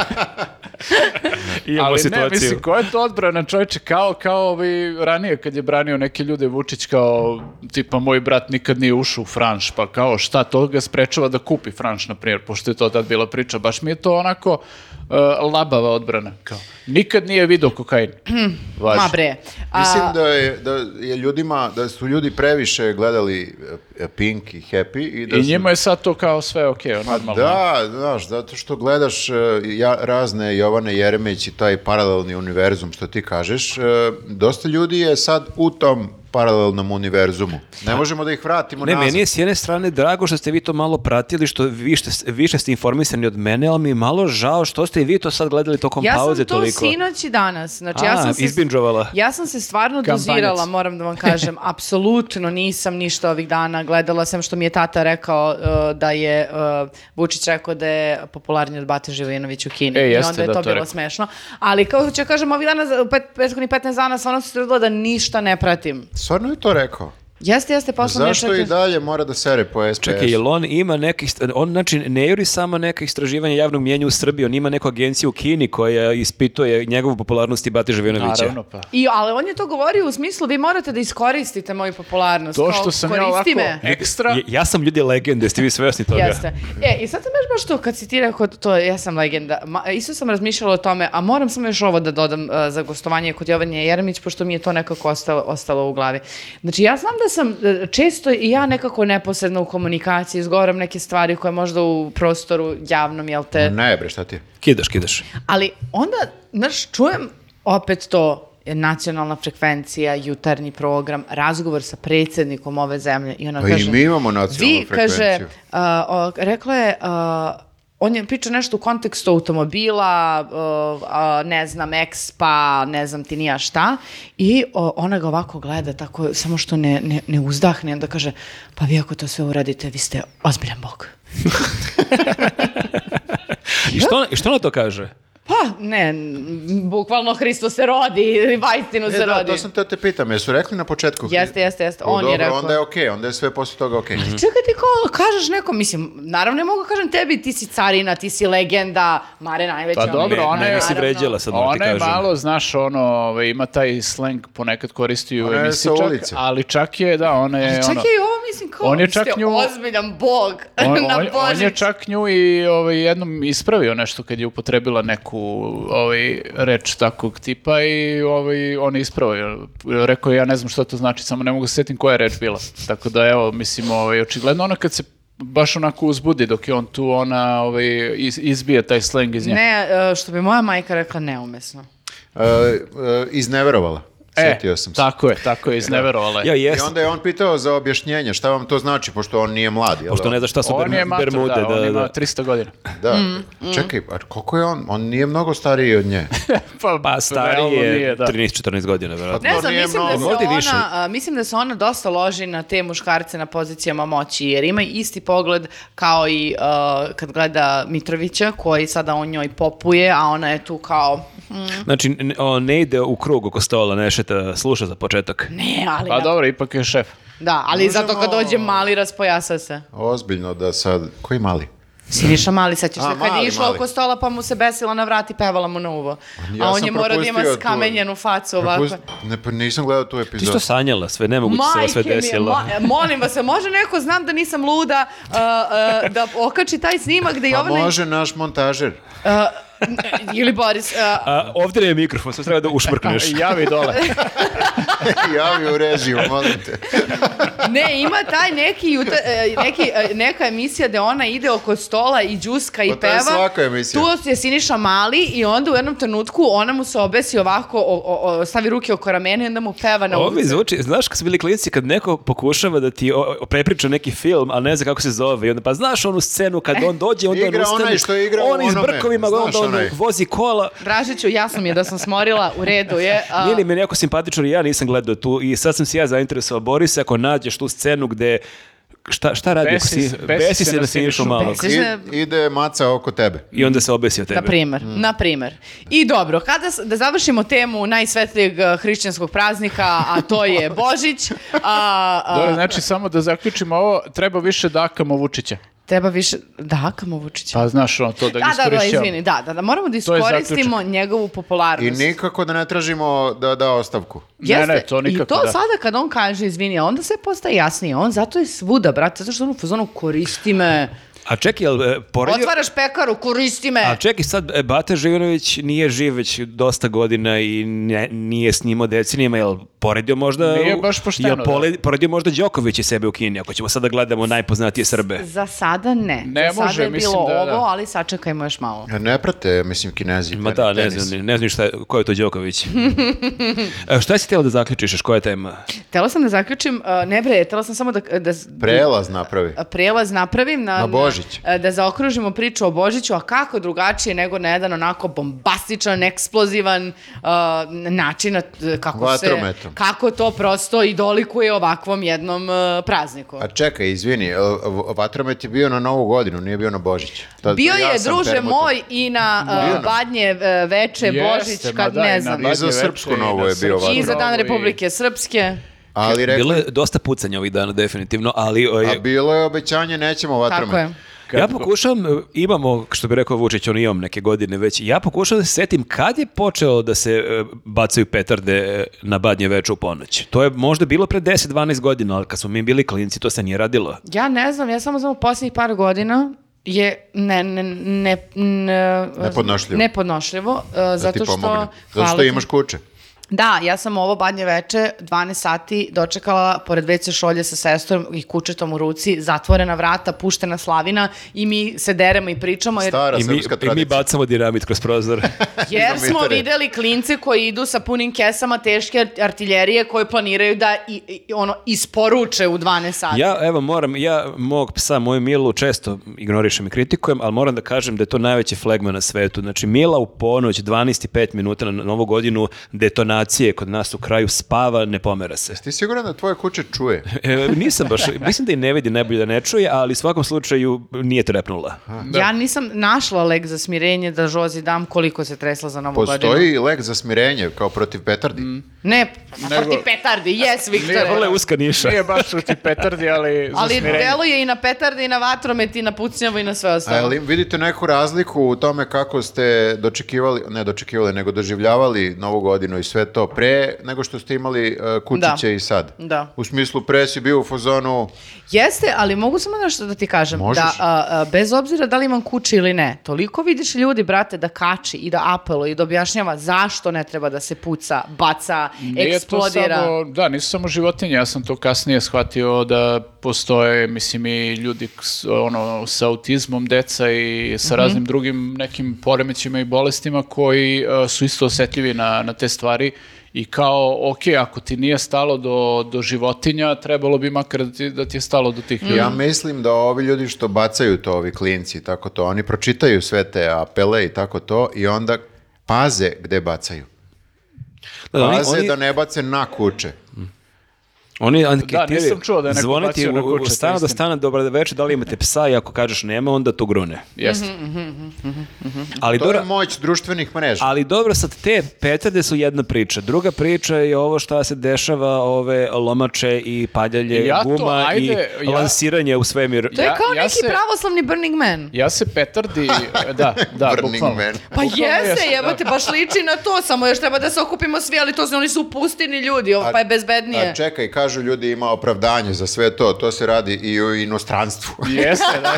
[SPEAKER 3] Imamo
[SPEAKER 2] Ali ne,
[SPEAKER 3] situaciju.
[SPEAKER 2] mislim, koja je to odbrana čovječe? Kao, kao ovi ranije kad je branio neke ljude Vučić kao, tipa, moj brat nikad nije ušao u Franš, pa kao šta, to ga sprečava da kupi Franš, na primjer, pošto je to tad bila priča. Baš mi je to onako e, labava odbrana. Kao, nikad nije video kokain. Važi.
[SPEAKER 4] Ma bre. A,
[SPEAKER 1] Mislim da je, da je ljudima, da su ljudi previše gledali e, Pink i Happy. I, da
[SPEAKER 2] I
[SPEAKER 1] su-
[SPEAKER 2] njima je sad to kao sve okej,
[SPEAKER 3] Pa
[SPEAKER 2] normalno.
[SPEAKER 1] Da, znaš, zato što gledaš e, ja, razne Jovane Jeremić i taj paralelni univerzum što ti kažeš, e, dosta ljudi je sad u tom paralelnom univerzumu. Ne možemo da ih vratimo
[SPEAKER 3] Ne,
[SPEAKER 1] nazad.
[SPEAKER 3] meni je s jedne strane drago što ste vi to malo pratili, što vi ste, više ste informisani od mene, ali mi je malo žao što ste i vi to sad gledali tokom
[SPEAKER 4] ja sam
[SPEAKER 3] pauze
[SPEAKER 4] to
[SPEAKER 3] toliko.
[SPEAKER 4] sinoć i danas. Znači, ja
[SPEAKER 3] A,
[SPEAKER 4] sam se,
[SPEAKER 3] izbinđovala.
[SPEAKER 4] Ja sam se stvarno
[SPEAKER 2] Kampanjac.
[SPEAKER 4] dozirala, moram da vam kažem. Apsolutno nisam ništa ovih dana gledala, sem što mi je tata rekao uh, da je uh, Vučić rekao da je popularniji od Bate Živinović u Kini.
[SPEAKER 2] E,
[SPEAKER 4] I
[SPEAKER 2] jeste,
[SPEAKER 4] onda je
[SPEAKER 2] da,
[SPEAKER 4] to
[SPEAKER 2] to
[SPEAKER 4] bilo
[SPEAKER 2] rekao.
[SPEAKER 4] smešno. Ali kao ću kažem, ovih dana, za- u pet, prethodnih 15 dana, stvarno sam ono se trudila da ništa ne pratim.
[SPEAKER 1] Stvarno je to rekao.
[SPEAKER 4] Jeste, jeste, posla mi je
[SPEAKER 1] Zašto i
[SPEAKER 4] čak-
[SPEAKER 1] dalje mora da sere po SPS?
[SPEAKER 3] Čekaj, jel on ima neke, ist- on znači ne juri samo neka istraživanja javnog mjenja u Srbiji, on ima neku agenciju u Kini koja ispituje njegovu popularnost i Bati Živinovića.
[SPEAKER 2] Naravno, pa.
[SPEAKER 4] I, ali on je to govorio u smislu vi morate da iskoristite moju popularnost.
[SPEAKER 2] To
[SPEAKER 4] kao,
[SPEAKER 2] što sam ja ovako E,
[SPEAKER 4] koristi me.
[SPEAKER 2] ekstra,
[SPEAKER 3] Ja, ja sam ljudi legende, jeste vi svesni toga?
[SPEAKER 4] Jeste. E, i sad sam još baš to, kad si ti rekao to, ja sam legenda, ma, isto sam razmišljala o tome, a moram samo još ovo da dodam e, za gostovanje kod Jovanje Jeremić, pošto mi je to nekako ostalo, ostalo u glavi. Znači, ja znam da sam e, često i ja nekako neposredno u komunikaciji, izgovaram neke stvari koje možda u prostoru javnom, jel te,
[SPEAKER 1] Ne bre, šta ti?
[SPEAKER 3] Kidaš, kidaš.
[SPEAKER 4] ali onda, znaš, čujem opet to nacionalna frekvencija, jutarnji program, razgovor sa predsjednikom ove zemlje i ona
[SPEAKER 1] Pa i
[SPEAKER 4] kaže...
[SPEAKER 1] mi imamo nacionalnu
[SPEAKER 4] vi,
[SPEAKER 1] frekvenciju."
[SPEAKER 4] Kaže, a, o, rekla je... a, on je pričao nešto u kontekstu automobila, a, a, ne znam, ekspa, ne znam ti nija šta. I o, ona ga ovako gleda, tako, samo što ne, ne, ne uzdahne. Onda kaže, pa vi ako to sve uradite, vi ste ozbiljan bog.
[SPEAKER 3] I što, i što ona to kaže?
[SPEAKER 4] Pa, ne, m, bukvalno Hristo se rodi ili vajstinu se
[SPEAKER 1] E, da,
[SPEAKER 4] rodi.
[SPEAKER 1] to sam te, te pitam, jesu rekli na početku?
[SPEAKER 4] Jeste, jeste, jeste,
[SPEAKER 1] O,
[SPEAKER 4] on je
[SPEAKER 1] dobro,
[SPEAKER 4] rekao.
[SPEAKER 1] onda je okej, onda je sve posle toga okej.
[SPEAKER 3] Mhm.
[SPEAKER 4] Čekaj ti kao kažeš nekom, mislim, naravno ne mogu kažem tebi, ti si carina, ti si legenda, Mare najveća.
[SPEAKER 2] Pa dobro,
[SPEAKER 4] ono,
[SPEAKER 2] ona
[SPEAKER 3] ne,
[SPEAKER 2] je-
[SPEAKER 3] ne, si
[SPEAKER 4] naravno.
[SPEAKER 3] vređala sad, moram ti
[SPEAKER 2] Ona je
[SPEAKER 3] kažem.
[SPEAKER 2] malo, znaš, ono, ovaj, ima taj slang ponekad koristi u
[SPEAKER 1] Ona je
[SPEAKER 2] emisiji
[SPEAKER 1] sa
[SPEAKER 2] čak,
[SPEAKER 1] ulice.
[SPEAKER 2] ali čak je, da, ona je,
[SPEAKER 4] Čak
[SPEAKER 2] ono,
[SPEAKER 4] je i E, ovo, mislim, kao,
[SPEAKER 2] On je
[SPEAKER 4] vi ste
[SPEAKER 2] čak nju-
[SPEAKER 4] ozbiljan bog
[SPEAKER 2] on,
[SPEAKER 4] na
[SPEAKER 2] on- on je
[SPEAKER 4] Božić.
[SPEAKER 2] čak nju i ovaj, jednom ispravio nešto kad je upotrebila neku ovaj, reč takvog tipa i ovaj, on je ispravio. Rekao je, ja ne znam što to znači, samo ne mogu se sjetiti koja je reč bila. Tako da, evo, mislim, ovaj, očigledno ona kad se baš onako uzbudi dok je on tu, ona ovaj, iz- izbije taj sleng iz nje.
[SPEAKER 4] Ne, e, što bi moja majka rekla, neumesno.
[SPEAKER 1] E, e, izneverovala.
[SPEAKER 2] E,
[SPEAKER 1] Sjetio sam se.
[SPEAKER 2] tako je, tako je, izneverovala je.
[SPEAKER 3] Ja,
[SPEAKER 1] I
[SPEAKER 3] jesam.
[SPEAKER 1] onda je on pitao za objašnjenje šta vam to znači, pošto on nije mlad. Jel?
[SPEAKER 3] Pošto ne znaš šta su
[SPEAKER 2] On
[SPEAKER 3] berm-
[SPEAKER 2] je mater,
[SPEAKER 3] bermude.
[SPEAKER 2] da,
[SPEAKER 3] da,
[SPEAKER 2] on
[SPEAKER 3] da.
[SPEAKER 2] ima 300 godina.
[SPEAKER 1] Da.
[SPEAKER 4] Mm,
[SPEAKER 1] Čekaj, a koliko je on? On nije mnogo stariji od nje.
[SPEAKER 2] pa,
[SPEAKER 3] Pa stariji
[SPEAKER 2] realno
[SPEAKER 3] je
[SPEAKER 2] nije, da.
[SPEAKER 3] 13-14 godina, verovatno.
[SPEAKER 4] Ne
[SPEAKER 1] To
[SPEAKER 4] znam,
[SPEAKER 1] nije
[SPEAKER 4] mislim da, se
[SPEAKER 1] mnogo.
[SPEAKER 3] Možda i više.
[SPEAKER 4] ona, a, mislim da se ona dosta loži na te muškarce na pozicijama moći, jer ima isti pogled kao i a, kad gleda Mitrovića, koji sada on njoj popuje, a ona je tu kao, "Mm,
[SPEAKER 3] Znači, n- on ne ide u krug oko stola, ne šeta, sluša za početak.
[SPEAKER 4] ne, ali...
[SPEAKER 2] Pa
[SPEAKER 4] na-
[SPEAKER 2] dobro, ipak je šef.
[SPEAKER 4] Da, ali zato kad
[SPEAKER 1] Možemo-
[SPEAKER 4] dođe mali raspojasa se.
[SPEAKER 1] Ozbiljno da sad... Koji mali?
[SPEAKER 4] Siniša mali, sećaš
[SPEAKER 1] A,
[SPEAKER 4] se kad
[SPEAKER 1] mali,
[SPEAKER 4] je išla
[SPEAKER 1] mali. Pa
[SPEAKER 4] oko stola pa mu se besila na vrat i pevala mu na uvo.
[SPEAKER 1] Ja
[SPEAKER 4] a on
[SPEAKER 1] sam
[SPEAKER 4] je morao da ima
[SPEAKER 1] propustio tu-
[SPEAKER 4] skamenjenu facu ovako.
[SPEAKER 1] Propust- Ne, pa nisam gledao tu
[SPEAKER 3] Ti
[SPEAKER 1] epizodu.
[SPEAKER 3] što sanjala sve, nemoguće se ovo sve
[SPEAKER 4] Majke mi je,
[SPEAKER 3] desilo.
[SPEAKER 4] ma- molim vas, a može neko, znam da nisam luda, a, a, da okači taj snimak da
[SPEAKER 1] Pa
[SPEAKER 4] Jovana...
[SPEAKER 1] može naš montažer.
[SPEAKER 4] a, n- ili Boris, a,
[SPEAKER 3] A, ovdje je mikrofon, sad treba da ušmrkneš.
[SPEAKER 2] Javi dole.
[SPEAKER 1] Javi u režiju, molim te.
[SPEAKER 4] ne, ima taj neki, juta- e, neki, e, neka emisija gde ona ide oko stola i đuska i
[SPEAKER 1] Pa to je
[SPEAKER 4] peva.
[SPEAKER 1] svaka emisija.
[SPEAKER 4] Tu je Siniša Mali i onda u jednom trenutku ona mu se obesi ovako, o- o- o- stavi ruke oko ramena i onda mu peva na
[SPEAKER 3] Ovo mi
[SPEAKER 4] ulici.
[SPEAKER 3] zvuči, znaš kad su bili klinci kad neko pokušava da ti o- o- prepriča neki film, a ne zna kako se zove, i onda pa znaš onu scenu kad on dođe, onda
[SPEAKER 1] E, Igra
[SPEAKER 3] on ustane,
[SPEAKER 1] onaj što je igrao
[SPEAKER 3] on
[SPEAKER 1] u
[SPEAKER 3] iz
[SPEAKER 1] onome,
[SPEAKER 3] brkovima, onda
[SPEAKER 1] znaš
[SPEAKER 3] on
[SPEAKER 1] onaj.
[SPEAKER 3] vozi kola,
[SPEAKER 4] Dražiću, jasno mi je da sam smorila, u redu je. a-
[SPEAKER 3] Nije li mi neko simpatično, jer ja nisam gledao tu i sad sam se ja zainteresovao, Boris, ako nađeš tu scenu gde Šta, šta radi? ako
[SPEAKER 2] Besi
[SPEAKER 3] si,
[SPEAKER 2] se- besi
[SPEAKER 3] besi
[SPEAKER 2] se
[SPEAKER 3] se da
[SPEAKER 2] na
[SPEAKER 3] si išao
[SPEAKER 2] Sinišu.
[SPEAKER 3] malo.
[SPEAKER 4] Besi. Sviš da-
[SPEAKER 1] I- ide maca oko tebe.
[SPEAKER 3] I onda se obesio tebe.
[SPEAKER 4] Na primer,
[SPEAKER 1] Mm.
[SPEAKER 4] na primer. I dobro, kada s- da završimo temu najsvetlijeg eh, hrišćanskog praznika, a to je Božić, a, a-
[SPEAKER 2] Dobro, znači samo da zaključimo ovo, treba više dakamo Vučića.
[SPEAKER 4] treba više... Da, kamo Vučića.
[SPEAKER 2] Pa znaš ono, to da ga
[SPEAKER 4] Da, da, da,
[SPEAKER 2] iskorišćavamo.
[SPEAKER 4] izvini, da, da, da, moramo da
[SPEAKER 2] To je zaključak.
[SPEAKER 4] iskoristimo njegovu
[SPEAKER 1] I
[SPEAKER 4] popularnost.
[SPEAKER 1] nikako da ne tražimo da da ostavku.
[SPEAKER 2] Ne, ne, to
[SPEAKER 4] I
[SPEAKER 2] nikako,
[SPEAKER 4] to
[SPEAKER 2] da.
[SPEAKER 4] sada kad on kaže izvini, a onda sve postaje jasnije. On zato je svuda, brate, zato što on u fazonu koristi me.
[SPEAKER 3] A čekaj, jel e, poredio...
[SPEAKER 4] Otvaraš pekaru, koristi me.
[SPEAKER 3] A čekaj, sad e, Bata Živinović nije živ već dosta godina i ne- nije snimao decenijama, jel poredio možda...
[SPEAKER 2] Nije baš pošteno,
[SPEAKER 3] Jel
[SPEAKER 2] da.
[SPEAKER 3] pole- poredio možda Đoković i sebe u Kini, ako ćemo sada gledamo najpoznatije Srbe.
[SPEAKER 4] Za sada ne.
[SPEAKER 2] Ne
[SPEAKER 4] Za
[SPEAKER 2] može,
[SPEAKER 4] sada je
[SPEAKER 2] mislim
[SPEAKER 4] bilo
[SPEAKER 2] da- da.
[SPEAKER 4] ovo, ali sačekajmo još malo.
[SPEAKER 1] Ne prate, mislim, kinezi.
[SPEAKER 3] Ma da, ne
[SPEAKER 1] tenis.
[SPEAKER 3] znam, ni- ne znam ni šta, je- ko je to Đoković. E, šta si htjela da zaključiš, koja je tema?
[SPEAKER 4] Htela sam da zaključim, a, ne bre, htela sam samo da, da
[SPEAKER 1] Prelaz napravi.
[SPEAKER 4] prelaz napravim na,
[SPEAKER 1] Na Božić.
[SPEAKER 4] na- da zaokružimo priču o Božiću, a kako drugačije nego na jedan onako bombastičan, eksplozivan a, način na t- kako se
[SPEAKER 1] Vatrometom.
[SPEAKER 4] kako to prosto i dolikuje ovakvom jednom a, prazniku.
[SPEAKER 1] A čekaj, izvini, e, v- vatromet je bio na Novu godinu, nije bio na Božić. Tad-
[SPEAKER 4] Bio
[SPEAKER 1] pa, ja
[SPEAKER 4] je,
[SPEAKER 1] sam
[SPEAKER 4] druže
[SPEAKER 1] permuta.
[SPEAKER 4] moj, i na a,
[SPEAKER 1] Bio na-
[SPEAKER 4] Badnje e, veče,
[SPEAKER 2] Jeste, ma
[SPEAKER 4] Božić, kad
[SPEAKER 2] da, i
[SPEAKER 4] ne
[SPEAKER 2] na
[SPEAKER 4] znam.
[SPEAKER 1] I
[SPEAKER 2] Badnje
[SPEAKER 1] za
[SPEAKER 2] veče,
[SPEAKER 1] Srpsku
[SPEAKER 2] i na
[SPEAKER 1] Novu je bio
[SPEAKER 2] Srpsku
[SPEAKER 1] vatromet.
[SPEAKER 4] I za Dan
[SPEAKER 2] Novu i-
[SPEAKER 4] Republike Srpske.
[SPEAKER 1] Ali rekli,
[SPEAKER 3] Bilo je dosta pucanja ovih dana, definitivno, ali... e,
[SPEAKER 1] a bilo je obećanje, nećemo vatromet.
[SPEAKER 4] Tako je.
[SPEAKER 3] ja pokušavam, e, imamo, što bi rekao Vučić, on imam neke godine već, ja pokušavam da se setim kad je počeo da se e, bacaju petarde e, na badnje veče u ponoć. To je možda bilo pre 10-12 godina, ali kad smo mi bili klinci, to se nije radilo.
[SPEAKER 4] Ja ne znam, ja samo znam u posljednjih par godina je ne, ne, ne, ne-
[SPEAKER 1] Nepodnošljivo.
[SPEAKER 4] nepodnošljivo, uh,
[SPEAKER 1] Da ti
[SPEAKER 4] zato što...
[SPEAKER 1] pomogne. Zato
[SPEAKER 4] hvala
[SPEAKER 1] što
[SPEAKER 4] ti.
[SPEAKER 1] imaš kuće.
[SPEAKER 4] Da, ja sam ovo badnje veče, 12 sati, dočekala pored WC šolje sa sestrom i kučetom u ruci, zatvorena vrata, puštena slavina i mi se deremo i pričamo jer,
[SPEAKER 1] Stara
[SPEAKER 3] I mi,
[SPEAKER 1] srpska
[SPEAKER 3] I mi
[SPEAKER 1] tradicija.
[SPEAKER 3] bacamo dinamit kroz prozor.
[SPEAKER 4] jer smo
[SPEAKER 1] Kilometare.
[SPEAKER 4] videli klince koji idu sa punim kesama teške artiljerije koje planiraju da i, i- ono isporuče u 12 sati.
[SPEAKER 3] Ja, evo, moram, ja mog psa, moju Milu, često ignorišem i kritikujem, ali moram da kažem da je to najveći flegma na svetu. Znači, Mila u ponoć, 12.5 minuta na novu godinu, detonacije kod nas u kraju, spava, ne pomera se.
[SPEAKER 1] Ti siguran da tvoje kuće čuje?
[SPEAKER 3] E, nisam baš, mislim da i ne vidi, najbolje da ne čuje, ali u svakom slučaju nije trepnula.
[SPEAKER 4] Ja nisam našla lek za smirenje da Žozi dam koliko se tresla za novu godinu.
[SPEAKER 1] Postoji lek za smirenje, kao protiv petardi.
[SPEAKER 3] Mm.
[SPEAKER 4] Ne, pa
[SPEAKER 2] Nego-
[SPEAKER 4] ti petardi, jes,
[SPEAKER 1] E,
[SPEAKER 2] Nije
[SPEAKER 4] Viktore.
[SPEAKER 3] Vrlo je uska niša.
[SPEAKER 2] Nije baš ti petardi, ali za
[SPEAKER 4] Ali
[SPEAKER 2] smirenje.
[SPEAKER 4] delo je i na petardi, i na vatromet, i na pucnjavu, i na sve
[SPEAKER 1] A
[SPEAKER 4] ostalo.
[SPEAKER 1] jel vidite neku razliku u tome kako ste dočekivali, ne dočekivali, nego doživljavali Novu godinu i sve sve to pre nego što ste imali e, kućiće
[SPEAKER 4] Da.
[SPEAKER 1] i sad.
[SPEAKER 4] Da.
[SPEAKER 1] U smislu pre si bio u fazonu
[SPEAKER 4] Jeste, ali mogu samo nešto da ti kažem.
[SPEAKER 1] Možeš.
[SPEAKER 4] Da, a, a, bez obzira da li imam kući ili ne, toliko vidiš ljudi, brate, da kači i da apeluje i da objašnjava zašto ne treba da se puca, baca,
[SPEAKER 2] Nije
[SPEAKER 4] eksplodira.
[SPEAKER 2] To samo, da, nisu samo životinje, ja sam to kasnije shvatio da postoje, mislim, i ljudi s- ono, sa autizmom, deca i sa raznim drugim nekim poremećima i bolestima koji e, su isto osetljivi na, na te stvari i kao, ok, ako ti nije stalo do, do životinja, trebalo bi makar da ti, da ti je stalo do tih
[SPEAKER 4] Mm.
[SPEAKER 2] ljudi.
[SPEAKER 1] Mhm. Ja mislim da ovi ljudi što bacaju to, ovi klinci, i tako to, oni pročitaju sve te apele i tako to i onda paze gde bacaju.
[SPEAKER 3] Da, da, oni-
[SPEAKER 1] Paze
[SPEAKER 3] oni-
[SPEAKER 1] da ne bace na kuče.
[SPEAKER 3] Oni anketiri,
[SPEAKER 2] nisam čuo da je neko
[SPEAKER 3] zvone ti
[SPEAKER 2] bacio
[SPEAKER 3] u-
[SPEAKER 2] na
[SPEAKER 3] u-
[SPEAKER 2] kuće, to
[SPEAKER 3] u
[SPEAKER 2] je
[SPEAKER 3] stana do
[SPEAKER 2] istina.
[SPEAKER 3] stana, dobro večer, da li imate psa i ako kažeš nema, onda to grune.
[SPEAKER 2] Jeste.
[SPEAKER 3] Ali
[SPEAKER 1] To je
[SPEAKER 3] dobro,
[SPEAKER 1] moć društvenih mreža.
[SPEAKER 3] ali dobro, sad te petarde su jedna priča. Druga priča je ovo šta se dešava, ove lomače i padalje
[SPEAKER 2] Ja to,
[SPEAKER 3] guma
[SPEAKER 2] ajde,
[SPEAKER 3] i
[SPEAKER 2] ja-
[SPEAKER 3] lansiranje u svemir.
[SPEAKER 4] To je
[SPEAKER 2] Ja-
[SPEAKER 4] kao
[SPEAKER 2] ja
[SPEAKER 4] neki
[SPEAKER 2] se-
[SPEAKER 4] pravoslavni Burning Man.
[SPEAKER 2] Ja se petardi, e, da, da,
[SPEAKER 1] Burning
[SPEAKER 2] bukvalno.
[SPEAKER 1] Man.
[SPEAKER 4] Pa
[SPEAKER 2] Bukvalno
[SPEAKER 4] jeste,
[SPEAKER 2] jeste, da.
[SPEAKER 4] jebote, baš liči na to, samo još treba da se okupimo svi, ali to su, oni su u pustini ljudi, ovo
[SPEAKER 1] A-
[SPEAKER 4] pa je bezbednije.
[SPEAKER 1] A čekaj, kažu ljudi ima opravdanje za sve to, to se radi i u inostranstvu.
[SPEAKER 2] Jeste, da,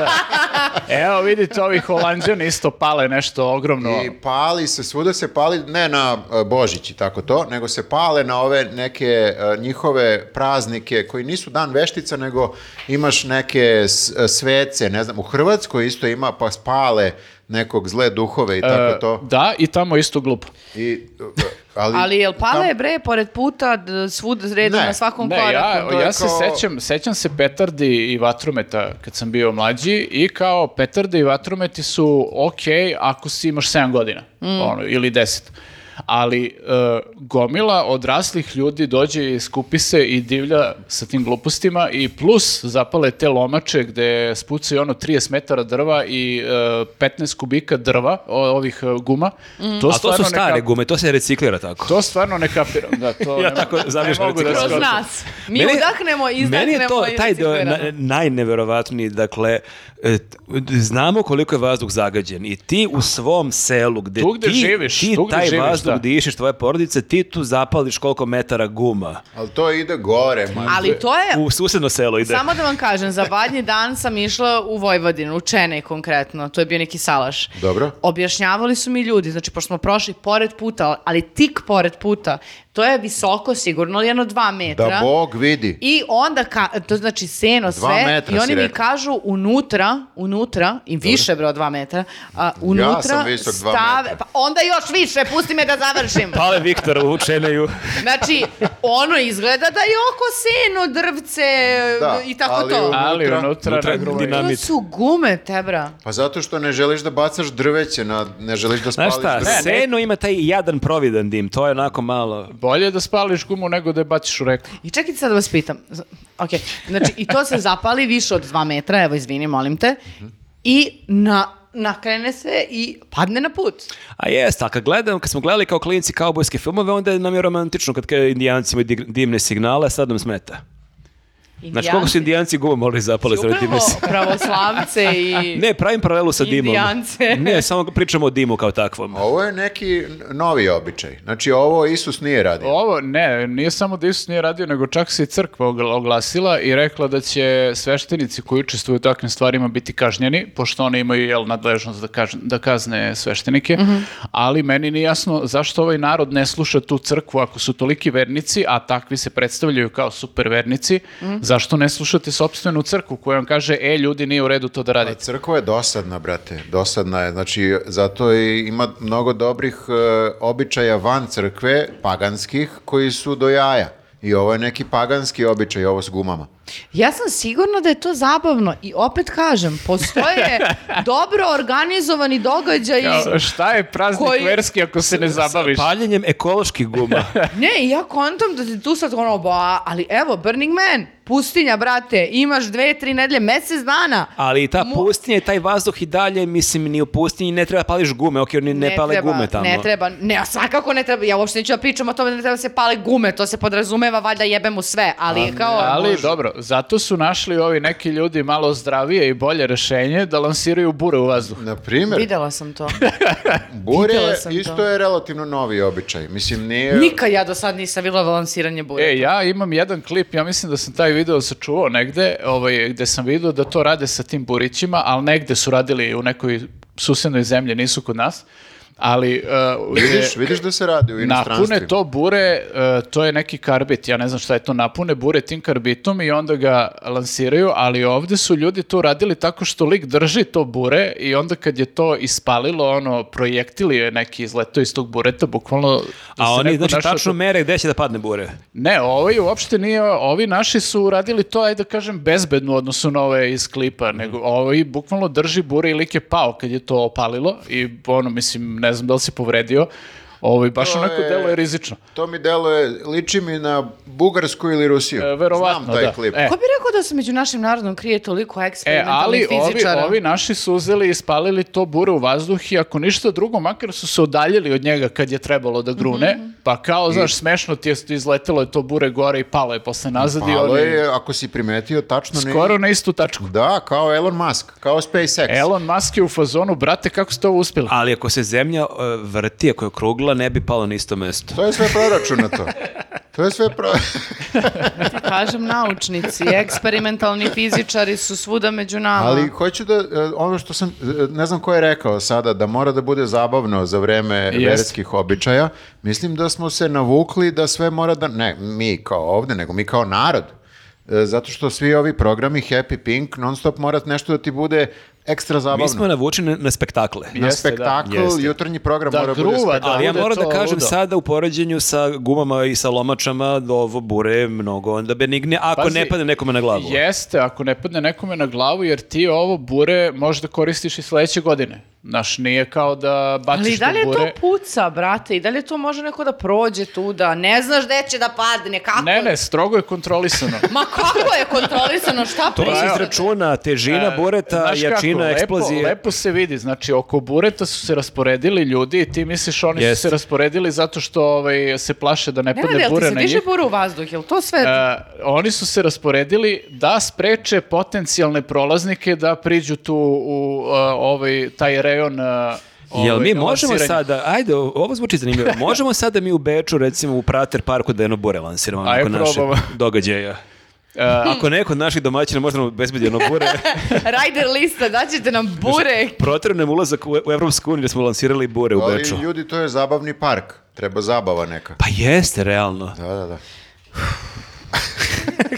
[SPEAKER 2] da. Evo vidite, ovi holandjani isto pale nešto ogromno.
[SPEAKER 1] I pali se, svuda se pali, ne na e, Božić i tako to, nego se pale na ove neke e, njihove praznike koji nisu dan veštica, nego imaš neke s- e, svece, ne znam, u Hrvatskoj isto ima pa spale nekog zle duhove i tako
[SPEAKER 2] E,
[SPEAKER 1] to.
[SPEAKER 2] Da, i tamo isto glupo.
[SPEAKER 1] I, e, ali,
[SPEAKER 4] Ali jel pala
[SPEAKER 1] tam-
[SPEAKER 4] je bre pored puta d- svud redom
[SPEAKER 1] Ne,
[SPEAKER 4] na svakom
[SPEAKER 2] Ne, ja,
[SPEAKER 4] koraku?
[SPEAKER 1] to je
[SPEAKER 2] ja se
[SPEAKER 1] kao-
[SPEAKER 2] sećam, sećam se petardi i vatrometa kad sam bio mlađi i kao petarde i vatrometi su ok ako si imaš 7 godina ono, ili 10. Ali e, gomila odraslih ljudi dođe i skupi se i divlja sa tim glupostima i plus zapale te lomače gde spucaju ono 30 metara drva i e, 15 kubika drva o- ovih e, guma. To, ono
[SPEAKER 3] A to
[SPEAKER 2] stvarno
[SPEAKER 3] su
[SPEAKER 2] ne
[SPEAKER 3] stare
[SPEAKER 2] kap-
[SPEAKER 3] gume, to se reciklira tako.
[SPEAKER 2] To stvarno ne kapiram. Da, to
[SPEAKER 3] Ja
[SPEAKER 2] ne,
[SPEAKER 3] tako
[SPEAKER 2] ne
[SPEAKER 3] zamišljam
[SPEAKER 2] mogu da
[SPEAKER 3] reciklažu.
[SPEAKER 4] Kroz
[SPEAKER 2] shvatim.
[SPEAKER 4] nas. Mi udahnemo, izdahnemo
[SPEAKER 3] Meni je to
[SPEAKER 4] i
[SPEAKER 3] taj deo na,
[SPEAKER 4] recikliramo.
[SPEAKER 3] najneverovatniji, dakle, e, t- znamo koliko je vazduh zagađen i ti u svom selu gde,
[SPEAKER 2] Tu gde
[SPEAKER 3] ti,
[SPEAKER 2] živiš,
[SPEAKER 3] ti
[SPEAKER 2] tu gde
[SPEAKER 3] taj
[SPEAKER 2] živiš,
[SPEAKER 3] vazduh
[SPEAKER 2] da.
[SPEAKER 3] dišiš, tvoje porodice, ti tu zapališ koliko metara guma.
[SPEAKER 1] Ali to ide gore, man.
[SPEAKER 4] Ali to je,
[SPEAKER 3] U susedno selo ide.
[SPEAKER 4] E, Samo da vam kažem, za badnji dan sam išla u Vojvodinu, u Čenej konkretno, to je bio neki salaš.
[SPEAKER 1] Dobro.
[SPEAKER 4] Objašnjavali su mi ljudi, znači pošto smo prošli pored puta, ali tik pored puta, to je visoko sigurno, jedno dva metra.
[SPEAKER 1] Da Bog vidi.
[SPEAKER 4] I onda, ka, to znači seno
[SPEAKER 1] Dva
[SPEAKER 4] sve,
[SPEAKER 1] metra
[SPEAKER 4] i
[SPEAKER 1] si
[SPEAKER 4] oni mi
[SPEAKER 1] rekla.
[SPEAKER 4] kažu unutra, unutra, i više bre od dva metra, a, unutra
[SPEAKER 1] sam visok dva
[SPEAKER 4] stave-
[SPEAKER 1] metra. Pa.
[SPEAKER 4] pa onda još više, pusti me da završim.
[SPEAKER 3] Pale Viktor u Čeneju.
[SPEAKER 4] Znači, ono izgleda da je oko seno, drvce
[SPEAKER 1] Da,
[SPEAKER 4] i tako
[SPEAKER 1] ali
[SPEAKER 4] to.
[SPEAKER 1] u-
[SPEAKER 2] Ali
[SPEAKER 1] Unutra-
[SPEAKER 2] unutra,
[SPEAKER 3] unutra
[SPEAKER 2] na grlu je-
[SPEAKER 3] dinamit.
[SPEAKER 4] To
[SPEAKER 3] dinamit.
[SPEAKER 4] su gume, tebra.
[SPEAKER 1] Pa zato što ne želiš da bacaš drveće, na, ne želiš da
[SPEAKER 3] Znaš
[SPEAKER 1] spališ
[SPEAKER 3] šta,
[SPEAKER 1] drvo.
[SPEAKER 2] ne.
[SPEAKER 3] seno ima taj jadan providan dim, to je onako malo...
[SPEAKER 2] Bolje da spališ gumu nego da je baciš u reku.
[SPEAKER 4] I čekajte sad da vas pitam. Z- Ok, znači i to se zapali više od dva metra, evo izvini, molim te.
[SPEAKER 3] Mhm.
[SPEAKER 4] I na, nakrene se i padne na put.
[SPEAKER 3] A jest, a kad, gledam, kad smo gledali kao klinici kaubojske filmove, onda nam je romantično kad kao indijanci imaju dig- dimne signale, a sad nam smeta. Znači, koliko su indijanci gume morali zapale za
[SPEAKER 4] Upravo
[SPEAKER 3] ove dimne signale?
[SPEAKER 4] pravoslavce i...
[SPEAKER 3] Ne, pravim paralelu sa dimom.
[SPEAKER 4] Indijance.
[SPEAKER 3] ne, samo pričamo o dimu kao takvom.
[SPEAKER 1] Ovo je neki n- novi običaj. Znači, ovo Isus nije radio.
[SPEAKER 2] Ovo, ne, nije samo da Isus nije radio, nego čak se i crkva ogl- oglasila i rekla da će sveštenici koji učestvuju u takvim stvarima biti kažnjeni, pošto oni imaju jel, nadležnost da, kažn- da kazne sveštenike, ali meni nije jasno zašto ovaj narod ne sluša tu crkvu ako su toliki vernici, a takvi se predstavljaju kao supervernici, zašto ne slušate sopstvenu crkvu koja vam kaže, e, ljudi, nije u redu to da
[SPEAKER 1] Pa
[SPEAKER 2] radite.
[SPEAKER 1] crkva je dosadna, brate. Dosadna je. Znači, zato i ima mnogo dobrih e, običaja van crkve, paganskih, koji su do jaja. I ovo je neki paganski običaj, ovo s gumama.
[SPEAKER 4] Ja sam sigurna da je to zabavno i opet kažem, postoje dobro organizovani događaji.
[SPEAKER 2] Kao, šta je praznik
[SPEAKER 4] Koji-
[SPEAKER 2] verski ako se ne zabaviš?
[SPEAKER 3] Paljenjem ekoloških guma.
[SPEAKER 4] Ne, i ja kontam da ti tu sad ono, ba, ali evo, Burning Man, pustinja, brate, imaš dve, tri nedelje, mesec dana.
[SPEAKER 3] Ali i ta
[SPEAKER 4] Mo-
[SPEAKER 3] pustinja i taj vazduh i dalje, mislim, ni u pustinji ne treba pališ gume, ok, oni ne, pale
[SPEAKER 4] treba,
[SPEAKER 3] gume tamo.
[SPEAKER 4] Ne treba, ne, a svakako ne treba, ja uopšte neću da pričam o tome da ne treba da se pale gume, to se podrazumeva, valjda jebemo sve, ali kao...
[SPEAKER 2] Ali dobro, zato su našli ovi neki ljudi malo zdravije i bolje rešenje da lansiraju bure u vazduh.
[SPEAKER 1] Na primjer,
[SPEAKER 4] Videla sam to.
[SPEAKER 1] bure
[SPEAKER 4] videla sam to.
[SPEAKER 1] isto je relativno novi običaj. Mislim, nije...
[SPEAKER 4] Nikad ja do sad nisam videla balansiranje bure.
[SPEAKER 2] E, ja imam jedan klip, ja mislim da sam taj video sačuvao negde, ovaj, gde sam vidio da to rade sa tim burićima, ali negde su radili u nekoj susednoj zemlji, nisu kod nas, ali... uh,
[SPEAKER 1] Vidiš,
[SPEAKER 2] gde-
[SPEAKER 1] vidiš da se radi u inostranstvu.
[SPEAKER 2] Napune to bure, e, to je neki karbit, ja ne znam šta je to, napune bure tim karbitom i onda ga lansiraju, ali ovde su ljudi to radili tako što lik drži to bure i onda kad je to ispalilo, ono, projektili je neki izleto iz tog bureta, bukvalno... da
[SPEAKER 3] A
[SPEAKER 2] se
[SPEAKER 3] oni,
[SPEAKER 2] neko
[SPEAKER 3] znači,
[SPEAKER 2] našao
[SPEAKER 3] tačno
[SPEAKER 2] tu-
[SPEAKER 3] mere gde će da padne bure.
[SPEAKER 2] Ne, ovi uopšte nije, ovi naši su radili to, ajde da kažem, bezbedno u odnosu na ove iz klipa, nego ovi bukvalno drži bure i lik je pao kad je to opalilo i ono, mislim, ne znam da li se povredio, Ovo, baš
[SPEAKER 1] To
[SPEAKER 2] onako
[SPEAKER 1] je-
[SPEAKER 2] delo je rizično.
[SPEAKER 1] To mi deluje, liči mi na Bugarsku ili Rusiju.
[SPEAKER 2] E, verovatno,
[SPEAKER 1] Znam taj
[SPEAKER 2] da.
[SPEAKER 1] klip.
[SPEAKER 2] E.
[SPEAKER 4] Ko bi rekao da se među našim narodom krije toliko
[SPEAKER 2] E,
[SPEAKER 4] eksperimentalnih
[SPEAKER 2] ali ovi,
[SPEAKER 4] fizičara?
[SPEAKER 2] ovi naši su uzeli i spalili to bure u vazduh i ako ništa drugo, makar su se udaljili od njega kad je trebalo da grune, pa kao, znaš, smešno ti je izletelo je to bure gore i palo je posle nazad i
[SPEAKER 1] Palo
[SPEAKER 2] oni
[SPEAKER 1] je, ako si primetio, tačno ne...
[SPEAKER 2] skoro na istu tačku.
[SPEAKER 1] Da, kao Elon Musk, kao SpaceX.
[SPEAKER 2] Elon Musk je u fazonu, brate, kako ste ovo uspjeli?
[SPEAKER 3] Ali ako se zemlja e, vrti, ako je krugla, ne bi palo na isto mesto.
[SPEAKER 1] To je sve proračunato. To je sve pro...
[SPEAKER 4] Ti kažem, naučnici, eksperimentalni fizičari su svuda među nama.
[SPEAKER 1] Ali hoću da, e, ono što sam, e, ne znam ko je rekao sada, da mora da bude zabavno za vreme
[SPEAKER 2] Jest.
[SPEAKER 1] verskih običaja, mislim da smo se navukli da sve mora da, ne, mi kao ovde, nego mi kao narod, E, zato što svi ovi programi Happy Pink non stop mora nešto da ti bude ekstra
[SPEAKER 3] Mi smo
[SPEAKER 1] zabavno.
[SPEAKER 3] navučeni na, na spektakle.
[SPEAKER 1] Na
[SPEAKER 2] Jeste, da.
[SPEAKER 1] spektakl,
[SPEAKER 3] Jeste.
[SPEAKER 1] jutarnji program
[SPEAKER 2] Da
[SPEAKER 1] mora da bude
[SPEAKER 2] gruva,
[SPEAKER 1] spektakl.
[SPEAKER 2] da.
[SPEAKER 3] Ali ja
[SPEAKER 2] bude
[SPEAKER 3] moram da
[SPEAKER 2] to
[SPEAKER 3] kažem
[SPEAKER 2] ludo.
[SPEAKER 3] sada u poređenju sa gumama i sa lomačama da ovo bure mnogo onda benigne ako
[SPEAKER 2] Pazi,
[SPEAKER 3] ne padne nekome na glavu.
[SPEAKER 2] Jeste, ako ne padne nekome na glavu, jer ti ovo bure možeš da koristiš i sledeće godine. Znaš, nije kao da baciš
[SPEAKER 4] Ali i
[SPEAKER 2] to
[SPEAKER 4] dalje
[SPEAKER 2] bure.
[SPEAKER 4] to puca, brate, i dalje to može neko da prođe tu, da ne znaš gde će da padne, kako...
[SPEAKER 2] Ne, ne, strogo je kontrolisano.
[SPEAKER 4] Ma kako je kontrolisano, šta
[SPEAKER 3] To se
[SPEAKER 4] pričate?
[SPEAKER 3] izračuna, težina bureta,
[SPEAKER 2] E, Znaš
[SPEAKER 3] jačina
[SPEAKER 2] lepo-
[SPEAKER 3] eksplozije.
[SPEAKER 2] Lepo, se vidi, znači oko bureta su se rasporedili ljudi i ti misliš oni su
[SPEAKER 3] Jeste.
[SPEAKER 2] se rasporedili zato što ovaj, se plaše da ne
[SPEAKER 4] Ne, ne,
[SPEAKER 2] padne
[SPEAKER 4] jel ti
[SPEAKER 2] bure
[SPEAKER 4] se
[SPEAKER 2] na
[SPEAKER 4] diže
[SPEAKER 2] njih.
[SPEAKER 4] bura u vazduh, jel to sve...
[SPEAKER 2] E, oni su se rasporedili da spreče potencijalne prolaznike da priđu tu u e, ovaj, taj rejon e,
[SPEAKER 3] Jel
[SPEAKER 2] ovaj,
[SPEAKER 3] mi možemo
[SPEAKER 2] lansiranja.
[SPEAKER 3] sada, ajde, ovo zvuči zanimljivo, možemo sada mi u Beču, recimo u Prater parku da jedno bure lansiramo
[SPEAKER 2] Ajde,
[SPEAKER 3] nakon našeg
[SPEAKER 2] probamo.
[SPEAKER 3] događaja? E, ako neko od naših domaćina možda nam obezbedi jedno bure,
[SPEAKER 4] Rider lista, daćete nam bure.
[SPEAKER 3] protirano nam ulazak u, u Evropsku uniju da smo lansirali bure u
[SPEAKER 1] Ali
[SPEAKER 3] Beču.
[SPEAKER 1] ljudi, to je zabavni park. Treba zabava neka.
[SPEAKER 3] Pa jeste, realno.
[SPEAKER 1] Da, da, da.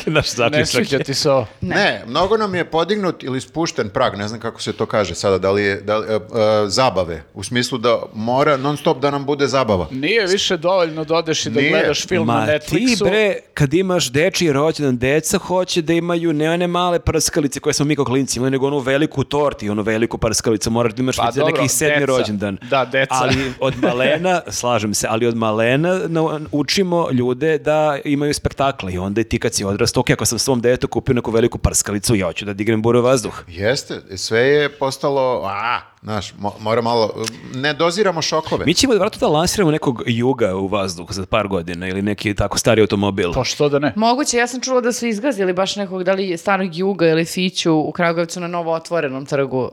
[SPEAKER 3] Naš
[SPEAKER 2] Ne
[SPEAKER 3] zaključak
[SPEAKER 2] sviđa
[SPEAKER 3] je.
[SPEAKER 2] ti se ovo.
[SPEAKER 1] Ne. mnogo nam je podignut ili spušten prag, ne znam kako se to kaže sada, da li je da li- e, e, zabave, u smislu da mora non stop da nam bude zabava.
[SPEAKER 2] Nije više dovoljno da odeš i da
[SPEAKER 1] Nije.
[SPEAKER 2] gledaš film
[SPEAKER 3] Ma
[SPEAKER 2] na Netflixu.
[SPEAKER 3] ti bre, kad imaš dečiji rođendan, deca hoće da imaju ne one male prskalice koje smo mi kao klinci imali, nego onu veliku torti, onu veliku prskalicu, moraš da imaš
[SPEAKER 2] Pa
[SPEAKER 3] za
[SPEAKER 2] dobro,
[SPEAKER 3] neki sedmi
[SPEAKER 2] deca.
[SPEAKER 3] rođendan.
[SPEAKER 2] Da, deca.
[SPEAKER 3] Ali od malena, slažem se, ali od malena na- učimo ljude da imaju spektakle i onda ti kad si odrastao, ok, ako sam svom detetu kupio neku veliku prskalicu, ja hoću da dignem buru vazduh.
[SPEAKER 1] Jeste, sve je postalo, a, znaš, mo- mora malo, ne doziramo šokove.
[SPEAKER 3] Mi ćemo vratno da lansiramo nekog juga u vazduh za par godina ili neki tako stari automobil.
[SPEAKER 2] Pa što da ne?
[SPEAKER 4] Moguće, ja sam čula da su izgazili baš nekog, da li starog Juga ili Fiću u Kragujevcu na novo otvorenom trgu, uh,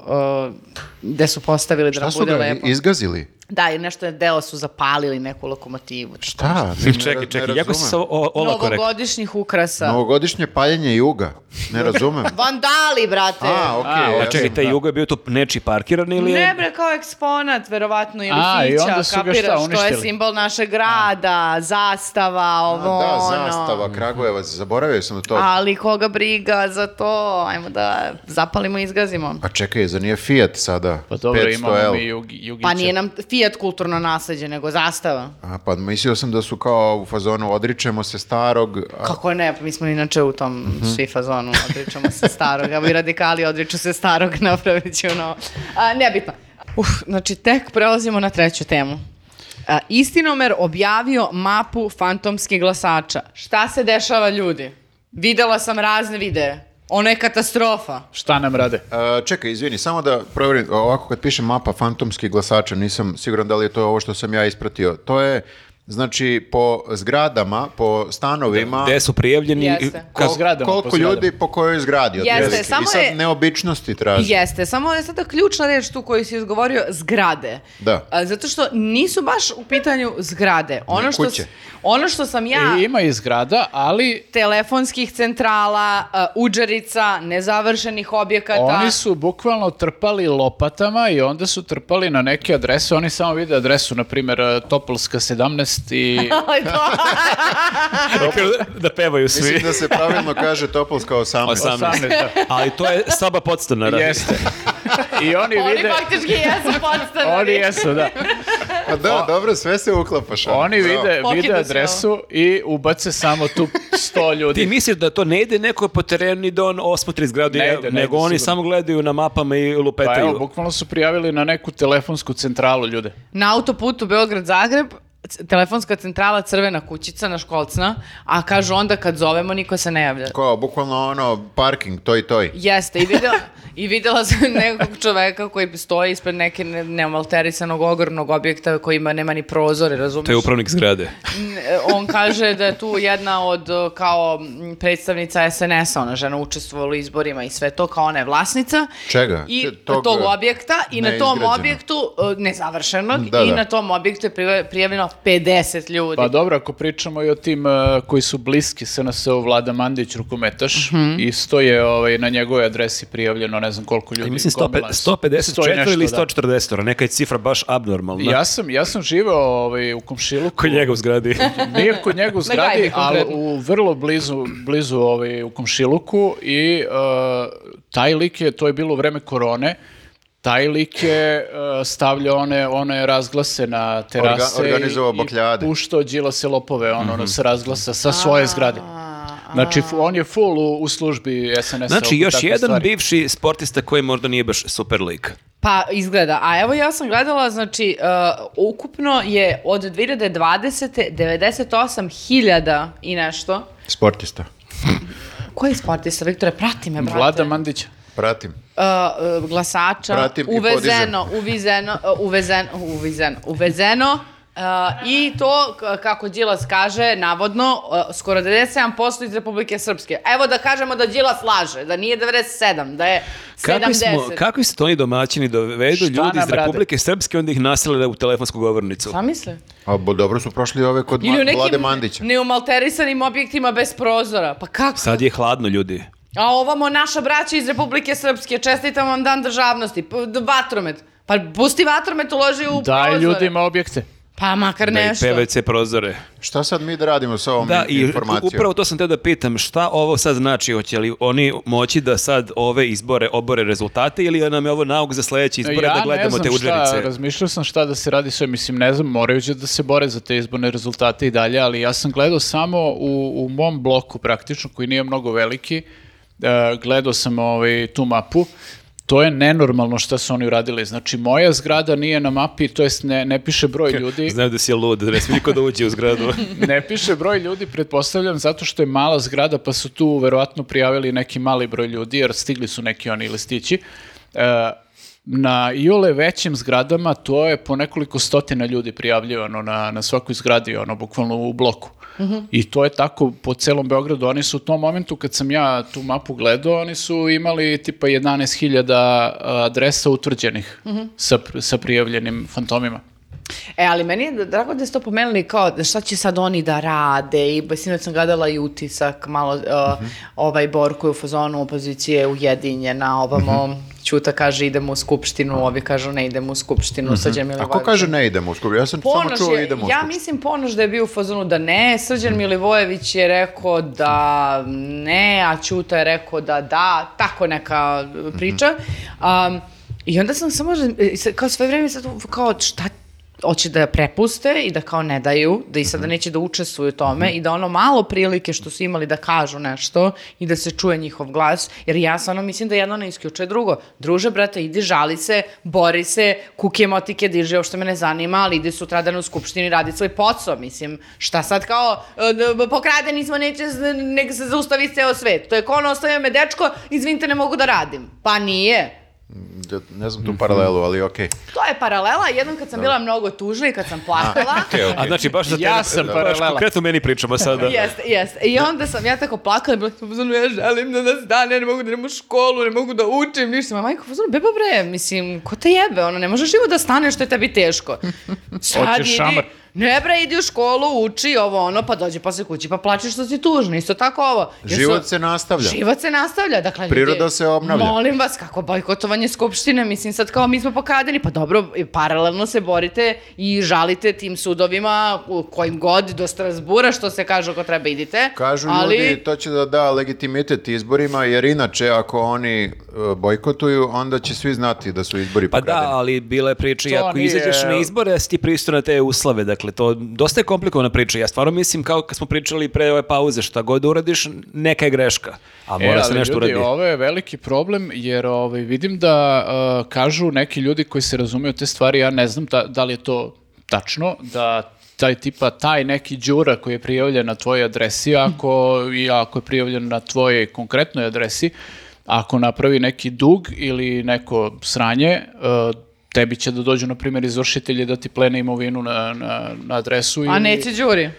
[SPEAKER 4] gde su postavili da
[SPEAKER 1] Šta
[SPEAKER 4] nam
[SPEAKER 1] su
[SPEAKER 4] bude
[SPEAKER 1] ga
[SPEAKER 4] lepo.
[SPEAKER 1] izgazili?
[SPEAKER 4] Da, i nešto je deo su zapalili neku lokomotivu.
[SPEAKER 1] Šta? Ne- ne-
[SPEAKER 3] Čekaj,
[SPEAKER 1] ne
[SPEAKER 3] čekaj, jako si
[SPEAKER 1] razumem.
[SPEAKER 3] se o- o- olako rekao.
[SPEAKER 4] Novogodišnjih ukrasa.
[SPEAKER 1] Novogodišnje paljenje juga, ne razumem.
[SPEAKER 4] Vandali, brate!
[SPEAKER 1] a, okej.
[SPEAKER 2] A,
[SPEAKER 1] ja
[SPEAKER 3] A čekaj,
[SPEAKER 1] sam-
[SPEAKER 3] Znači, taj Jugo je bio tu nečiji parkiran ili je...
[SPEAKER 4] Ne bre, kao eksponat, verovatno, ili
[SPEAKER 2] A, i
[SPEAKER 4] Fića,
[SPEAKER 2] onda su ga
[SPEAKER 4] kapiraš,
[SPEAKER 2] šta,
[SPEAKER 4] to je
[SPEAKER 2] uništili?
[SPEAKER 4] simbol našeg grada, zastava,
[SPEAKER 1] A,
[SPEAKER 4] ovo,
[SPEAKER 1] da,
[SPEAKER 4] ono.
[SPEAKER 1] zastava, Kragujevac, zaboravio sam to.
[SPEAKER 4] Ali koga briga za to, ajmo da zapalimo i izgazimo.
[SPEAKER 1] Pa čekaj, za nije Fiat sada?
[SPEAKER 2] Pa dobro,
[SPEAKER 1] 500
[SPEAKER 2] imamo
[SPEAKER 1] L.
[SPEAKER 2] mi jug, Jugića.
[SPEAKER 4] Pa nije nam Fiat kulturno nasleđe, nego zastava.
[SPEAKER 1] A, pa mislio sam da su kao u fazonu odričemo se starog, a-
[SPEAKER 4] Kako ne, pa mi smo inače u tom svi fazonu, odričamo se starog, a vi radikali odriču se starog, napravit ću novo. A, nebitno. Uf, znači tek prelazimo na treću temu. A, istinomer objavio mapu fantomskih glasača. Šta se dešava ljudi? Videla sam razne videe. Ono je katastrofa.
[SPEAKER 2] Šta nam rade?
[SPEAKER 1] E, čekaj, izvini, samo da provjerim, ovako kad piše mapa fantomskih glasača, nisam siguran da li je to ovo što sam ja ispratio. To je, znači, po zgradama, po stanovima,
[SPEAKER 3] Gde su prijavljeni? i-
[SPEAKER 4] Jeste.
[SPEAKER 1] kol-
[SPEAKER 2] Po zgradama, po
[SPEAKER 1] koliko
[SPEAKER 2] zgradama.
[SPEAKER 1] ljudi po kojoj zgradi.
[SPEAKER 4] Jeste,
[SPEAKER 1] otprilike.
[SPEAKER 4] samo
[SPEAKER 1] I sad
[SPEAKER 4] je-
[SPEAKER 1] neobičnosti traži.
[SPEAKER 4] Jeste, samo je sada ključna reč tu koju si izgovorio, zgrade.
[SPEAKER 1] Da.
[SPEAKER 4] A, zato što nisu baš u pitanju zgrade. Ono što,
[SPEAKER 1] kuće.
[SPEAKER 4] s- ono što sam ja...
[SPEAKER 2] I ima i zgrada, ali
[SPEAKER 4] telefonskih centrala, a, uđerica, nezavršenih objekata.
[SPEAKER 2] oni su bukvalno trpali lopatama i onda su trpali na neke adrese. Oni samo vide adresu, na primjer, eh, Topolska 17 i...
[SPEAKER 4] Ali to-
[SPEAKER 3] Da- da pevaju svi.
[SPEAKER 1] Mislim da se pravilno kaže Topolska 18.
[SPEAKER 3] 18.
[SPEAKER 2] 18, da.
[SPEAKER 3] Ali to je slaba podstanara.
[SPEAKER 2] Jeste. I oni,
[SPEAKER 4] Oni
[SPEAKER 2] vide...
[SPEAKER 4] faktički jesu podstanari.
[SPEAKER 2] Oni jesu, da.
[SPEAKER 1] Pa da, dobro, sve se uklapaš. ali.
[SPEAKER 2] Oni
[SPEAKER 1] Bravo.
[SPEAKER 2] vide,
[SPEAKER 4] Pokida
[SPEAKER 2] vide
[SPEAKER 4] se
[SPEAKER 2] adresu i ubace samo tu 100
[SPEAKER 3] Ti
[SPEAKER 2] ljudi.
[SPEAKER 3] misliš da to ne ide neko po terenu i da on osmotri zgradu,
[SPEAKER 2] Ne ide, ne ide,
[SPEAKER 3] nego oni
[SPEAKER 2] sigurno.
[SPEAKER 3] samo gledaju na mapama i
[SPEAKER 2] Pa evo,
[SPEAKER 3] lupetaju.
[SPEAKER 2] bukvalno su prijavili na neku telefonsku centralu ljude.
[SPEAKER 4] Na autoputu Beograd-Zagreb, c- telefonska centrala Crvena kućica na Školcna, a kažu onda kad zovemo niko se ne javlja.
[SPEAKER 1] Kao, bukvalno ono, parking, toj, toj.
[SPEAKER 4] Jeste, i videla, i videla sam nekog čoveka koji stoji ispred neke ne- neomalterisanog ogromnog objekta koji ima, nema ni prozore, razumiješ?
[SPEAKER 3] To je upravnik zgrade.
[SPEAKER 4] On kaže da je tu jedna od o, kao m, predstavnica SNS-a, ona žena učestvovala u izborima i sve to, kao ona je vlasnica.
[SPEAKER 1] Čega?
[SPEAKER 4] I
[SPEAKER 1] T- tog, e,
[SPEAKER 4] tog objekta i na tom
[SPEAKER 1] neizgrađenog.
[SPEAKER 4] objektu, o, nezavršenog,
[SPEAKER 1] Da,
[SPEAKER 4] i
[SPEAKER 1] da.
[SPEAKER 4] na tom objektu je priva- prijavljeno 50 ljudi.
[SPEAKER 2] Pa dobro, ako pričamo i o tim eh, koji su bliski SNS-u, Vlada Mandić, rukometaš, isto je ovaj, na njegovoj adresi prijavljeno ne znam koliko ljudi.
[SPEAKER 3] I E, mislim
[SPEAKER 2] gomila se. 100 i
[SPEAKER 3] 154
[SPEAKER 2] nešto,
[SPEAKER 3] ili
[SPEAKER 2] da.
[SPEAKER 3] 140, neka je cifra baš abnormalna.
[SPEAKER 2] Ja sam, ja sam živeo ovaj, u komšiluku.
[SPEAKER 3] Kod njega u zgradi.
[SPEAKER 2] Nije kod njega u
[SPEAKER 4] Gajbi
[SPEAKER 2] zgradi, ali
[SPEAKER 4] konkretno.
[SPEAKER 2] u vrlo blizu, blizu ovaj, u komšiluku i e, taj lik je, to je bilo u vreme korone, taj lik je e, stavljao one, one razglase na terase
[SPEAKER 1] Orga- organizovao Mhm.
[SPEAKER 2] i, i
[SPEAKER 1] bakljade.
[SPEAKER 2] puštao se lopove ono, ono, s razglasa sa svoje zgrade. Znači, fu- on je full u, u službi SNS-a.
[SPEAKER 3] Znači,
[SPEAKER 2] oko
[SPEAKER 3] još
[SPEAKER 2] takve
[SPEAKER 3] jedan
[SPEAKER 2] stvari.
[SPEAKER 3] bivši sportista koji možda nije baš super lik.
[SPEAKER 4] Pa izgleda. A evo ja sam gledala, znači, uh, ukupno je od 2020. 98.000 i nešto.
[SPEAKER 1] Sportista.
[SPEAKER 4] Koji sportista, Viktore? Prati me, brate.
[SPEAKER 2] Vlada Mandića.
[SPEAKER 1] Pratim.
[SPEAKER 4] uh, uh, glasača
[SPEAKER 1] Pratim i
[SPEAKER 4] uvezeno, uvezeno, uh, uvezeno, uvezeno, uvezeno uh, i to, k- kako Đilas kaže, navodno, uh, skoro 97% iz Republike Srpske. Evo da kažemo da Đilas laže, da nije 97, da je 70.
[SPEAKER 3] Kakvi, smo, kakvi su to oni domaćini dovedu
[SPEAKER 2] Šta
[SPEAKER 3] ljudi iz
[SPEAKER 2] nam rade?
[SPEAKER 3] Republike Srpske, onda ih nasele u telefonsku govornicu.
[SPEAKER 4] Šta misle?
[SPEAKER 1] A bo, dobro su prošli ove kod Ma-
[SPEAKER 4] Ili u
[SPEAKER 1] Vlade
[SPEAKER 4] nekim
[SPEAKER 1] Mandića.
[SPEAKER 4] neumalterisanim objektima bez prozora. Pa kako?
[SPEAKER 3] Sad je hladno, ljudi.
[SPEAKER 4] A ovamo naša braća iz Republike Srpske, čestitam vam dan državnosti, P- d- vatromet. Pa pusti vatromet uloži u
[SPEAKER 2] Daj
[SPEAKER 4] prozore.
[SPEAKER 2] ljudima objekte.
[SPEAKER 4] Pa makar
[SPEAKER 3] Da i
[SPEAKER 4] nešto.
[SPEAKER 3] PVC prozore.
[SPEAKER 1] Šta sad mi da radimo sa ovom
[SPEAKER 3] Da, i
[SPEAKER 1] informacijom?
[SPEAKER 3] upravo to sam te da pitam, šta ovo sad znači, hoće li oni moći da sad ove izbore obore rezultate ili nam je ovo nauk za sledeće izbore da
[SPEAKER 2] ne
[SPEAKER 3] gledamo
[SPEAKER 2] znam
[SPEAKER 3] te
[SPEAKER 2] Šta,
[SPEAKER 3] udžerice?
[SPEAKER 2] razmišljao sam šta da se radi sve, mislim, ne znam, moraju će da se bore za te izborne rezultate i dalje, ali ja sam gledao samo u, u mom bloku praktično, koji nije mnogo veliki, e, gledao sam ovaj, tu mapu, To je nenormalno šta su oni uradili. Znači, moja zgrada nije na mapi, to jest ne, ne piše broj ljudi.
[SPEAKER 3] Znaju da si je lud, da ne smije niko da uđe u zgradu.
[SPEAKER 2] Ne piše broj ljudi, pretpostavljam, zato što je mala zgrada, pa su tu verovatno prijavili neki mali broj ljudi, jer stigli su neki oni listići. E, na iole većim zgradama to je po nekoliko stotina ljudi prijavljivano na, na svakoj zgradi, ono, bukvalno u bloku. I to je tako po celom Beogradu. Oni su u tom momentu kad sam ja tu mapu gledao, oni su imali tipa 11.000 adresa utvrđenih sa, pr- sa prijavljenim fantomima.
[SPEAKER 4] E, ali meni je drago da ste to pomenuli kao da šta će sad oni da rade i ba- sinoć sam gledala i utisak malo uh, ovaj Borko je u fazonu opozicije je ujedinjena ovamo Ćuta kaže idemo u skupštinu, ovi kažu ne idemo u skupštinu, mm
[SPEAKER 1] A ko kaže ne idemo u skupštinu? Ja sam samo
[SPEAKER 4] Ponoš
[SPEAKER 1] čuo
[SPEAKER 4] je,
[SPEAKER 1] idemo u
[SPEAKER 4] ja
[SPEAKER 1] skupštinu.
[SPEAKER 4] mislim Ponoš da je bio u fazonu da ne, Srđan Milivojević je rekao da ne, a Ćuta je rekao da da, tako neka priča. Um, I onda sam samo, raz- e, sad kao sve vreme sad, u- kao šta, hoće da je prepuste i da kao ne daju, da i
[SPEAKER 1] Mhm.
[SPEAKER 4] sada neće da učestvuju u tome i da ono malo prilike što su imali da kažu nešto i da se čuje njihov glas, jer ja stvarno mislim da jedno ne isključuje drugo. Druže, brate, idi žali se, bori se, kuke emotike diže, uopšte me ne zanima, ali idi sutradan u skupštini radi svoj posao, mislim, šta sad kao, e, d- pokradeni smo, neće, z- nek se zaustavi ceo svet. To je kao ono, ostavio me dečko, izvinite, ne mogu da radim. Pa nije.
[SPEAKER 1] Da, Ne znam tu paralelu, ali okej.
[SPEAKER 4] To je paralela, jednom kad sam bila mnogo tužna i kad sam plakala.
[SPEAKER 1] Okej, okej.
[SPEAKER 3] A znači baš za tebe,
[SPEAKER 2] Ja sam
[SPEAKER 3] baš
[SPEAKER 2] paralela.
[SPEAKER 3] konkretno meni pričamo sada.
[SPEAKER 4] Jeste, jeste. I onda sam ja tako plakala i bila sam u fazonu, ja želim da nas dane, ne mogu da idem u školu, ne mogu da učim, ništa. Ma majko, u fazonu, beba bre, mislim, ko te jebe, ono, ne možeš život da staneš što je tebi teško. Sad
[SPEAKER 2] Hoćeš
[SPEAKER 4] idi,
[SPEAKER 2] šamar.
[SPEAKER 4] ne bre, idi u školu, uči ovo ono, pa dođi posle kući, pa plačeš što si tužna, isto tako ovo. Jer
[SPEAKER 1] Život
[SPEAKER 4] su-
[SPEAKER 1] se nastavlja.
[SPEAKER 4] Život se nastavlja, dakle... ljudi,
[SPEAKER 1] Priroda se obnavlja.
[SPEAKER 4] Molim vas, kako bojkotovanje skupštine, mislim sad kao mi smo pokadeni, pa dobro, i paralelno se borite i žalite tim sudovima u kojim god do Strasbura, što se kaže ako treba idite.
[SPEAKER 1] Kažu
[SPEAKER 4] ali,
[SPEAKER 1] ljudi, to će da da legitimitet izborima, jer inače ako oni e, bojkotuju, onda će svi znati da su izbori
[SPEAKER 3] Pa da,
[SPEAKER 1] pokradeni.
[SPEAKER 3] ali bila je priča i
[SPEAKER 2] To
[SPEAKER 3] ako
[SPEAKER 2] nije-
[SPEAKER 3] izađeš na izbore, si ti pristo na te uslove. Dakle, to dosta je komplikovana priča. Ja stvarno mislim, kao kad smo pričali pre ove pauze, šta god da uradiš, neka je greška. A
[SPEAKER 2] E,
[SPEAKER 3] mora se
[SPEAKER 2] ali
[SPEAKER 3] nešto
[SPEAKER 2] ljudi,
[SPEAKER 3] uraditi.
[SPEAKER 2] ovo je veliki problem jer ovaj, vidim da uh, kažu neki ljudi koji se razumiju te stvari, ja ne znam da, da li je to tačno, da taj tipa, taj neki đura koji je prijavljen na tvojoj adresi, ako, i ako je prijavljen na tvojoj konkretnoj adresi, ako napravi neki dug ili neko sranje, uh, tebi će da dođu, na primjer, izvršitelji da ti plene imovinu na, na, na adresu.
[SPEAKER 4] A
[SPEAKER 2] ili-
[SPEAKER 4] neće Đuri.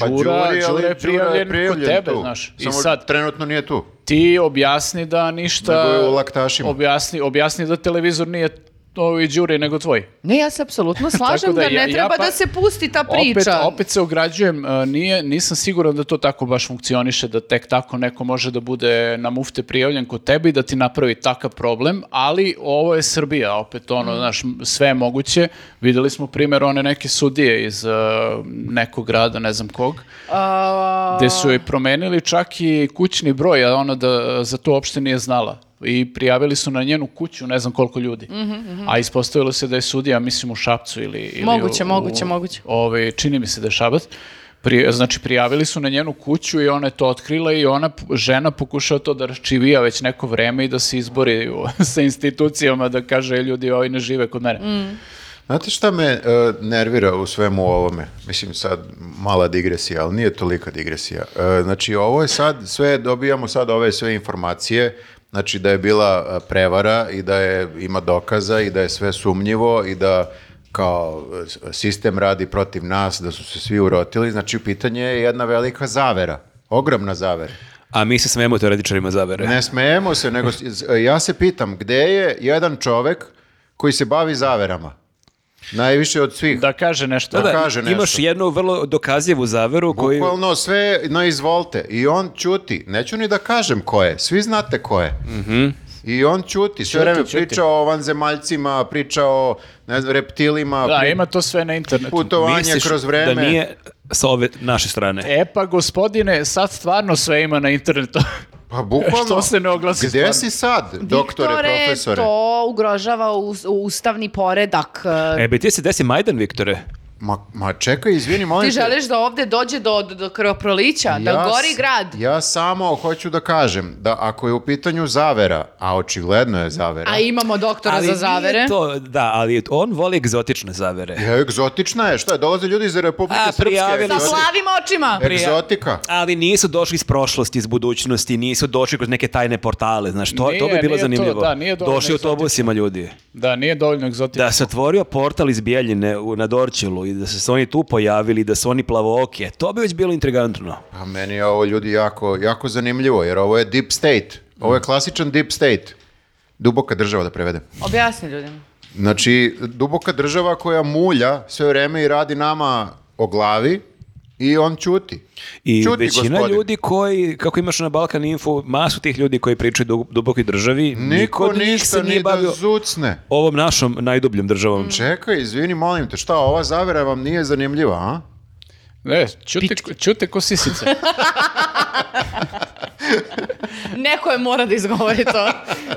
[SPEAKER 1] Pa
[SPEAKER 2] Đura,
[SPEAKER 1] Đuri, ali
[SPEAKER 2] Đura je
[SPEAKER 1] Đura
[SPEAKER 2] prijavljen, kod tebe,
[SPEAKER 1] tu.
[SPEAKER 2] znaš. I
[SPEAKER 1] Samo
[SPEAKER 2] sad,
[SPEAKER 1] trenutno nije tu.
[SPEAKER 2] ti objasni da ništa...
[SPEAKER 1] Nego je u laktašima.
[SPEAKER 2] Objasni, objasni da televizor nije ovi đuri nego tvoj.
[SPEAKER 4] Ne, ja se apsolutno slažem
[SPEAKER 2] Tako
[SPEAKER 4] da,
[SPEAKER 2] da ja-
[SPEAKER 4] ne
[SPEAKER 2] ja
[SPEAKER 4] treba
[SPEAKER 2] pa-
[SPEAKER 4] da se pusti ta
[SPEAKER 2] Opet,
[SPEAKER 4] priča.
[SPEAKER 2] opet se ograđujem, e, nije, nisam siguran da to tako baš funkcioniše, da tek tako neko može da bude na mufte prijavljen kod tebe i da ti napravi takav problem, ali ovo je Srbija, opet ono, znaš, m- sve je moguće. Videli smo primjer one neke sudije iz e, nekog grada, ne znam kog,
[SPEAKER 4] A,
[SPEAKER 2] gde su joj promenili čak i kućni broj, a ona da za to uopšte nije znala. I prijavili su na njenu kuću ne znam koliko ljudi.
[SPEAKER 4] Mhm,
[SPEAKER 2] A ispostavilo se da je sudija, mislim, u Šapcu ili... ili
[SPEAKER 4] Moguće,
[SPEAKER 2] u-
[SPEAKER 4] moguće, moguće.
[SPEAKER 2] Ovaj, čini mi se da je Šabac. Pri- znači, prijavili su na njenu kuću i ona je to otkrila i ona, p- žena, pokušava to da raščivija već neko vreme i da se izbori u- sa institucijama, da kaže, "E, ljudi, ovi ne žive kod mene.
[SPEAKER 4] Mm.
[SPEAKER 1] Znate šta me e, nervira u svemu ovome? Mislim sad mala digresija, ali nije tolika digresija. E, znači ovo je sad, sve dobijamo sad ove sve informacije, znači da je bila e, prevara i da je, ima dokaza i da je sve sumnjivo i da kao e, s- sistem radi protiv nas, da su se svi urotili, znači u pitanje je jedna velika zavera, ogromna zavera.
[SPEAKER 3] A mi se smemo teoretičarima zavere.
[SPEAKER 1] Ne smejemo se, nego s- z- ja se pitam gde je jedan čovek koji se bavi zaverama? Najviše od svih.
[SPEAKER 2] Da kaže nešto.
[SPEAKER 3] Da, da,
[SPEAKER 1] kaže
[SPEAKER 3] imaš
[SPEAKER 1] nešto.
[SPEAKER 3] jednu vrlo dokazljivu zaveru koju...
[SPEAKER 1] Bukvalno sve na izvolte i on ćuti. Neću ni da kažem ko je, svi znate ko je. I on ćuti, sve vreme
[SPEAKER 2] ćuti.
[SPEAKER 1] priča o vanzemaljcima, priča o ne znam, reptilima,
[SPEAKER 2] Da,
[SPEAKER 1] pri-
[SPEAKER 2] ima to sve na internetu.
[SPEAKER 1] putovanje
[SPEAKER 3] Misliš
[SPEAKER 1] kroz vreme.
[SPEAKER 3] da nije sa ove naše strane.
[SPEAKER 2] E pa gospodine, sad stvarno sve ima na internetu.
[SPEAKER 1] Pa bukvalno,
[SPEAKER 2] Što se ne oglasi
[SPEAKER 1] gde
[SPEAKER 2] stvarno?
[SPEAKER 1] si sad, doktore,
[SPEAKER 4] Viktore,
[SPEAKER 1] profesore?
[SPEAKER 4] to ugrožava us- ustavni poredak.
[SPEAKER 3] E, bi ti se desi Majdan, Viktore?
[SPEAKER 1] Ma, ma čekaj, izvini, molim
[SPEAKER 4] Ti
[SPEAKER 1] te.
[SPEAKER 4] želiš da ovde dođe do, do, do krvoprolića, da
[SPEAKER 1] Ja s-
[SPEAKER 4] gori grad.
[SPEAKER 1] Ja samo hoću da kažem da ako je u pitanju zavera, a očigledno je zavera,
[SPEAKER 4] A imamo doktora za
[SPEAKER 3] nije
[SPEAKER 4] zavere.
[SPEAKER 3] To, da, ali on voli egzotične zavere.
[SPEAKER 1] je egzotična je, šta je, dolaze ljudi iz Republike
[SPEAKER 3] A,
[SPEAKER 1] Srpske,
[SPEAKER 3] prijavili su.
[SPEAKER 4] Sa
[SPEAKER 1] egzotika.
[SPEAKER 4] plavim očima.
[SPEAKER 3] Prija-
[SPEAKER 1] egzotika.
[SPEAKER 3] Ali nisu došli iz prošlosti, iz budućnosti, nisu došli kroz neke tajne portale, znaš, to, to bi
[SPEAKER 2] Nije,
[SPEAKER 3] bilo
[SPEAKER 2] nije to,
[SPEAKER 3] zanimljivo.
[SPEAKER 2] da, nije dovoljno
[SPEAKER 3] došli autobusima ljudi.
[SPEAKER 2] Da, nije dovoljno egzotično.
[SPEAKER 3] Da se otvorio portal iz Bijeljine u, na Dorčilu i da su se oni tu pojavili, da su oni plavooke, to bi već bilo intrigantno.
[SPEAKER 1] Pa meni je ovo ljudi jako, jako zanimljivo, jer ovo je deep state. Ovo je klasičan deep state. Duboka država da prevedem.
[SPEAKER 4] Objasni ljudima.
[SPEAKER 1] Znači, duboka država koja mulja sve vreme i radi nama o glavi i on ćuti.
[SPEAKER 3] I
[SPEAKER 1] Ćuti,
[SPEAKER 3] većina
[SPEAKER 1] gospodin.
[SPEAKER 3] ljudi koji, kako imaš na Balkan Info, masu tih ljudi koji pričaju du- dubokoj državi, niko,
[SPEAKER 1] Niko
[SPEAKER 3] od njih
[SPEAKER 1] ništa
[SPEAKER 3] se nije
[SPEAKER 1] ni da
[SPEAKER 3] bavio
[SPEAKER 1] zucne.
[SPEAKER 3] ovom našom najdubljom državom.
[SPEAKER 2] Mm.
[SPEAKER 1] Čekaj, izvini, molim te, šta, ova zavera vam nije zanimljiva, a?
[SPEAKER 2] Ne, ćute, ćute ko sisice.
[SPEAKER 4] Neko je mora da izgovori to.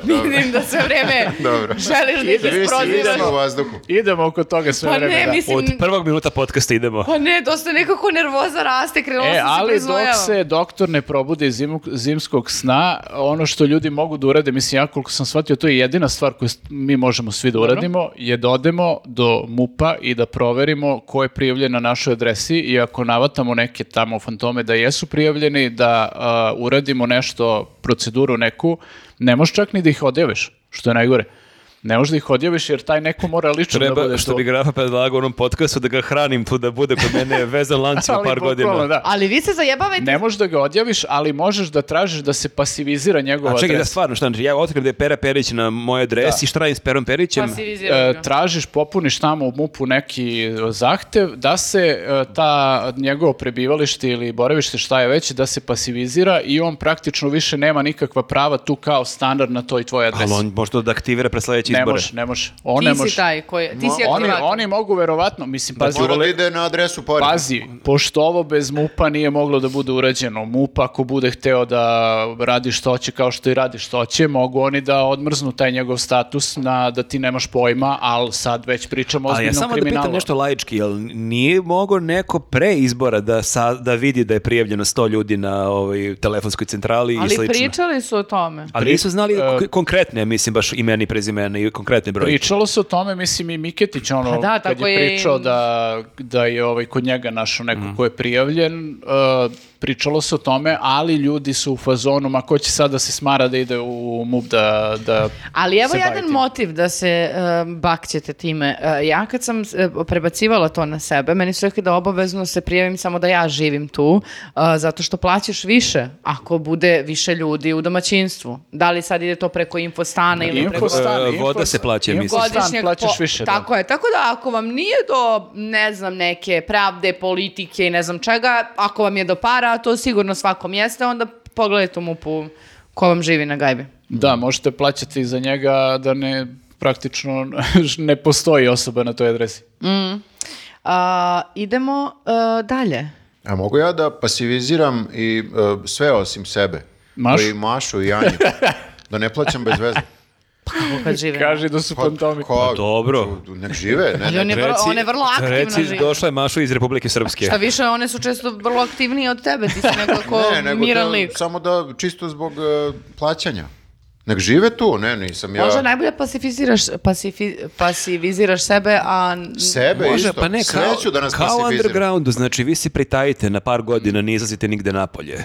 [SPEAKER 4] Vidim da sve vreme
[SPEAKER 1] Dobro.
[SPEAKER 4] želiš da ih
[SPEAKER 1] Vi si
[SPEAKER 4] isprozivaš.
[SPEAKER 1] idemo u vazduhu.
[SPEAKER 2] Idemo oko toga sve
[SPEAKER 4] Pa
[SPEAKER 2] vreme.
[SPEAKER 4] ne,
[SPEAKER 2] da.
[SPEAKER 4] mislim,
[SPEAKER 3] Od prvog minuta podcasta idemo.
[SPEAKER 4] Pa ne, dosta nekako nervoza raste, krenulo
[SPEAKER 2] E,
[SPEAKER 4] sam se
[SPEAKER 2] ali dok
[SPEAKER 4] proizvojava.
[SPEAKER 2] se doktor ne probudi iz zimu- zimskog sna, ono što ljudi mogu da urade, mislim ja koliko sam shvatio, to je jedina stvar koju s- mi možemo svi da uradimo, je da odemo do MUPA i da proverimo ko je prijavljen na našoj adresi i ako navatamo neke tamo fantome da jesu prijavljeni, da a, uradimo nešto, proceduru neku, ne možeš čak ni da ih odjaviš, što je najgore. Ne možeš da ih odjaviš jer taj neko mora lično da bude
[SPEAKER 3] Treba,
[SPEAKER 2] tu.
[SPEAKER 3] što bi grafa predlagao u onom podcastu, da ga hranim tu, da bude kod mene vezan lancima
[SPEAKER 2] Ali
[SPEAKER 3] par
[SPEAKER 2] bukvalno,
[SPEAKER 3] godina.
[SPEAKER 2] da.
[SPEAKER 4] Ali vi se zajebavajte.
[SPEAKER 2] Ne možeš da ga odjaviš, ali možeš da tražiš da se pasivizira njegova
[SPEAKER 3] A čekaj, da
[SPEAKER 2] adresa.
[SPEAKER 3] stvarno, šta znači, ja otkrijem da je Pera Perić na mojoj adresi, šta radim s Perom Perićem?
[SPEAKER 4] Pa Pasiviziraj
[SPEAKER 2] E,
[SPEAKER 4] ga.
[SPEAKER 2] tražiš, popuniš tamo u MUP-u neki e, zahtev da se e, ta njegovo prebivalište ili boravište šta je već da se pasivizira i on praktično više nema nikakva prava tu kao standard na toj tvojoj adresi.
[SPEAKER 3] Ali on možda da aktivira pre sledeće
[SPEAKER 2] ne
[SPEAKER 3] izbore.
[SPEAKER 2] može, ne može. On ne
[SPEAKER 4] Ti
[SPEAKER 2] može.
[SPEAKER 4] si taj koji, ti si
[SPEAKER 2] oni,
[SPEAKER 4] aktivator.
[SPEAKER 2] oni mogu verovatno, mislim,
[SPEAKER 3] Dakle,
[SPEAKER 2] pazi,
[SPEAKER 1] Mora da ide na adresu pored.
[SPEAKER 2] Pazi, pošto ovo bez MUPA nije moglo da bude urađeno, MUP ako bude hteo da radi što će kao što i radi što će, mogu oni da odmrznu taj njegov status na da ti nemaš pojma, ali sad već pričamo o
[SPEAKER 3] Ali ja
[SPEAKER 2] ozbiljnom
[SPEAKER 3] samo da
[SPEAKER 2] kriminalu.
[SPEAKER 3] pitam nešto laički, jel nije mogao neko pre izbora da, sa, da vidi da je prijavljeno 100 ljudi na ovoj telefonskoj centrali i
[SPEAKER 4] Ali
[SPEAKER 3] slično?
[SPEAKER 4] pričali su o tome.
[SPEAKER 3] Ali nisu znali k- konkretne, mislim, baš imena i prezimena i konkretne brojke.
[SPEAKER 2] Pričalo se o tome, mislim i Miketić ono
[SPEAKER 4] Pa da,
[SPEAKER 2] kad
[SPEAKER 4] tako
[SPEAKER 2] je
[SPEAKER 4] je i-
[SPEAKER 2] pričao da, da je ovaj kod njega našao neko
[SPEAKER 3] Mm.
[SPEAKER 2] ko je prijavljen, uh, pričalo se o tome, ali ljudi su u fazonu, ma ko će sad da se smara da ide u MUP da, da
[SPEAKER 4] Ali evo
[SPEAKER 2] se bavi
[SPEAKER 4] jedan
[SPEAKER 2] tim?"
[SPEAKER 4] motiv da se uh, bakćete time. E, ja kad sam e, prebacivala to na sebe, meni su rekli da obavezno se prijavim samo da ja živim tu, e, zato što plaćaš više ako bude više ljudi u domaćinstvu. Da li sad ide to preko infostana ili
[SPEAKER 2] Info-
[SPEAKER 4] preko...
[SPEAKER 2] Infostan,
[SPEAKER 3] E,
[SPEAKER 2] infostan.
[SPEAKER 3] voda se plaća, mislim.
[SPEAKER 2] Infostan.
[SPEAKER 4] godišnjeg
[SPEAKER 2] plaćaš
[SPEAKER 4] po-
[SPEAKER 2] više, da.
[SPEAKER 4] Tako je, tako da ako vam nije do, ne znam, neke pravde, politike i ne znam čega, ako vam je do para, to sigurno svakom jeste, onda pogledajte u mupu ko vam živi na gajbi.
[SPEAKER 2] Da, možete plaćati za njega da ne praktično ne postoji osoba na toj adresi.
[SPEAKER 4] Mm. A, idemo a, dalje.
[SPEAKER 1] A mogu ja da pasiviziram i e, sve osim sebe?
[SPEAKER 2] Mašu?
[SPEAKER 1] I Mašu i Anju. da ne plaćam bez veze.
[SPEAKER 4] Kad žive.
[SPEAKER 2] Kaže da su
[SPEAKER 1] Pa,
[SPEAKER 2] fantomi.
[SPEAKER 1] ko-
[SPEAKER 3] dobro.
[SPEAKER 1] Nek žive, ne,
[SPEAKER 4] Ali
[SPEAKER 1] ne.
[SPEAKER 4] on je vrlo, on je vrlo aktivno
[SPEAKER 3] Reci,
[SPEAKER 4] živi.
[SPEAKER 3] došla je Maša iz Republike Srpske.
[SPEAKER 4] Šta više, one su često vrlo aktivnije od tebe. Ti si nekako
[SPEAKER 1] Ne, nego
[SPEAKER 4] miran
[SPEAKER 1] to-
[SPEAKER 4] lik.
[SPEAKER 1] Samo da, čisto zbog e, plaćanja. Nek žive tu, ne, nisam ja...
[SPEAKER 4] Možda najbolje pasifiziraš, pasifi- pasiviziraš sebe, a... n-
[SPEAKER 1] Sebe
[SPEAKER 3] Može,
[SPEAKER 1] isto.
[SPEAKER 3] pa ne,
[SPEAKER 1] Sve
[SPEAKER 3] kao,
[SPEAKER 1] ću da nas
[SPEAKER 3] kao u
[SPEAKER 1] pasivizira.
[SPEAKER 3] undergroundu, znači vi se pritajite na par godina, ne izlazite nigde napolje.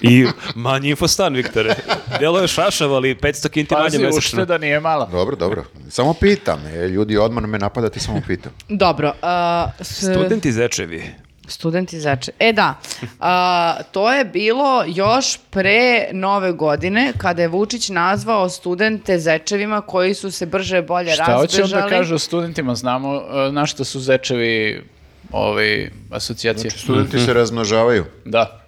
[SPEAKER 3] I manji infostan, Viktore. Delo je šašav, ali 500 kinti manje
[SPEAKER 2] Pazi,
[SPEAKER 3] mesečno.
[SPEAKER 2] ušteda nije mala.
[SPEAKER 1] Dobro, dobro. Samo pitam. E, ljudi, odmah me napadate, samo pitam.
[SPEAKER 4] Dobro. a, s-
[SPEAKER 3] Studenti zečevi.
[SPEAKER 4] Studenti zače. E da, a, to je bilo još pre nove godine kada je Vučić nazvao studente zečevima koji su se brže bolje
[SPEAKER 2] Šta
[SPEAKER 4] razbežali.
[SPEAKER 2] hoće on da kaže o studentima? Znamo e, na šta su zečevi ovi asocijacije.
[SPEAKER 3] Mhm.
[SPEAKER 1] Studenti se razmnožavaju.
[SPEAKER 2] Da.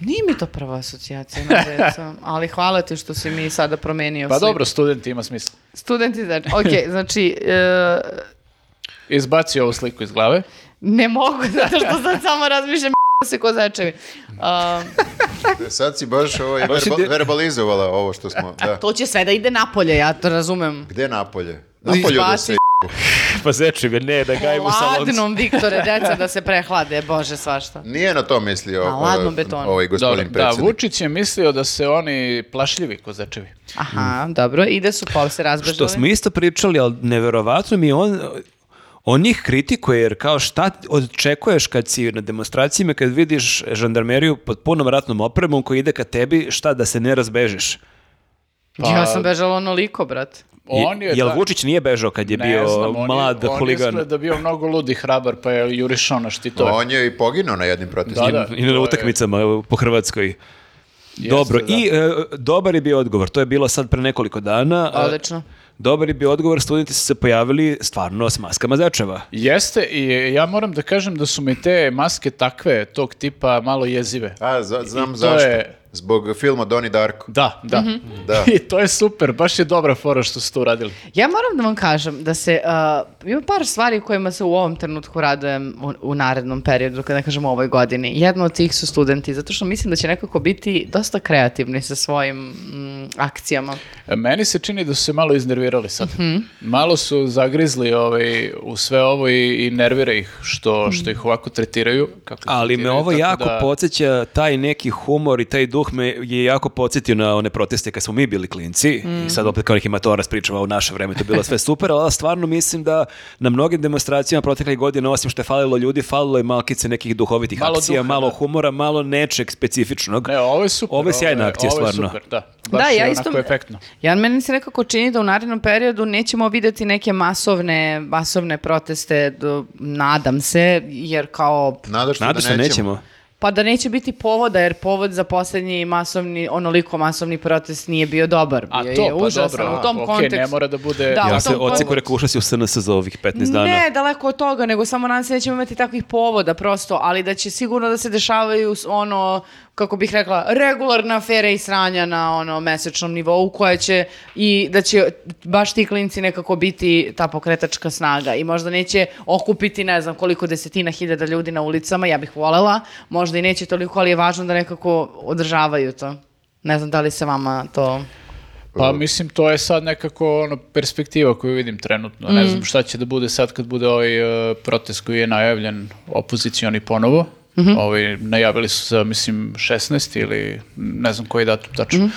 [SPEAKER 4] Nije mi to prva asocijacija na decu, ali hvala ti što si mi sada promenio
[SPEAKER 2] Pa
[SPEAKER 4] sliku.
[SPEAKER 2] dobro, studenti ima smisla.
[SPEAKER 4] Studenti zače. Ok, znači, e,
[SPEAKER 2] Izbaci ovu sliku iz glave.
[SPEAKER 4] ne mogu zato što sad samo razmišljam se ko zečevi. A,
[SPEAKER 1] Sad si baš, ovaj,
[SPEAKER 3] Baš si
[SPEAKER 1] verba-
[SPEAKER 3] de-
[SPEAKER 1] verbalizovala ovo što smo... Da.
[SPEAKER 4] to će sve da ide napolje, ja to razumem.
[SPEAKER 1] Gde napolje? Napolju da
[SPEAKER 4] Izbaci
[SPEAKER 1] se...
[SPEAKER 3] Pa zečevi, ne, da gajimo saloncu.
[SPEAKER 4] Ladnom, Viktore, deca da se prehlade, bože, svašta.
[SPEAKER 1] Nije na to mislio
[SPEAKER 4] Na ladnom
[SPEAKER 1] e,
[SPEAKER 4] betonu.
[SPEAKER 1] ovaj
[SPEAKER 2] Dobro, da,
[SPEAKER 1] gospodin predsjednik.
[SPEAKER 2] Vučić je mislio da se oni plašljivi ko zečevi.
[SPEAKER 4] Aha, dobro, ide su pol se razbežali.
[SPEAKER 3] Što smo isto pričali, ali neverovatno mi je on... On njih kritikuje jer kao šta očekuješ kad si na demonstracijama, kad vidiš žandarmeriju pod punom ratnom opremom koji ide ka tebi, šta da se ne razbežiš?
[SPEAKER 4] Ja sam bežala onoliko, brat.
[SPEAKER 2] On je,
[SPEAKER 3] Jel
[SPEAKER 2] da-
[SPEAKER 3] Vučić nije bežao kad je
[SPEAKER 2] Ne
[SPEAKER 3] bio
[SPEAKER 2] znam, on je-
[SPEAKER 3] mlad
[SPEAKER 2] On je
[SPEAKER 3] huligan?
[SPEAKER 2] izgleda bio mnogo ludi hrabar, pa je jurišao na štitove.
[SPEAKER 1] On je i poginuo na jednim protestima.
[SPEAKER 2] Da, da.
[SPEAKER 3] I na
[SPEAKER 2] to je-
[SPEAKER 3] utakmicama evo, po Hrvatskoj. Dobro,
[SPEAKER 2] da.
[SPEAKER 3] i e, dobar je bio odgovor. To je bilo sad pre nekoliko dana. E,
[SPEAKER 4] Odlično.
[SPEAKER 3] Dobar je bio odgovor, studenti su se pojavili stvarno s maskama začeva.
[SPEAKER 2] Jeste i ja moram da kažem da su mi te maske takve, tog tipa malo jezive.
[SPEAKER 1] A, za- znam
[SPEAKER 2] I to
[SPEAKER 1] zašto.
[SPEAKER 2] je-
[SPEAKER 1] zbog filma Donnie Darko.
[SPEAKER 2] Da, da.
[SPEAKER 1] Mhm. Da.
[SPEAKER 2] I to je super, baš je dobra fora što su to uradili.
[SPEAKER 4] Ja moram da vam kažem da se, uh, ima par stvari kojima se u ovom trenutku radujem u, u narednom periodu, kada ne kažem u ovoj godini. Jedno od tih su studenti, zato što mislim da će nekako biti dosta kreativni sa svojim mm, akcijama.
[SPEAKER 2] Meni se čini da su se malo iznervirali sad. Malo su zagrizli ovaj, u sve ovo i, i nervira ih što, što ih ovako tretiraju. Kako ih
[SPEAKER 3] Ali me
[SPEAKER 2] tretiraju,
[SPEAKER 3] ovo
[SPEAKER 2] tako
[SPEAKER 3] jako
[SPEAKER 2] da-
[SPEAKER 3] podsjeća, taj neki humor i taj duh me je jako podsjetio na one proteste kad smo mi bili klinci. I sad opet kao neki matorac pričava u naše vreme, to je bilo sve super, ali ja stvarno mislim da na mnogim demonstracijama proteklih godina, osim što je falilo ljudi, falilo je malkice nekih duhovitih
[SPEAKER 2] Malo
[SPEAKER 3] akcija,
[SPEAKER 2] duha,
[SPEAKER 3] malo
[SPEAKER 2] da.
[SPEAKER 3] humora, malo nečeg specifičnog.
[SPEAKER 2] Ne, ovo je super. ovaj,
[SPEAKER 3] Ovo je sjajna akcija,
[SPEAKER 2] ovo je
[SPEAKER 3] stvarno.
[SPEAKER 2] super, da. Baš je onako efektno.
[SPEAKER 4] Ja, meni se nekako čini da u narednom periodu nećemo vidjeti neke masovne, masovne proteste, do- nadam se, jer kao
[SPEAKER 1] Nadaš se da
[SPEAKER 3] Nadaš se,
[SPEAKER 1] nećemo.
[SPEAKER 3] nećemo.
[SPEAKER 4] Pa da neće biti povoda, jer povod za posljednji masovni, onoliko masovni protest nije bio dobar.
[SPEAKER 2] A
[SPEAKER 4] Bio
[SPEAKER 2] to,
[SPEAKER 4] je
[SPEAKER 2] pa
[SPEAKER 4] užasan
[SPEAKER 2] dobro,
[SPEAKER 4] u tom
[SPEAKER 2] okej,
[SPEAKER 4] kontekstu.
[SPEAKER 2] ne mora da bude-
[SPEAKER 4] Da,
[SPEAKER 2] Ja
[SPEAKER 4] u
[SPEAKER 3] Ja
[SPEAKER 4] tom
[SPEAKER 3] se
[SPEAKER 4] kontekstu.
[SPEAKER 3] odseko rekuša si u SNS za ovih 15 dana.
[SPEAKER 4] Ne, daleko od toga, nego samo nadam se nećemo imati takvih povoda prosto, ali da će sigurno da se dešavaju s- ono, kako bih rekla, regularna afere i sranja na ono mesečnom nivou koja će i da će baš ti klinci nekako biti ta pokretačka snaga i možda neće okupiti ne znam koliko desetina hiljada ljudi na ulicama, ja bih volela, možda i neće toliko, ali je važno da nekako održavaju to. Ne znam da li se vama to...
[SPEAKER 2] Pa mislim, to je sad nekako ono, perspektiva koju vidim trenutno. Ne
[SPEAKER 4] Mm.
[SPEAKER 2] znam šta će da bude sad kad bude ovaj e, protest koji je najavljen opozicioni ponovo.
[SPEAKER 4] Mhm.
[SPEAKER 2] Ovaj, najavili su za, mislim, 16 ili ne znam koji datum tačno.
[SPEAKER 4] Mhm.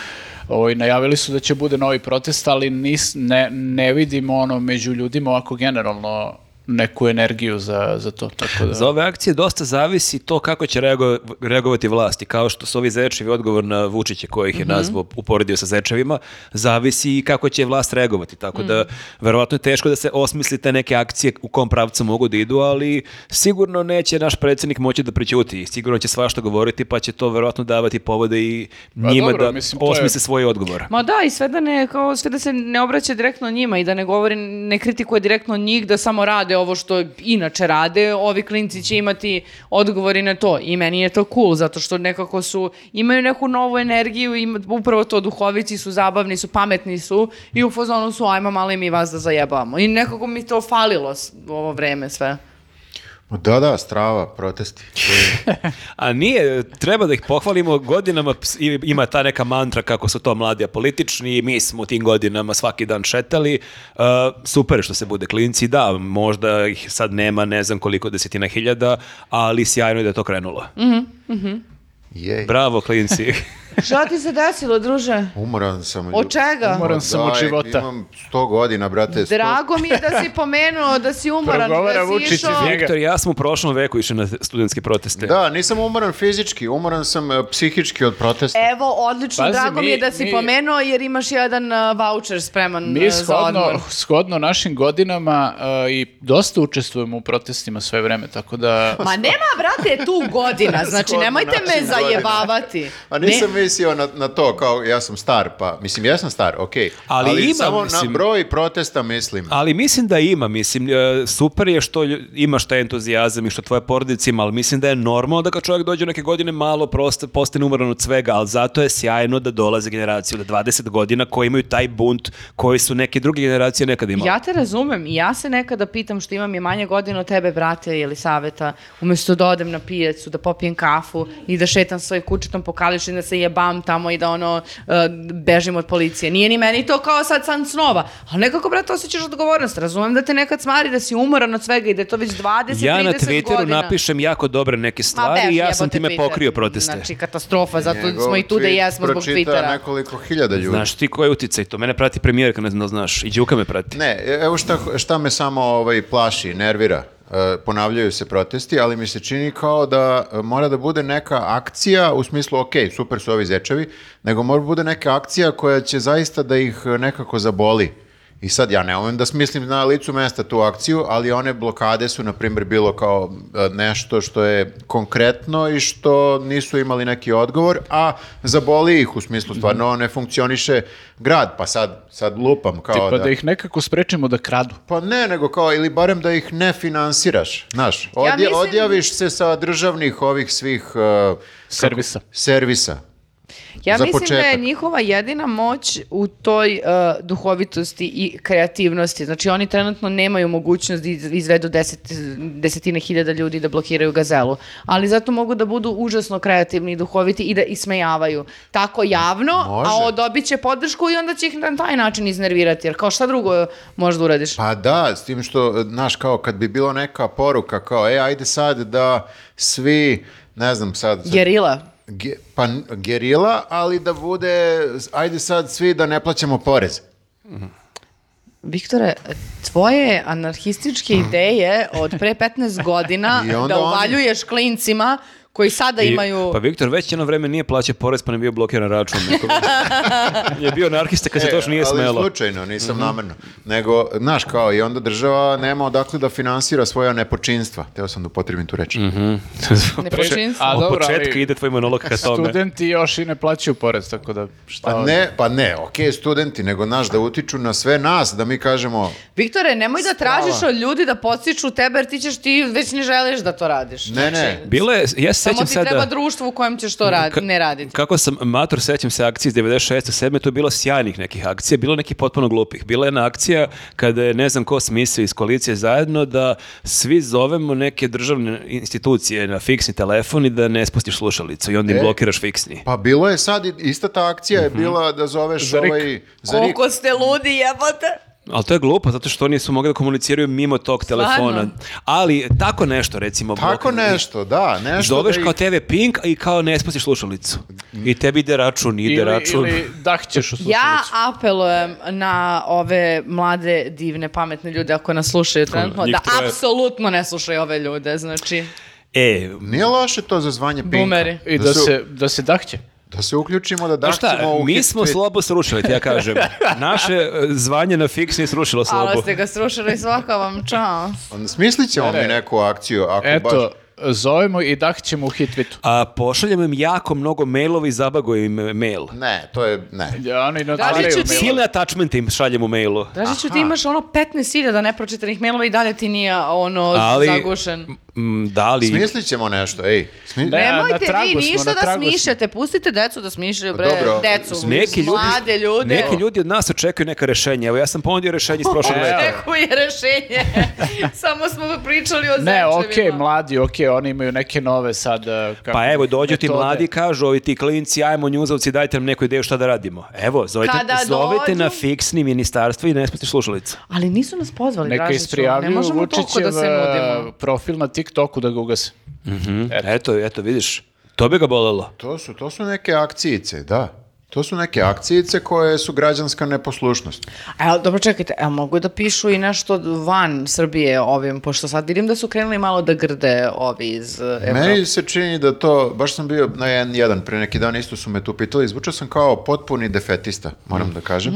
[SPEAKER 2] Ovaj, najavili su da će bude novi protest, ali nis, ne, ne vidim ono među ljudima ovako generalno neku energiju za, za to. Tako da...
[SPEAKER 3] Za ove akcije dosta zavisi to kako će reago- reagovati vlasti, kao što su ovi zečevi odgovor na Vučiće koji
[SPEAKER 2] Mhm.
[SPEAKER 3] ih je nazvao, uporedio sa zečevima, zavisi i kako će vlast reagovati, tako da
[SPEAKER 2] Mhm.
[SPEAKER 3] verovatno je teško da se osmisli te neke akcije u kom pravcu mogu da idu, ali sigurno neće naš predsjednik moći da prećuti, sigurno će svašta govoriti pa će to verovatno davati povode i
[SPEAKER 2] Pa
[SPEAKER 3] njima
[SPEAKER 2] dobro,
[SPEAKER 3] da
[SPEAKER 2] mislim, to je-
[SPEAKER 3] osmisle svoje odgovore.
[SPEAKER 4] Ma da, i sve da, ne, kao, sve da se ne obraća direktno njima i da ne govori, ne kritikuje direktno njih da samo rade ovo što inače rade, ovi klinci će imati odgovori na to i meni je to cool zato što nekako su, imaju neku novu energiju i upravo to duhovici su zabavni, su pametni su i u fazonu su ajmo mali mi vas da zajebamo i nekako mi to falilo s- u ovo vreme sve.
[SPEAKER 1] Ma Da, da, strava, protesti.
[SPEAKER 3] A nije, treba da ih pohvalimo godinama, ps- i- ima ta neka mantra kako su to mladi apolitični i mi smo u tim godinama svaki dan šetali. Uh, super je što se bude klinci, da, možda ih sad nema ne znam koliko desetina hiljada, ali sjajno je da je to krenulo.
[SPEAKER 1] Jej,
[SPEAKER 3] Bravo klinci.
[SPEAKER 4] Šta ti se desilo, druže?
[SPEAKER 1] umoran sam. ljudi.
[SPEAKER 4] Od čega?
[SPEAKER 2] Umoran
[SPEAKER 1] Ma
[SPEAKER 2] sam od
[SPEAKER 1] daj,
[SPEAKER 2] života.
[SPEAKER 1] Imam 100 godina, brate. 100.
[SPEAKER 4] Drago mi je da si pomenuo da si umoran,
[SPEAKER 2] Progovara
[SPEAKER 4] da
[SPEAKER 2] Vučić
[SPEAKER 4] si
[SPEAKER 2] iz
[SPEAKER 4] išao...
[SPEAKER 2] njega.
[SPEAKER 3] Viktor, ja smo u prošlom veku išli na studentske proteste.
[SPEAKER 1] Da, nisam umoran fizički, umoran sam e, psihički od protesta.
[SPEAKER 4] Evo, odlično,
[SPEAKER 2] Pazi,
[SPEAKER 4] drago mi,
[SPEAKER 2] mi-
[SPEAKER 4] je da si
[SPEAKER 2] mi-
[SPEAKER 4] pomenuo jer imaš jedan a, voucher spreman a,
[SPEAKER 2] Mi
[SPEAKER 4] za odmor.
[SPEAKER 2] shodno, shodno našim godinama e, i dosta učestvujemo u protestima sve vreme, tako da...
[SPEAKER 4] Ma nema, brate, tu godina, znači
[SPEAKER 1] Shodno
[SPEAKER 4] nemojte me
[SPEAKER 1] našim godinama.
[SPEAKER 4] zajebavati.
[SPEAKER 1] A nisam mislio na, na to, kao ja sam star, pa mislim ja sam star, okej.
[SPEAKER 3] Ali ima,
[SPEAKER 1] samo
[SPEAKER 3] mislim-
[SPEAKER 1] na broj protesta mislim.
[SPEAKER 3] Ali mislim da ima, mislim, e, super je što lju- imaš taj entuzijazam i što tvoje porodice ima, ali mislim da je normalno da kad čovjek dođe u neke godine malo prosto postane umoran od svega, ali zato je sjajno da dolaze generacije od 20 godina koji imaju taj bunt koji su neke druge generacije nekada imali.
[SPEAKER 4] Ja te razumem i ja se nekada pitam što imam je manje godina od tebe, brate, ili saveta, umjesto da odem na pijacu, da popijem kafu i da šetam svoj kućetom po kališu i da se jebam tamo i da ono e, bežim od policije. Nije ni meni to kao sad san snova, ali nekako, brate, osjećaš odgovornost. Razumem da te nekad smari da si umoran od svega i da je to već 20-30
[SPEAKER 3] Ja na
[SPEAKER 4] godina.
[SPEAKER 3] Twitteru napišem jako dobre neke
[SPEAKER 4] Ma,
[SPEAKER 3] stvari
[SPEAKER 4] beš,
[SPEAKER 3] i ja sam
[SPEAKER 4] jebote,
[SPEAKER 3] time
[SPEAKER 4] Twitter.
[SPEAKER 3] pokrio proteste.
[SPEAKER 4] Znači, katastrofa, zato
[SPEAKER 1] Njegov
[SPEAKER 4] smo i tu da
[SPEAKER 1] tweet
[SPEAKER 4] jesmo zbog
[SPEAKER 1] pročita
[SPEAKER 4] Twittera.
[SPEAKER 1] nekoliko hiljada ljudi.
[SPEAKER 3] Znaš ti koji je uticaj to? Mene prati premijerka, ne znam da li znaš. I Đuka me prati.
[SPEAKER 1] Ne, e, evo šta, šta me samo ovaj, plaši, nervira. E, ponavljaju se protesti, ali mi se čini kao da e, mora da bude neka akcija u smislu, ok, super su ovi zečevi, nego mora da bude neka akcija koja će zaista da ih e, nekako zaboli. I sad ja ne umem da smislim na licu mesta tu akciju, ali one blokade su, na primjer, bilo kao e, nešto što je konkretno i što nisu imali neki odgovor, a zaboli ih u smislu, stvarno ne funkcioniše grad, pa sad, sad lupam kao
[SPEAKER 2] Tipa
[SPEAKER 1] da...
[SPEAKER 2] da. ih nekako sprečimo da kradu.
[SPEAKER 1] Pa ne, nego kao, ili barem da ih ne finansiraš, znaš. Odje,
[SPEAKER 4] mislim-
[SPEAKER 1] Odjaviš se sa državnih ovih svih... e, kako-
[SPEAKER 2] Servisa.
[SPEAKER 1] servisa.
[SPEAKER 4] Ja
[SPEAKER 1] Za
[SPEAKER 4] mislim da je
[SPEAKER 1] početak.
[SPEAKER 4] njihova jedina moć u toj e, duhovitosti i kreativnosti. Znači oni trenutno nemaju mogućnost da iz- izvedu deset, desetine hiljada ljudi da blokiraju gazelu. Ali zato mogu da budu užasno kreativni i duhoviti i da ismejavaju. Tako javno,
[SPEAKER 1] Može.
[SPEAKER 4] a o- dobit će podršku i onda će ih na taj način iznervirati. Jer kao šta drugo možda uradiš?
[SPEAKER 1] Pa da, s tim što, znaš, kao kad bi bilo neka poruka kao, e, ajde sad da svi, ne znam sad, sad
[SPEAKER 4] Gerila.
[SPEAKER 1] ge- pa n- gerila, ali da bude, ajde sad svi da ne plaćamo porez.
[SPEAKER 4] Viktore, tvoje anarhističke ideje od pre 15 godina
[SPEAKER 1] I onda
[SPEAKER 4] da
[SPEAKER 1] oni-
[SPEAKER 4] uvaljuješ klincima koji sada
[SPEAKER 3] I-
[SPEAKER 4] imaju...
[SPEAKER 3] Pa Viktor već jedno vreme nije plaćao porez pa ne bio blokiran račun. nekog. je bio anarhista kad se
[SPEAKER 1] E,
[SPEAKER 3] to još nije smelo. Mhm.
[SPEAKER 1] Ali slučajno, nisam namerno. Nego, znaš, kao i onda država nema odakle da finansira svoja nepočinstva. Teo sam da upotrebim tu
[SPEAKER 3] Mhm.
[SPEAKER 1] reč.
[SPEAKER 4] Ne počinje.
[SPEAKER 2] A
[SPEAKER 3] Od
[SPEAKER 2] dobro,
[SPEAKER 3] početka
[SPEAKER 2] ali
[SPEAKER 3] ide tvoj monolog ka tome.
[SPEAKER 2] studenti još i ne plaćaju porez, tako da šta...
[SPEAKER 1] Pa
[SPEAKER 2] onda?
[SPEAKER 1] ne, pa ne, okej, studenti, nego naš da utiču na sve nas, da mi kažemo,
[SPEAKER 4] Viktore, nemoj da tražiš od ljudi da podstiču tebe jer ti ćeš ti već ne želiš da to radiš. Znači,
[SPEAKER 1] ne, ne,
[SPEAKER 2] Znači-
[SPEAKER 3] Bilo je, ja se
[SPEAKER 4] Samo
[SPEAKER 3] sećam
[SPEAKER 4] ti treba
[SPEAKER 3] sada...
[SPEAKER 4] društvo u kojem ćeš to radi,
[SPEAKER 3] Ka-
[SPEAKER 4] ne raditi.
[SPEAKER 3] Kako sam mator, sećam se akcije iz 96. 7. To je bilo sjajnih nekih akcija, bilo je nekih potpuno glupih. Bila je jedna akcija kada je ne znam ko smislio iz koalicije zajedno da svi zovemo neke državne institucije na fiksni telefon i da ne spustiš slušalicu i onda im
[SPEAKER 1] E.
[SPEAKER 3] blokiraš fiksni.
[SPEAKER 1] Pa bilo je sad, i- ista ta akcija je bila da zoveš
[SPEAKER 2] Mhm. Za RIK.
[SPEAKER 1] ovaj... Za RIK.
[SPEAKER 4] Koliko ste ludi jebote!
[SPEAKER 3] Ali to je glupo, zato što nisu mogli da komuniciraju mimo tog telefona.
[SPEAKER 4] Stvarno?
[SPEAKER 3] Ali tako nešto, recimo.
[SPEAKER 1] Tako
[SPEAKER 3] blokiraju.
[SPEAKER 1] nešto, da, nešto.
[SPEAKER 3] Zoveš
[SPEAKER 1] da ih-
[SPEAKER 3] kao TV Pink i kao ne spustiš slušalicu. I tebi ide račun, ide
[SPEAKER 2] Ili,
[SPEAKER 3] račun.
[SPEAKER 2] ili dahćeš u slučaju.
[SPEAKER 4] Ja apelujem na ove mlade, divne, pametne ljude ako nas slušaju trenutno,
[SPEAKER 3] njih
[SPEAKER 4] da
[SPEAKER 3] troje.
[SPEAKER 4] apsolutno ne slušaju ove ljude, znači
[SPEAKER 3] E,
[SPEAKER 1] Nije loše to za zvanje pinka.
[SPEAKER 4] Bumeri.
[SPEAKER 2] I da,
[SPEAKER 1] su-
[SPEAKER 2] se, da se dahće.
[SPEAKER 1] Da se uključimo, da
[SPEAKER 3] Pa šta,
[SPEAKER 1] dahtimo u
[SPEAKER 3] mi
[SPEAKER 1] hit
[SPEAKER 3] smo
[SPEAKER 1] tweet.
[SPEAKER 3] slobo srušili, ti ja kažem. Naše e, zvanje na fiksni je srušilo
[SPEAKER 4] ali
[SPEAKER 3] slobu.
[SPEAKER 4] ste ga srušili svaka vam čao.
[SPEAKER 1] Smislit ćemo
[SPEAKER 2] Ne, ne.
[SPEAKER 1] mi neku akciju, ako
[SPEAKER 2] Eto,
[SPEAKER 1] E, baš...
[SPEAKER 2] zovemo i dahćemo u hitvitu.
[SPEAKER 3] A pošaljemo im jako mnogo mailova i zabaguju im e, mail.
[SPEAKER 1] Ne, to je... Ne.
[SPEAKER 2] Ja, oni ne
[SPEAKER 4] Tražit ću
[SPEAKER 2] otvaraju
[SPEAKER 4] ti-
[SPEAKER 2] mailove.
[SPEAKER 3] Silne attachmente im šaljem u mailu.
[SPEAKER 4] Dražiću, ti imaš ono 15.000 nepročitanih mailova i dalje ti nije ono
[SPEAKER 3] Ali-
[SPEAKER 4] zagušen.
[SPEAKER 3] Mm, Da li...
[SPEAKER 1] Smislit ćemo nešto, ej. Smi-
[SPEAKER 2] Ne, e, na
[SPEAKER 4] E, Nemojte
[SPEAKER 2] tragu
[SPEAKER 4] vi
[SPEAKER 2] smo,
[SPEAKER 4] ništa
[SPEAKER 2] na
[SPEAKER 4] da
[SPEAKER 2] tragu smo.
[SPEAKER 4] smišljate, pustite decu da smišljaju, bre,
[SPEAKER 1] Dobro,
[SPEAKER 4] decu,
[SPEAKER 3] Neki ljudi,
[SPEAKER 4] mlade ljude.
[SPEAKER 3] neki ljudi od nas očekuju neka rešenja. Evo ja sam ponudio rešenje iz prošlog
[SPEAKER 2] Evo.
[SPEAKER 3] leta.
[SPEAKER 4] Očekuje rešenje. Samo smo pričali
[SPEAKER 2] Ne,
[SPEAKER 4] o zečevima.
[SPEAKER 2] okej, mladi, okej, oni imaju neke nove sad... e, Kako,
[SPEAKER 3] Pa evo, dođu ti
[SPEAKER 2] metode.
[SPEAKER 3] mladi, kažu, ovi ti klinci, ajmo njuzovci, dajte nam neku ideju šta da radimo. Evo, zovite,
[SPEAKER 4] Kada
[SPEAKER 3] zovite
[SPEAKER 4] dođu-
[SPEAKER 3] na fiksni ministarstvo i ne spustiš slušalicu.
[SPEAKER 4] Ali nisu nas pozvali,
[SPEAKER 2] Neka
[SPEAKER 4] Dražiću. Ne
[SPEAKER 2] isprijavljuju
[SPEAKER 4] možemo toliko
[SPEAKER 2] Vučićev
[SPEAKER 4] da se nudimo.
[SPEAKER 2] e, profil na TikToku da ga ugase.
[SPEAKER 3] Eto, eto, vidiš. Mhm. To bi ga bolelo.
[SPEAKER 1] To su, to su neke akcijice, da. To su neke akcijice koje su građanska neposlušnost.
[SPEAKER 4] A jel, dobro, čekajte, jel mogu da pišu i nešto van Srbije ovim, pošto sad vidim da su krenuli malo da grde ovi iz e, Evrope.
[SPEAKER 1] Meni se čini da to, baš sam bio na N1 pre neki dan, isto su me tu pitali, zvučao sam kao potpuni defetista, moram da kažem.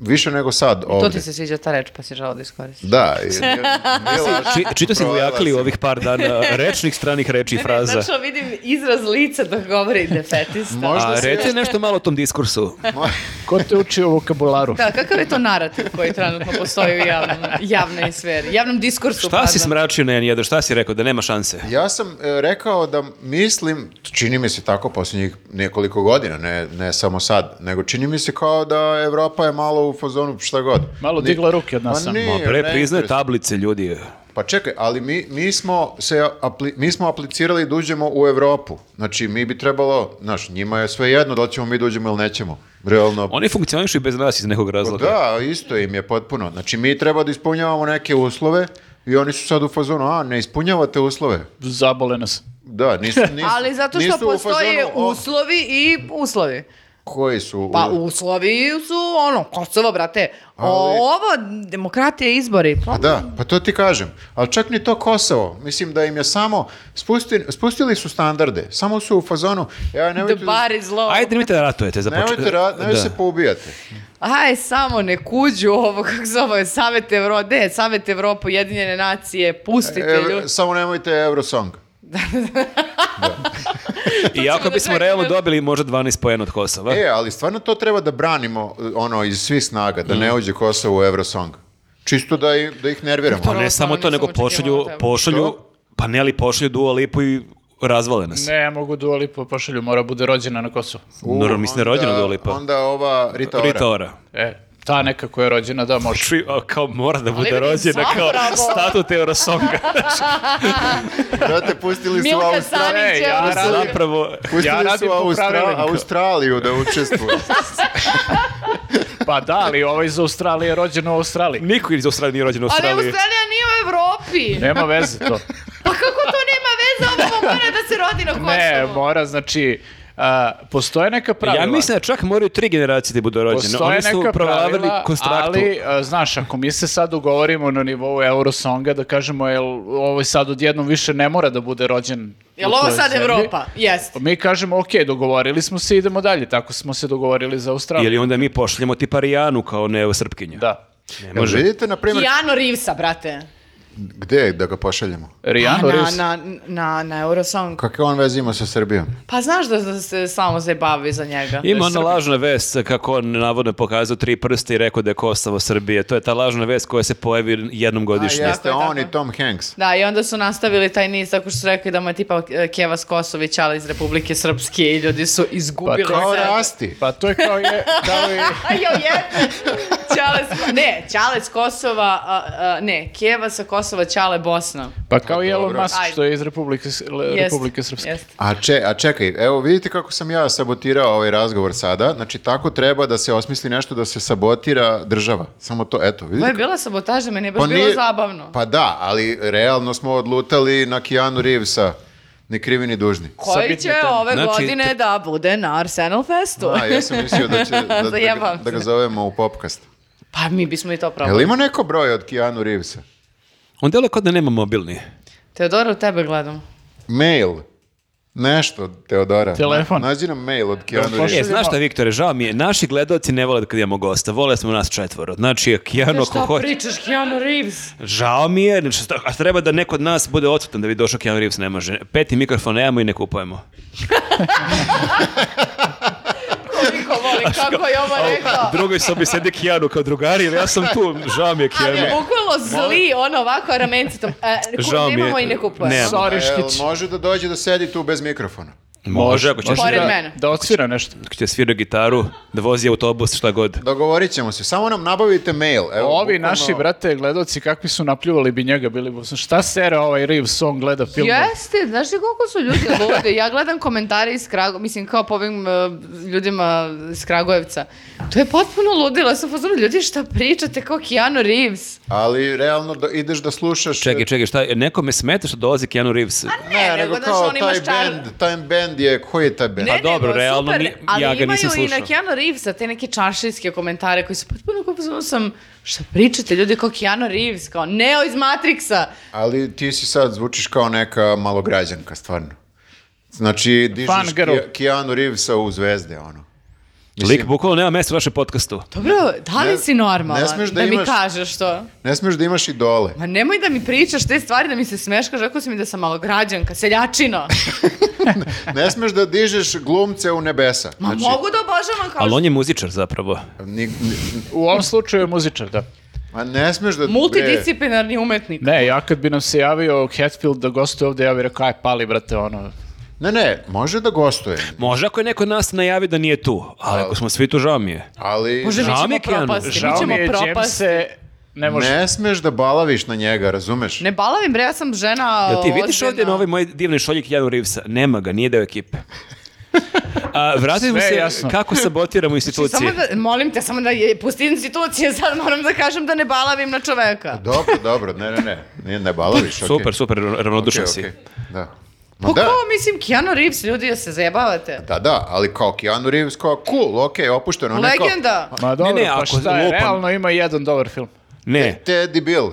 [SPEAKER 1] Više nego sad
[SPEAKER 4] Mhm. To
[SPEAKER 1] ovdje.
[SPEAKER 4] ti se sviđa ta reč, pa si želao da iskoristiš.
[SPEAKER 1] Da. i- bila-
[SPEAKER 3] Či, čito si
[SPEAKER 1] Provela
[SPEAKER 3] vojakli
[SPEAKER 1] sam.
[SPEAKER 3] ovih par dana rečnih stranih reči i fraza.
[SPEAKER 4] Znači, vidim izraz lica da govori defetista.
[SPEAKER 1] Možda
[SPEAKER 3] A
[SPEAKER 1] se-
[SPEAKER 3] reci nešto malo o tom diskursu.
[SPEAKER 2] Ko te uči o vokabularu?
[SPEAKER 4] Da, kakav je to narativ koji trenutno postoji u javnom, javnoj sferi, javnom diskursu?
[SPEAKER 3] Šta si
[SPEAKER 4] pardon.
[SPEAKER 3] smračio na N1? Šta si rekao da nema šanse?
[SPEAKER 1] Ja sam e, rekao da mislim, čini mi se tako posljednjih nekoliko godina, ne, ne samo sad, nego čini mi se kao da Evropa je malo u fazonu šta god.
[SPEAKER 2] Malo
[SPEAKER 1] Ni-
[SPEAKER 2] digla ruke od nas.
[SPEAKER 1] Pa
[SPEAKER 2] sam.
[SPEAKER 1] nije,
[SPEAKER 3] Ma
[SPEAKER 1] ne
[SPEAKER 3] pre, priznaj
[SPEAKER 1] interesuje.
[SPEAKER 3] tablice, ljudi.
[SPEAKER 1] Pa čekaj, ali mi, mi, smo se apli- mi smo aplicirali da uđemo u Evropu. Znači, mi bi trebalo, znaš, njima je sve jedno da li ćemo mi da uđemo ili nećemo. Realno,
[SPEAKER 3] Oni funkcionišu i bez nas iz nekog razloga.
[SPEAKER 1] da, isto im je potpuno. Znači, mi treba da ispunjavamo neke uslove i oni su sad u fazonu, a, ne ispunjavate uslove.
[SPEAKER 2] Zabole nas.
[SPEAKER 1] Da, nisu, nisu,
[SPEAKER 4] Ali zato što
[SPEAKER 1] nisu u
[SPEAKER 4] postoje
[SPEAKER 1] fazonu, "O,
[SPEAKER 4] uslovi i uslovi.
[SPEAKER 1] Koji su?
[SPEAKER 4] Pa uslovi su ono, Kosovo, brate. O,
[SPEAKER 1] Ali-
[SPEAKER 4] ovo, demokratije, izbori. Pa,
[SPEAKER 1] Pa da, pa to ti kažem. Ali čak ni to Kosovo. Mislim da im je samo, spusti- spustili su standarde. Samo su u fazonu, ja
[SPEAKER 4] The
[SPEAKER 1] nemojte,
[SPEAKER 4] bar is low.
[SPEAKER 3] Ajde, nemojte da ratujete. Za početak.
[SPEAKER 1] nemojte, ra- nemojte
[SPEAKER 3] Pa Da.
[SPEAKER 1] se poubijate.
[SPEAKER 4] Aj, samo ne kuđu ovo, kako se ovo je, Savet Evrope, ne, Savet Evrope, Jedinjene nacije, pustite
[SPEAKER 1] Ev-
[SPEAKER 4] ljudi.
[SPEAKER 1] samo nemojte Eurosong.
[SPEAKER 3] I ako bismo realno dobili možda 12 poena od Kosova.
[SPEAKER 1] E, ali stvarno to treba da branimo ono iz svih snaga, da
[SPEAKER 3] Mm.
[SPEAKER 1] ne uđe Kosovo u Eurosong. Čisto da, i- da ih nerviramo.
[SPEAKER 3] pa ne
[SPEAKER 4] Stvarno
[SPEAKER 3] samo to,
[SPEAKER 4] nisam
[SPEAKER 3] nego
[SPEAKER 4] očekivala
[SPEAKER 3] pošalju,
[SPEAKER 4] od tebe.
[SPEAKER 3] pošalju,
[SPEAKER 1] Što?
[SPEAKER 3] pa ne ali pošalju Dua Lipu i razvale nas.
[SPEAKER 2] Ne mogu Dua Lipa pošalju, mora bude rođena na Kosovu.
[SPEAKER 1] U,
[SPEAKER 3] Normalno, mislim da je rođena
[SPEAKER 1] onda-
[SPEAKER 3] Dua Lipa.
[SPEAKER 1] Onda ova Rita Ora.
[SPEAKER 3] Rita Ora.
[SPEAKER 2] E, ta neka koja je rođena, da, može.
[SPEAKER 3] Tri- a, kao mora da bude
[SPEAKER 4] vidim,
[SPEAKER 3] rođena kao
[SPEAKER 4] zapravo.
[SPEAKER 3] statut Eurosonga.
[SPEAKER 1] Brate, pustili su
[SPEAKER 4] Milka
[SPEAKER 1] Australiju.
[SPEAKER 4] Sanić
[SPEAKER 2] E,
[SPEAKER 4] je
[SPEAKER 2] ja
[SPEAKER 4] ovo sve-
[SPEAKER 2] radim-
[SPEAKER 3] Zapravo,
[SPEAKER 1] Pustili
[SPEAKER 2] Ja
[SPEAKER 1] su
[SPEAKER 2] radim po
[SPEAKER 1] Austra-
[SPEAKER 2] pravilniku.
[SPEAKER 1] Australiju da učestvuje.
[SPEAKER 2] Pa da, ali ovo iz Australije je rođeno u Australiji.
[SPEAKER 3] niko iz Australije nije rođen u
[SPEAKER 4] Ali
[SPEAKER 3] Australiji.
[SPEAKER 4] Australija nije u Evropi.
[SPEAKER 2] Nema veze to.
[SPEAKER 4] Pa kako to nema veze, ovo mora da se rodi na Kosovu.
[SPEAKER 2] Ne, mora, znači, a, postoje neka pravila.
[SPEAKER 3] Ja mislim da čak moraju tri generacije da budu rođene.
[SPEAKER 2] Postoje
[SPEAKER 3] Oni su
[SPEAKER 2] neka
[SPEAKER 3] provalili
[SPEAKER 2] pravila,
[SPEAKER 3] konstraktu.
[SPEAKER 2] ali, a, znaš, ako mi se sad ugovorimo na nivou Eurosonga, da kažemo, jel, ovo sad odjednom više ne mora da bude rođen
[SPEAKER 4] Jel
[SPEAKER 2] u
[SPEAKER 4] ovo
[SPEAKER 2] toj
[SPEAKER 4] sad
[SPEAKER 2] zemlji.
[SPEAKER 4] Evropa? Jeste.
[SPEAKER 2] Mi kažemo, ok, dogovorili smo se, idemo dalje. Tako smo se dogovorili za Australiju.
[SPEAKER 3] Ili onda mi pošaljemo ti parijanu kao neosrpkinju.
[SPEAKER 2] Da.
[SPEAKER 3] Ne
[SPEAKER 1] Jel
[SPEAKER 3] može.
[SPEAKER 1] vidite, na primjer,
[SPEAKER 4] Kijano Reevesa, brate.
[SPEAKER 1] gde da ga pošaljemo?
[SPEAKER 2] Rijano
[SPEAKER 4] Pa, na,
[SPEAKER 2] Reeves.
[SPEAKER 4] na, na, na Eurosong.
[SPEAKER 1] Kakve on veze ima sa Srbijom?
[SPEAKER 4] Pa znaš da, da se samo zabavi za njega.
[SPEAKER 3] Ima ona lažna vest kako on navodno pokazao tri prste i rekao da je Kosovo Srbije. To je ta lažna vest koja se pojavi jednom godišnje.
[SPEAKER 4] je.
[SPEAKER 1] Jeste
[SPEAKER 4] tako,
[SPEAKER 1] on
[SPEAKER 4] tako.
[SPEAKER 1] i Tom Hanks.
[SPEAKER 4] Da, i onda su nastavili taj niz tako što su rekli da mu je tipa e, Kevas Kosović, ali iz Republike Srpske i ljudi su izgubili
[SPEAKER 2] Pa
[SPEAKER 1] Kao
[SPEAKER 4] sebe.
[SPEAKER 1] rasti.
[SPEAKER 2] Pa to je kao je, kao je
[SPEAKER 4] A jo, jeste. Ćale s- ne, Ćale s Kosova, a, a, ne, Kijeva sa Kosova, Ćale Bosna.
[SPEAKER 2] pa kao i Elon
[SPEAKER 1] dobro.
[SPEAKER 2] Musk
[SPEAKER 4] Ajde.
[SPEAKER 2] što je iz Republike, S- Le-
[SPEAKER 4] Jeste,
[SPEAKER 2] Republike Srpske.
[SPEAKER 4] jeste.
[SPEAKER 1] A, če, a čekaj, evo vidite kako sam ja sabotirao ovaj razgovor sada. Znači, tako treba da se osmisli nešto da se sabotira država. Samo to, eto,
[SPEAKER 4] Ovo je
[SPEAKER 1] vidite. Pa
[SPEAKER 4] bila sabotaža, meni je baš bilo
[SPEAKER 1] nije-
[SPEAKER 4] zabavno.
[SPEAKER 1] Pa da, ali realno smo odlutali na Keanu Reevesa, ni krivi ni dužni.
[SPEAKER 4] Koji
[SPEAKER 2] bitne
[SPEAKER 4] će
[SPEAKER 2] teme.
[SPEAKER 4] ove
[SPEAKER 3] Znači,
[SPEAKER 4] godine da bude na Arsenal Festu?
[SPEAKER 1] A, ja sam mislio da, će, da, da, ga,
[SPEAKER 4] Zajebam
[SPEAKER 1] da ga
[SPEAKER 4] se.
[SPEAKER 1] zovemo u popkast.
[SPEAKER 4] Pa mi bismo i to
[SPEAKER 1] Jel
[SPEAKER 4] probali.
[SPEAKER 1] ima neko broj od Keanu Reevesa?
[SPEAKER 3] On djeluje kao da nema mobilni.
[SPEAKER 4] Teodora, u tebe gledam.
[SPEAKER 1] Mail. Nešto, od Teodora.
[SPEAKER 2] Telefon.
[SPEAKER 1] Na- Nađi nam mail od Keanu
[SPEAKER 2] pošalj-
[SPEAKER 3] E,
[SPEAKER 1] Reevesa.
[SPEAKER 3] znaš šta, Viktore, žao mi je, naši gledalci ne vole kad imamo gosta, vole smo nas četvoro. Znači, Keanu, ako
[SPEAKER 4] Šta
[SPEAKER 3] hoće,
[SPEAKER 4] pričaš, Keanu Reeves?
[SPEAKER 3] žao mi je, znači, šta- a treba da neko od nas bude odsutan da bi došao Keanu Reeves, ne može. Peti mikrofon nemamo i ne kupujemo.
[SPEAKER 4] Koliko volim, kako je ovo rekao.
[SPEAKER 3] U drugoj sobi sedi Keanu kao drugari, ili ja sam tu, žao mi je
[SPEAKER 4] Ali je
[SPEAKER 3] Keanu.
[SPEAKER 4] bukvalno zli, ono ovako ramencitom. E, ku-
[SPEAKER 3] Žao mi je.
[SPEAKER 4] nemamo i ne kupujemo.
[SPEAKER 3] Nemamo.
[SPEAKER 1] A
[SPEAKER 2] Sorry,
[SPEAKER 1] jel
[SPEAKER 2] Škić.
[SPEAKER 1] može da dođe da sedi tu bez mikrofona?
[SPEAKER 3] Može, ako ćeš
[SPEAKER 2] Može
[SPEAKER 4] Pored
[SPEAKER 2] da,
[SPEAKER 4] mene.
[SPEAKER 2] Da odsvira nešto.
[SPEAKER 3] Ako će svira gitaru, da vozi autobus, šta god.
[SPEAKER 1] Dogovorit ćemo se. Samo nam nabavite mail. Evo,
[SPEAKER 2] Ovi
[SPEAKER 1] bukvalno-
[SPEAKER 2] naši, brate, gledoci kakvi su napljuvali bi njega, bili bi, šta sere ovaj Reeves, on gleda film.
[SPEAKER 4] Jeste, znaš li koliko su ljudi ludi? Ja gledam komentare iz Kragujevca, mislim kao po ovim e, ljudima iz Kragujevca. To je potpuno ludilo, ja sam u fazonu, ljudi šta pričate kao Keanu Reeves.
[SPEAKER 1] Ali realno do, ideš da slušaš... e,
[SPEAKER 3] Čekaj, čekaj, šta, nekome smeta što dolazi Keanu Reeves?
[SPEAKER 1] Ne, nego
[SPEAKER 4] znaš,
[SPEAKER 1] kao
[SPEAKER 4] on ima
[SPEAKER 1] taj
[SPEAKER 4] šar-
[SPEAKER 1] band, taj band je, koji je taj band?
[SPEAKER 4] Ne,
[SPEAKER 3] Pa dobro,
[SPEAKER 4] nego,
[SPEAKER 3] realno
[SPEAKER 4] super,
[SPEAKER 3] ni-
[SPEAKER 4] ali
[SPEAKER 3] ja ga
[SPEAKER 4] imaju
[SPEAKER 3] nisam
[SPEAKER 4] i na
[SPEAKER 3] slušao.
[SPEAKER 4] Keanu Reevesa te neke čaršijske komentare koji su potpuno kao u fazonu sam, šta pričate ljudi kao Keanu Reeves, kao Neo iz Matrixa.
[SPEAKER 1] Ali ti si sad zvučiš kao neka malograđanka, stvarno. Znači, dižeš
[SPEAKER 2] Fan girl.
[SPEAKER 1] Ke- Keanu Reevesa u zvezde, ono.
[SPEAKER 3] Lik bukvalno nema mesta u našem podcastu.
[SPEAKER 4] Dobro, da li
[SPEAKER 1] Ne-
[SPEAKER 4] si normalan?
[SPEAKER 1] ne smeš da
[SPEAKER 4] mi
[SPEAKER 1] imaš-
[SPEAKER 4] kažeš to.
[SPEAKER 1] Ne smiješ da imaš idole.
[SPEAKER 4] Ma nemoj da mi pričaš te stvari, da mi se smeškaš, rekao si mi da sam malo građanka, seljačina.
[SPEAKER 1] Znači- Ne smiješ da dižeš glumce u nebesa. Znači,
[SPEAKER 4] Ma mogu da obožavam kao
[SPEAKER 3] Ali on je muzičar zapravo.
[SPEAKER 1] Ni, ni-
[SPEAKER 2] U ovom slučaju je muzičar, da.
[SPEAKER 1] ma ne smiješ da...
[SPEAKER 4] multidisciplinarni umetnik.
[SPEAKER 2] Ne, ja kad bi nam se javio Hatfield da gostuje ovde, ja bih rekao, aj pali, brate, ono.
[SPEAKER 1] Bre, Ne, ne, može da gostuje,
[SPEAKER 3] Može ako je neko od nas najavi da nije tu, ali ako smo svi tu, žao mi je.
[SPEAKER 1] ali
[SPEAKER 4] Bože, mi
[SPEAKER 3] Žao mi
[SPEAKER 4] ćemo
[SPEAKER 3] je Keanu,
[SPEAKER 4] propasti, mi
[SPEAKER 2] Žao
[SPEAKER 4] ćemo
[SPEAKER 2] mi je,
[SPEAKER 4] propasti.
[SPEAKER 2] Jamese ne može.
[SPEAKER 1] ne smiješ da balaviš na njega, razumeš?
[SPEAKER 4] Ne balavim, bre, ja sam žena
[SPEAKER 3] Jel ti vidiš
[SPEAKER 4] ozbiljna.
[SPEAKER 3] ovdje na ovaj moj divni šoljik Janu Reevesa? Nema ga, nije deo ekipe. A, vratimo
[SPEAKER 2] Sve je
[SPEAKER 3] se
[SPEAKER 2] jasno.
[SPEAKER 3] kako sabotiramo institucije.
[SPEAKER 4] Znači, Samo da, molim te, samo da je, pusti institucije, sad moram da kažem da ne balavim na čoveka.
[SPEAKER 1] Dobro, dobro, ne, ne, ne, ne, ne balaviš, okej.
[SPEAKER 3] Super, super, ravnodušan
[SPEAKER 1] Okej,
[SPEAKER 3] si.
[SPEAKER 1] okej, Da. Ma
[SPEAKER 4] Pa
[SPEAKER 1] da,
[SPEAKER 4] ko, mislim, Keanu Reeves, ljudi, da se zajebavate.
[SPEAKER 1] da, da, ali kao Keanu Reeves, kao cool, okej, opušteno.
[SPEAKER 3] Pa
[SPEAKER 1] on je kao-
[SPEAKER 4] Legenda.
[SPEAKER 2] Ma dobro,
[SPEAKER 3] ne,
[SPEAKER 2] pa
[SPEAKER 3] ako
[SPEAKER 2] šta je,
[SPEAKER 3] lupam.
[SPEAKER 2] realno ima jedan dobar film. E,
[SPEAKER 3] Ne,
[SPEAKER 1] E. Teddy Bill.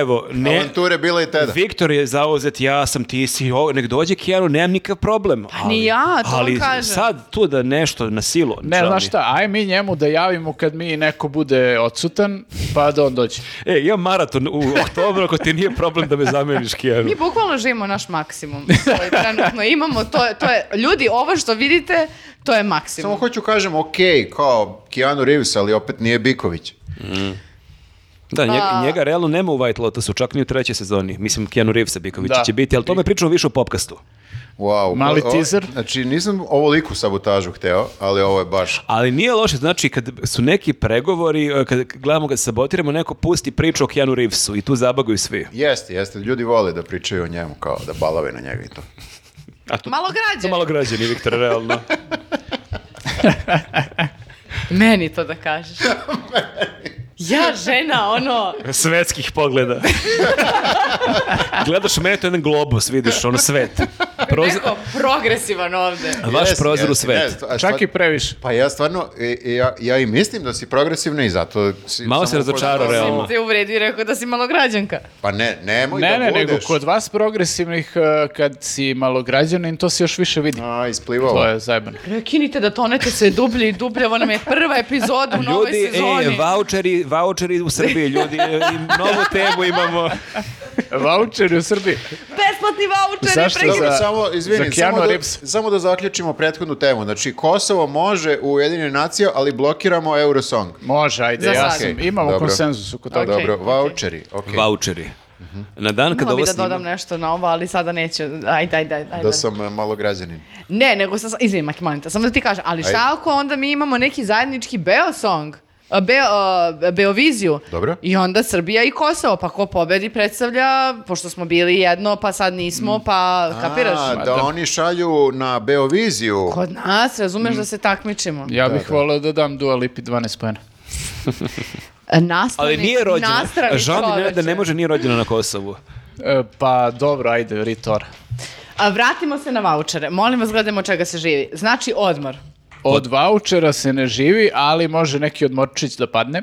[SPEAKER 3] evo, ne,
[SPEAKER 1] Avanture bila i teda.
[SPEAKER 3] Viktor je zauzet, ja sam, ti si, o, nek dođe Keanu, nemam nikakav problem. Pa
[SPEAKER 4] ni ja, to vam
[SPEAKER 3] ali
[SPEAKER 4] kažem.
[SPEAKER 3] sad tu da nešto na silu.
[SPEAKER 2] Ne,
[SPEAKER 3] žao mi
[SPEAKER 2] znaš
[SPEAKER 3] je.
[SPEAKER 2] šta, aj mi njemu da javimo kad mi neko bude odsutan, pa da on dođe.
[SPEAKER 3] E, imam maraton u oktobru, ako ti nije problem da me zameniš Keanu.
[SPEAKER 4] Mi bukvalno živimo naš maksimum. koji trenutno imamo, to je, to je, ljudi, ovo što vidite, to je maksimum.
[SPEAKER 1] Samo hoću kažem, okej, kao Keanu Reeves, ali opet nije Biković.
[SPEAKER 3] Da, njega,
[SPEAKER 4] Pa-
[SPEAKER 3] njega realno nema u White Lotusu, čak ni u trećoj sezoni. Mislim, Keanu Reevesa Biković
[SPEAKER 2] Da.
[SPEAKER 3] će biti, ali tome pričamo više u popkastu.
[SPEAKER 1] Wow.
[SPEAKER 2] Mali
[SPEAKER 1] O- o-
[SPEAKER 2] teaser.
[SPEAKER 1] Znači, nisam ovoliku sabotažu hteo, ali ovo je baš...
[SPEAKER 3] Ali nije loše, znači kad su neki pregovori, e, kad gledamo, kad sabotiramo, neko pusti priču o Keanu Reevesu i tu zabaguju svi.
[SPEAKER 1] Jeste, jeste. Ljudi vole da pričaju o njemu, kao da balave na njega i to.
[SPEAKER 3] A to,
[SPEAKER 4] Malo
[SPEAKER 3] to
[SPEAKER 4] građe.
[SPEAKER 3] malo građani, Viktor, realno.
[SPEAKER 4] Meni to da kažeš. ja žena, ono,
[SPEAKER 3] Svetskih pogleda. Gledaš mene, to je jedan globus, vidiš, ono svet. Proz-
[SPEAKER 4] neko progresivan ovde.
[SPEAKER 3] Vaš
[SPEAKER 1] Jeste,
[SPEAKER 3] prozor u
[SPEAKER 1] jeste,
[SPEAKER 3] svet.
[SPEAKER 1] ne, stva- a
[SPEAKER 2] Čak
[SPEAKER 1] stvar-
[SPEAKER 2] i previše.
[SPEAKER 1] Pa ja stvarno, i- i ja, ja i mislim da si progresivna i zato... Si,
[SPEAKER 3] Malo
[SPEAKER 1] sam
[SPEAKER 3] se razočarao,
[SPEAKER 1] upoznao-
[SPEAKER 3] realno.
[SPEAKER 4] Te uvredi i rekao da si malo građanka.
[SPEAKER 1] Pa ne, nemoj
[SPEAKER 2] Ne,
[SPEAKER 1] da
[SPEAKER 2] ne,
[SPEAKER 1] budeš.
[SPEAKER 2] nego kod vas progresivnih, e, kad si malograđanin, to se još više vidi.
[SPEAKER 1] A,
[SPEAKER 2] To
[SPEAKER 1] isplivalo.
[SPEAKER 2] je zajebano.
[SPEAKER 4] Prekinite da tonete sve dublje i dublje, ovo nam je prva epizoda u novoj
[SPEAKER 3] Ljudi, e,
[SPEAKER 4] sezoni.
[SPEAKER 3] ej, voucheri, voucheri u Srbiji, ljudi, e, i novu temu imamo.
[SPEAKER 2] Voucheri u Srbiji.
[SPEAKER 4] Besplatni voucheri,
[SPEAKER 2] Zašto
[SPEAKER 4] prekinite.
[SPEAKER 1] Dobro,
[SPEAKER 2] za-
[SPEAKER 1] samo,
[SPEAKER 2] za
[SPEAKER 1] izvini,
[SPEAKER 2] Keanu
[SPEAKER 1] samo, da,
[SPEAKER 2] Reeves.
[SPEAKER 1] samo da zaključimo prethodnu temu. Znači, Kosovo može u Ujedinjene nacije, ali blokiramo Eurosong.
[SPEAKER 2] Može, ajde,
[SPEAKER 4] Za
[SPEAKER 2] ja
[SPEAKER 4] sad.
[SPEAKER 2] sam. Imamo
[SPEAKER 1] Dobro.
[SPEAKER 2] konsenzus oko
[SPEAKER 1] A,
[SPEAKER 2] toga.
[SPEAKER 4] Okej,
[SPEAKER 1] dobro,
[SPEAKER 4] okej.
[SPEAKER 1] voucheri, okej.
[SPEAKER 3] Voucheri. Na dan kada
[SPEAKER 4] Htjela
[SPEAKER 3] ovo
[SPEAKER 4] bi da
[SPEAKER 3] snimam-
[SPEAKER 4] dodam nešto na ovo, ali sada neću. Ajde, ajde, ajde.
[SPEAKER 1] Da
[SPEAKER 4] ajde.
[SPEAKER 1] sam e, malo građanin.
[SPEAKER 4] Ne, nego sam, izvini, Maki, molim te, samo da ti kažem, ali šta
[SPEAKER 1] Ajde.
[SPEAKER 4] ako onda mi imamo neki zajednički Beo song, a, Beo, a, Beoviziju.
[SPEAKER 1] Dobro.
[SPEAKER 4] I onda Srbija i Kosovo, pa ko pobedi predstavlja, pošto smo bili jedno, pa sad nismo,
[SPEAKER 3] Mm.
[SPEAKER 4] pa kapiraš?
[SPEAKER 1] A, da oni šalju na Beoviziju.
[SPEAKER 4] Kod nas,
[SPEAKER 3] Mm.
[SPEAKER 4] razumeš da se takmičimo.
[SPEAKER 2] Ja bih volio da dam Dua Lipi 12 pojena.
[SPEAKER 4] E, Nastrani,
[SPEAKER 3] Ali nije rođena.
[SPEAKER 4] nastrani
[SPEAKER 3] Žao mi ne, da
[SPEAKER 4] čoveče.
[SPEAKER 3] ne može, nije rođena na Kosovu.
[SPEAKER 2] E, pa dobro, ajde, Ritor.
[SPEAKER 4] A, vratimo se na vouchere. Molim vas, gledajmo od čega se živi. Znači, odmor.
[SPEAKER 2] Od vouchera se ne živi, ali može neki odmorčić da padne.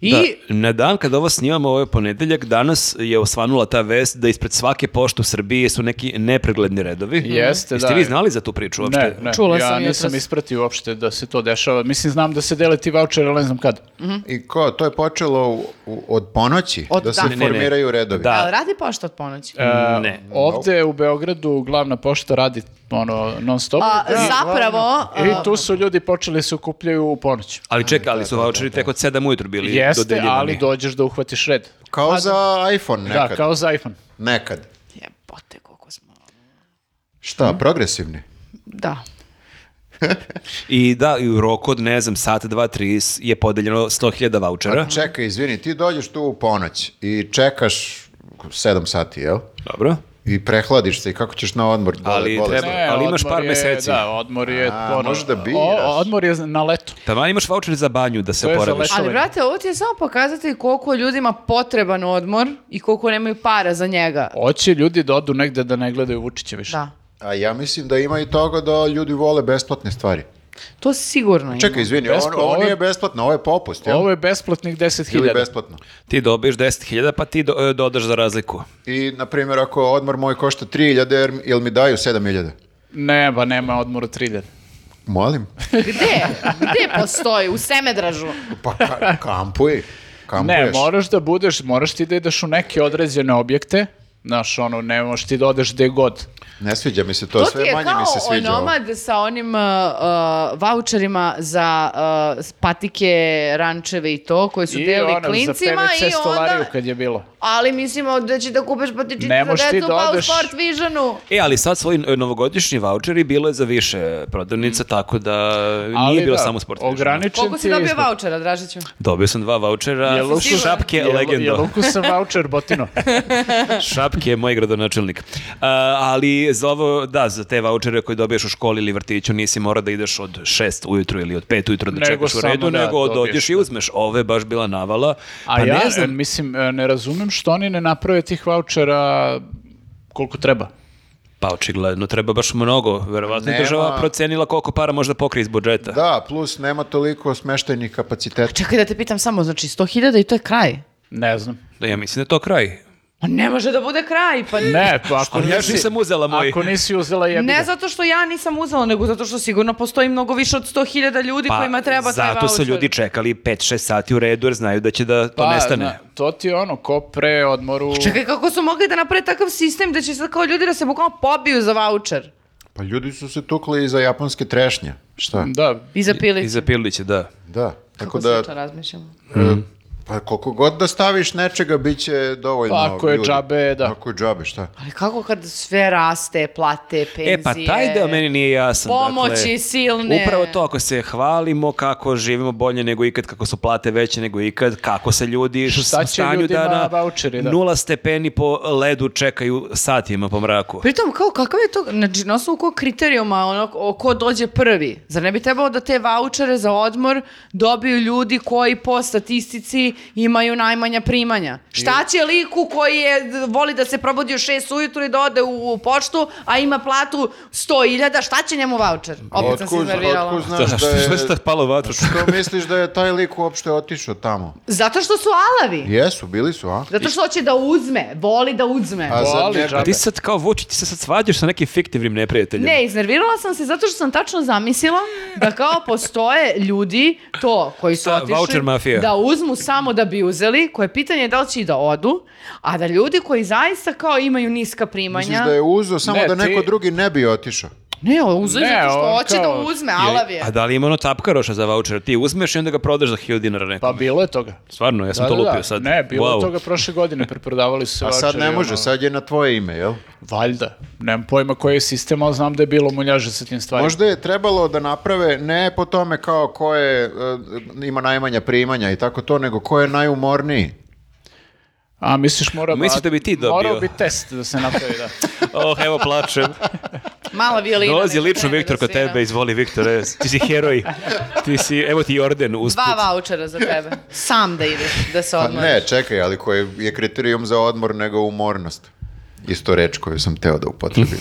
[SPEAKER 4] I
[SPEAKER 3] Da, na dan kada ovo snimamo, ovo je ponedeljak, danas je osvanula ta vest da ispred svake pošte u Srbiji su neki nepregledni redovi.
[SPEAKER 2] Mhm. Jeste,
[SPEAKER 3] Jeste
[SPEAKER 2] da.
[SPEAKER 3] vi znali za tu priču uopšte?
[SPEAKER 2] Ne, ne.
[SPEAKER 4] Čula
[SPEAKER 2] ja
[SPEAKER 4] sam jutros.
[SPEAKER 2] nisam ispratio uopšte da se to dešava. Mislim, znam da se dele ti voucheri, ali ne znam kad.
[SPEAKER 1] I ko, to je počelo u- u- od ponoći,
[SPEAKER 4] Od
[SPEAKER 1] da se
[SPEAKER 4] da- Ne,
[SPEAKER 3] ne.
[SPEAKER 1] formiraju redovi.
[SPEAKER 3] Da.
[SPEAKER 4] ali radi pošta od ponoći.
[SPEAKER 2] E,
[SPEAKER 3] Ne.
[SPEAKER 2] Ovde u Beogradu glavna pošta radi ono, non stop.
[SPEAKER 4] A,
[SPEAKER 2] I-
[SPEAKER 4] zapravo, a,
[SPEAKER 2] I tu su ljudi počeli se okupljaju u ponoć.
[SPEAKER 3] Ali čekaj, ali su voucheri tek od 7 ujutru bili
[SPEAKER 2] Jeste,
[SPEAKER 3] dodeljivani.
[SPEAKER 2] ali dođeš da uhvatiš red.
[SPEAKER 1] Kao za iPhone nekad.
[SPEAKER 2] Pa Da, kao za iPhone.
[SPEAKER 1] Nekad.
[SPEAKER 4] jebote, koliko smo...
[SPEAKER 2] Mhm.
[SPEAKER 1] Šta, progresivni?
[SPEAKER 4] Da.
[SPEAKER 3] I da, i u roku od, ne znam, sat, dva, tri s- je podeljeno 100.000 vouchera.
[SPEAKER 2] Znači-
[SPEAKER 1] Čekaj, izvini, ti dođeš tu u ponoć i čekaš 7 sati, jel?
[SPEAKER 3] Dobro.
[SPEAKER 1] I prehladiš se i kako ćeš na odmor? Dole,
[SPEAKER 3] Ali
[SPEAKER 1] bolesno.
[SPEAKER 3] treba- ali imaš
[SPEAKER 2] odmor
[SPEAKER 3] par
[SPEAKER 2] je-
[SPEAKER 3] meseci.
[SPEAKER 2] Da, odmor je...
[SPEAKER 1] A, možeš da biraš.
[SPEAKER 2] o- odmor je na leto.
[SPEAKER 3] Tamo imaš voucher za banju da se
[SPEAKER 2] To je za
[SPEAKER 3] oporaviš.
[SPEAKER 2] leto.
[SPEAKER 4] Ali,
[SPEAKER 2] Čovjek.
[SPEAKER 4] brate, ovo ti je samo pokazati koliko je ljudima potreban odmor i koliko nemaju para za njega.
[SPEAKER 2] Hoće ljudi da odu negde da ne gledaju Vučića više.
[SPEAKER 4] Da.
[SPEAKER 1] A ja mislim da ima i toga da ljudi vole besplatne stvari.
[SPEAKER 4] To sigurno ima.
[SPEAKER 1] Čekaj, izvini, ovo,
[SPEAKER 2] Bespla-
[SPEAKER 1] ovo
[SPEAKER 2] ovo je-
[SPEAKER 1] nije besplatno, ovo je popust, jel?
[SPEAKER 2] Ovo je besplatnih
[SPEAKER 1] Ili
[SPEAKER 2] 10.000.
[SPEAKER 1] besplatno.
[SPEAKER 3] Ti dobiješ 10.000 pa ti do, e, dodaš za razliku.
[SPEAKER 1] I, na primjer, ako odmor moj košta 3000, jer- jel mi daju 7000?
[SPEAKER 2] Ne, ba nema odmora 3000.
[SPEAKER 1] Molim?
[SPEAKER 4] Gde? Gde postoji? U Semedražu.
[SPEAKER 1] Pa ka, kampuj. Kampuješ.
[SPEAKER 2] Ne, moraš da budeš, moraš ti da ideš u neke određene objekte, znaš, ono, ne možeš ti da odeš gde god.
[SPEAKER 1] Ne sviđa mi se to,
[SPEAKER 4] To ti
[SPEAKER 1] sve
[SPEAKER 4] je
[SPEAKER 1] manje mi se
[SPEAKER 4] kao
[SPEAKER 1] sviđa. ovo.
[SPEAKER 4] onomad sa onim uh, uh, voucherima za uh, patike, rančeve i to, koji su delili
[SPEAKER 2] ono,
[SPEAKER 4] klincima
[SPEAKER 2] za
[SPEAKER 4] i
[SPEAKER 2] PVC stolariju
[SPEAKER 4] onda...
[SPEAKER 2] kad je bilo.
[SPEAKER 4] Ali mislimo da će da kupeš
[SPEAKER 2] Ne
[SPEAKER 4] patičice
[SPEAKER 2] možeš
[SPEAKER 4] za
[SPEAKER 2] ti
[SPEAKER 4] decu
[SPEAKER 2] da
[SPEAKER 4] pa u
[SPEAKER 2] odeš-
[SPEAKER 4] Sport Visionu.
[SPEAKER 3] E, ali sad svoji e, novogodišnji voucheri bilo je za više prodavnica, tako da nije bilo samo sport. Vision.
[SPEAKER 2] Ograničen
[SPEAKER 4] Koliko si
[SPEAKER 2] ti je
[SPEAKER 4] dobio
[SPEAKER 2] izbor.
[SPEAKER 4] vouchera, Dražiću?
[SPEAKER 3] Dobio sam dva vouchera,
[SPEAKER 2] Jel lukus-
[SPEAKER 3] šapke,
[SPEAKER 2] Jel-
[SPEAKER 3] legenda.
[SPEAKER 2] Jel ukusan voucher, botino?
[SPEAKER 3] Šapke je moj gradonačelnik. A, ali za ovo, da, za te vouchere koje dobiješ u školi ili vrtiću nisi mora da ideš od 6 ujutru ili od 5 ujutru da
[SPEAKER 2] Nego
[SPEAKER 3] čekaš u
[SPEAKER 2] samo
[SPEAKER 3] redu,
[SPEAKER 2] da
[SPEAKER 3] nego od
[SPEAKER 2] dobiješ,
[SPEAKER 3] odješ i
[SPEAKER 2] da.
[SPEAKER 3] uzmeš. Ove je baš bila navala.
[SPEAKER 2] A
[SPEAKER 3] pa
[SPEAKER 2] ja,
[SPEAKER 3] ne znam,
[SPEAKER 2] e, mislim, e, ne razumem što oni ne naprave tih vouchera koliko treba.
[SPEAKER 3] pa očigledno treba baš mnogo. Verovatno je
[SPEAKER 1] Nema-
[SPEAKER 3] država procenila koliko para možda pokrije iz budžeta.
[SPEAKER 1] Da, plus nema toliko smeštajnih kapaciteta.
[SPEAKER 4] Čekaj da te pitam samo, znači 100.000 i to je kraj.
[SPEAKER 2] Ne znam.
[SPEAKER 3] Da, ja mislim da je to kraj.
[SPEAKER 4] Pa ne može da bude kraj, pa
[SPEAKER 2] Ne, pa ako
[SPEAKER 3] Ali ja
[SPEAKER 2] nisi...
[SPEAKER 3] nisam uzela moj.
[SPEAKER 2] Ako nisi uzela jebi
[SPEAKER 4] Ne
[SPEAKER 2] ga.
[SPEAKER 4] zato što ja nisam uzela, nego zato što sigurno postoji mnogo više od 100.000 ljudi kojima treba taj
[SPEAKER 3] Pa, zato su
[SPEAKER 4] voucher.
[SPEAKER 3] ljudi čekali 5-6 sati u redu jer znaju da će da to
[SPEAKER 2] Pa,
[SPEAKER 3] nestane.
[SPEAKER 2] zna, to ti je ono, ko pre odmoru...
[SPEAKER 4] Pa Čekaj, kako su mogli da naprave takav sistem da će sad kao ljudi da se bukvalno pobiju za voucher
[SPEAKER 1] Pa ljudi su se tukli i za japanske trešnje. Šta?
[SPEAKER 2] Da,
[SPEAKER 4] i za pilić.
[SPEAKER 3] I za Piliće, da.
[SPEAKER 1] Da. Tako
[SPEAKER 4] Kako
[SPEAKER 1] da,
[SPEAKER 4] se to razmišljamo?
[SPEAKER 1] e, Pa koliko god da staviš nečega, bit će dovoljno
[SPEAKER 2] Pa ako je
[SPEAKER 1] ljudi.
[SPEAKER 2] džabe, da.
[SPEAKER 1] Ako je džabe, šta?
[SPEAKER 4] Ali kako kad sve raste, plate, penzije?
[SPEAKER 3] E pa taj deo meni nije jasan.
[SPEAKER 4] Pomoći
[SPEAKER 3] dakle,
[SPEAKER 4] silne.
[SPEAKER 3] Upravo to, ako se hvalimo kako živimo bolje nego ikad, kako su plate veće nego ikad, kako se ljudi
[SPEAKER 2] Šta
[SPEAKER 3] u
[SPEAKER 2] će
[SPEAKER 3] stanju
[SPEAKER 2] ljudima
[SPEAKER 3] da na
[SPEAKER 2] vaučeri, da.
[SPEAKER 3] nula stepeni po ledu čekaju satima po mraku.
[SPEAKER 4] Pritom, kao, kakav je to, znači, na osnovu kog kriterijuma, ono, o, ko dođe prvi? Zar ne bi trebalo da te vouchere za odmor dobiju ljudi koji po statistici imaju najmanja primanja? Šta će liku koji je, d- voli da se probudi u šest ujutru i da ode u, u poštu, a ima platu 100.000, šta će njemu voucher? Opet sam se
[SPEAKER 1] Otkud,
[SPEAKER 4] iznervirala.
[SPEAKER 1] otkud znaš da je...
[SPEAKER 3] palo vatru?
[SPEAKER 1] Što misliš da je taj lik uopšte otišao tamo?
[SPEAKER 4] Zato što su alavi.
[SPEAKER 1] Jesu, bili su, a?
[SPEAKER 4] Zato što hoće da uzme, voli da uzme.
[SPEAKER 1] A zar
[SPEAKER 2] Voli
[SPEAKER 1] ne-
[SPEAKER 2] džabe.
[SPEAKER 3] Ti sad kao Vučić, ti se sad svađaš sa nekim fiktivnim neprijateljem.
[SPEAKER 4] Ne, iznervirala sam se zato što sam tačno zamislila da kao postoje ljudi to koji su
[SPEAKER 3] Ta
[SPEAKER 4] otišli
[SPEAKER 3] voucher mafija.
[SPEAKER 4] da uzmu samo da bi uzeli, koje pitanje je da li će i da odu, a da ljudi koji zaista kao imaju niska
[SPEAKER 1] Misliš
[SPEAKER 4] primanja,
[SPEAKER 1] da je uzeo samo
[SPEAKER 2] Ne,
[SPEAKER 1] da
[SPEAKER 2] ti-
[SPEAKER 1] neko drugi ne bi otišao?
[SPEAKER 4] ne, uzeli
[SPEAKER 2] Ne,
[SPEAKER 4] zato što
[SPEAKER 2] on
[SPEAKER 4] hoće
[SPEAKER 2] kao-
[SPEAKER 4] da uzme,
[SPEAKER 3] Ili-
[SPEAKER 4] alav je.
[SPEAKER 3] A da li ima ono tapkaroša za voucher? Ti uzmeš i onda ga prodaš za 1000 dinara
[SPEAKER 2] Pa
[SPEAKER 3] nekom.
[SPEAKER 2] bilo je toga.
[SPEAKER 3] Stvarno, ja sam
[SPEAKER 2] Da,
[SPEAKER 3] to
[SPEAKER 2] da,
[SPEAKER 3] lupio
[SPEAKER 2] da.
[SPEAKER 3] sad.
[SPEAKER 2] Ne, bilo je
[SPEAKER 3] Wow.
[SPEAKER 2] toga prošle godine, preprodavali su se
[SPEAKER 1] A sad
[SPEAKER 2] vaučeri,
[SPEAKER 1] ne može,
[SPEAKER 2] ono,
[SPEAKER 1] sad je na tvoje ime, jel?
[SPEAKER 2] Valjda. Nemam pojma koji je sistem, ali znam da je bilo muljaže sa tim stvarima.
[SPEAKER 1] Možda je trebalo da naprave ne po tome kao ko je, e, ima najmanja primanja i tako to, nego ko je najumorniji.
[SPEAKER 2] A misliš mora...
[SPEAKER 3] Misliš da bi ti dobio?
[SPEAKER 2] Morao bi test da se napravi, da.
[SPEAKER 3] Oh, evo plačem.
[SPEAKER 4] Mala violina.
[SPEAKER 3] Dolazi
[SPEAKER 4] neka
[SPEAKER 3] lično
[SPEAKER 4] krene
[SPEAKER 3] Viktor
[SPEAKER 4] da
[SPEAKER 3] kod
[SPEAKER 4] svira.
[SPEAKER 3] tebe, izvoli Viktore, ti si heroj. Ti si, evo ti orden usput.
[SPEAKER 4] Dva vouchera za tebe. Sam da ideš, da se
[SPEAKER 1] Pa
[SPEAKER 4] odmoriš.
[SPEAKER 1] ne, čekaj, ali koji je kriterijum za odmor nego umornost. Isto reč koju sam teo da upotrebim.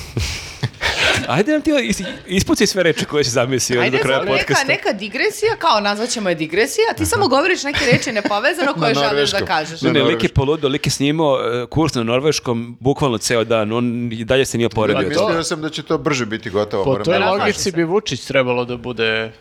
[SPEAKER 3] Ajde nam ti is- ispuci sve reči koje si zamislio
[SPEAKER 4] Ajde,
[SPEAKER 3] do kraja
[SPEAKER 4] sad neka,
[SPEAKER 3] podcasta.
[SPEAKER 4] neka digresija, kao nazvaćemo je digresija, ti samo govoriš neke reči nepovezano koje želiš da
[SPEAKER 1] norveškom.
[SPEAKER 4] kažeš.
[SPEAKER 3] Ne, ne, lik je
[SPEAKER 1] Norveškom.
[SPEAKER 3] poludo, lik je snimao e, kurs na norveškom bukvalno ceo dan, on i dalje se nije
[SPEAKER 2] to-
[SPEAKER 3] oporedio.
[SPEAKER 1] Pa Mislio sam da će to brže biti gotovo.
[SPEAKER 2] Po
[SPEAKER 1] moram
[SPEAKER 2] toj
[SPEAKER 1] da vam kažem.
[SPEAKER 2] logici bi Vučić trebalo da bude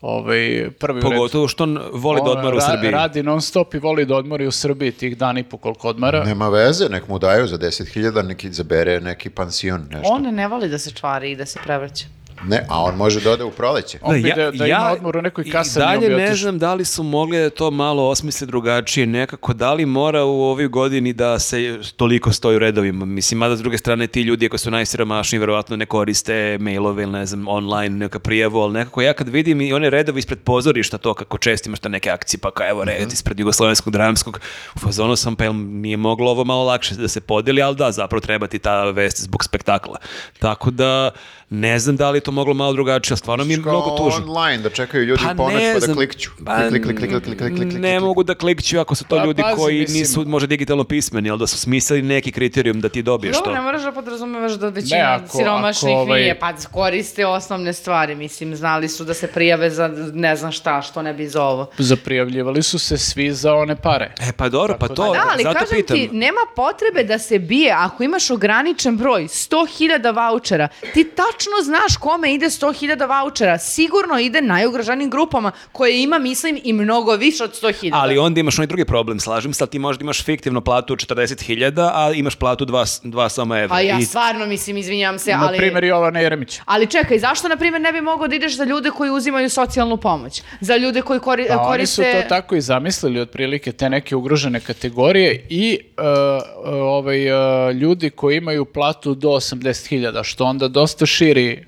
[SPEAKER 2] ovaj, prvi u redu.
[SPEAKER 3] Pogotovo što on voli da
[SPEAKER 2] On
[SPEAKER 3] odmara u
[SPEAKER 2] ra-
[SPEAKER 3] Srbiji.
[SPEAKER 2] Radi non stop i voli da odmori u Srbiji tih dan i po koliko odmara.
[SPEAKER 1] Nema veze, nek mu daju za 10.000, neki zabere neki pansion, nešto.
[SPEAKER 4] On ne voli da se čvari i da se prevrće.
[SPEAKER 1] Ne, a on može da ode u proleće.
[SPEAKER 2] On bi da, da ima odmor u nekoj
[SPEAKER 3] i
[SPEAKER 2] kasarni, on
[SPEAKER 3] dalje
[SPEAKER 2] bi
[SPEAKER 3] ne
[SPEAKER 2] otišao.
[SPEAKER 3] znam da li su mogli da to malo osmisle drugačije nekako, da li mora u ovoj godini da se toliko stoji u redovima. Mislim, mada s druge strane ti ljudi ako su najsiromašniji verovatno ne koriste mailove ili ne znam, online neka prijavu, ali nekako ja kad vidim i one redove ispred pozorišta to kako često imaš na neke akcije, pa kao evo red
[SPEAKER 1] Mhm.
[SPEAKER 3] ispred jugoslovenskog dramskog, u fazonu sam pa jel nije moglo ovo malo lakše da se podeli, ali da, zapravo treba ti ta vest zbog spektakla. Tako da ne znam da li je to moglo malo drugačije, ali stvarno mi je
[SPEAKER 1] Kao
[SPEAKER 3] mnogo tužno
[SPEAKER 1] online, da čekaju ljudi pa ponoć
[SPEAKER 3] ne
[SPEAKER 1] pa da
[SPEAKER 3] znam.
[SPEAKER 1] klikću.
[SPEAKER 3] Pa
[SPEAKER 1] klik, klik, klik, klik, klik, klik, klik,
[SPEAKER 3] ne
[SPEAKER 1] klik.
[SPEAKER 3] mogu da klikću ako su to
[SPEAKER 2] Pa,
[SPEAKER 3] ljudi
[SPEAKER 2] pazi,
[SPEAKER 3] koji
[SPEAKER 2] mislim.
[SPEAKER 3] nisu možda digitalno pismeni, ali da su smislili neki kriterijum da ti dobiješ
[SPEAKER 4] Dobro,
[SPEAKER 3] to.
[SPEAKER 4] ne moraš da podrazumevaš da većina
[SPEAKER 2] Ne, ako-
[SPEAKER 4] siromašnih
[SPEAKER 2] ako, ovaj-
[SPEAKER 4] nije, pa koriste osnovne stvari, mislim, znali su da se prijave za ne znam šta, što ne bi za ovo.
[SPEAKER 2] Zaprijavljivali su se svi za one pare.
[SPEAKER 3] E pa dobro, pa to,
[SPEAKER 4] Da, ali
[SPEAKER 3] zato
[SPEAKER 4] kažem
[SPEAKER 3] pitam.
[SPEAKER 4] ti, nema potrebe da se bije ako imaš ograničen broj, 100.000 vouchera. Ti tačno znaš kome ide 100.000 vouchera. Sigurno ide najugroženim grupama koje ima, mislim, i mnogo više od 100.000.
[SPEAKER 3] Ali onda imaš onaj drugi problem, slažem se, ali ti možda imaš fiktivno platu 40.000, a imaš platu 2 samo evra.
[SPEAKER 4] Pa ja
[SPEAKER 3] I-
[SPEAKER 4] stvarno mislim, izvinjavam se,
[SPEAKER 2] Na
[SPEAKER 4] ali...
[SPEAKER 2] primjer Jovana Jeremića.
[SPEAKER 4] Ali čekaj, zašto na primjer ne bi mogao da ideš za ljude koji uzimaju socijalnu pomoć? Za ljude koji kori-
[SPEAKER 2] Pa oni su
[SPEAKER 4] koriste...
[SPEAKER 2] to tako i zamislili otprilike te neke ugrožene kategorije i e, e, ovaj, e, ljudi koji imaju platu do 80.000, što onda dosta širi e,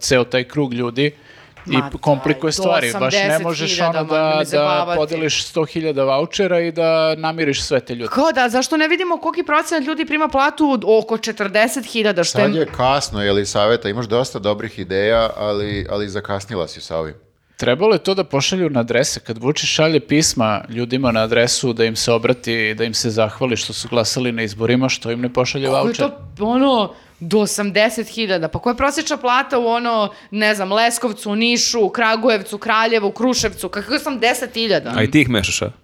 [SPEAKER 2] ceo taj krug ljudi i
[SPEAKER 4] Ma
[SPEAKER 2] p- komplikuje
[SPEAKER 4] daj, do
[SPEAKER 2] stvari. Baš ne
[SPEAKER 4] 80.000
[SPEAKER 2] možeš ono da,
[SPEAKER 4] mogli
[SPEAKER 2] da
[SPEAKER 4] zabavati.
[SPEAKER 2] podeliš 100.000 vouchera i da namiriš sve te ljude.
[SPEAKER 4] Kao da, zašto ne vidimo koliki procenat ljudi prima platu od oko 40.000, što
[SPEAKER 1] Sad
[SPEAKER 4] je...
[SPEAKER 1] je kasno, je li saveta? Imaš dosta dobrih ideja, ali, ali zakasnila si sa ovim.
[SPEAKER 2] Trebalo je to da pošalju na adrese. Kad Vučić šalje pisma ljudima na adresu da im se obrati, da im se zahvali što su glasali na izborima, što im ne pošalje
[SPEAKER 4] Ko je
[SPEAKER 2] voucher.
[SPEAKER 4] to, ono, do 80.000, pa koja je prosječna plata u ono, ne znam, Leskovcu, Nišu, Kragujevcu, Kraljevu, Kruševcu, kakve 80.000?
[SPEAKER 3] A i ti ih mešaš, a?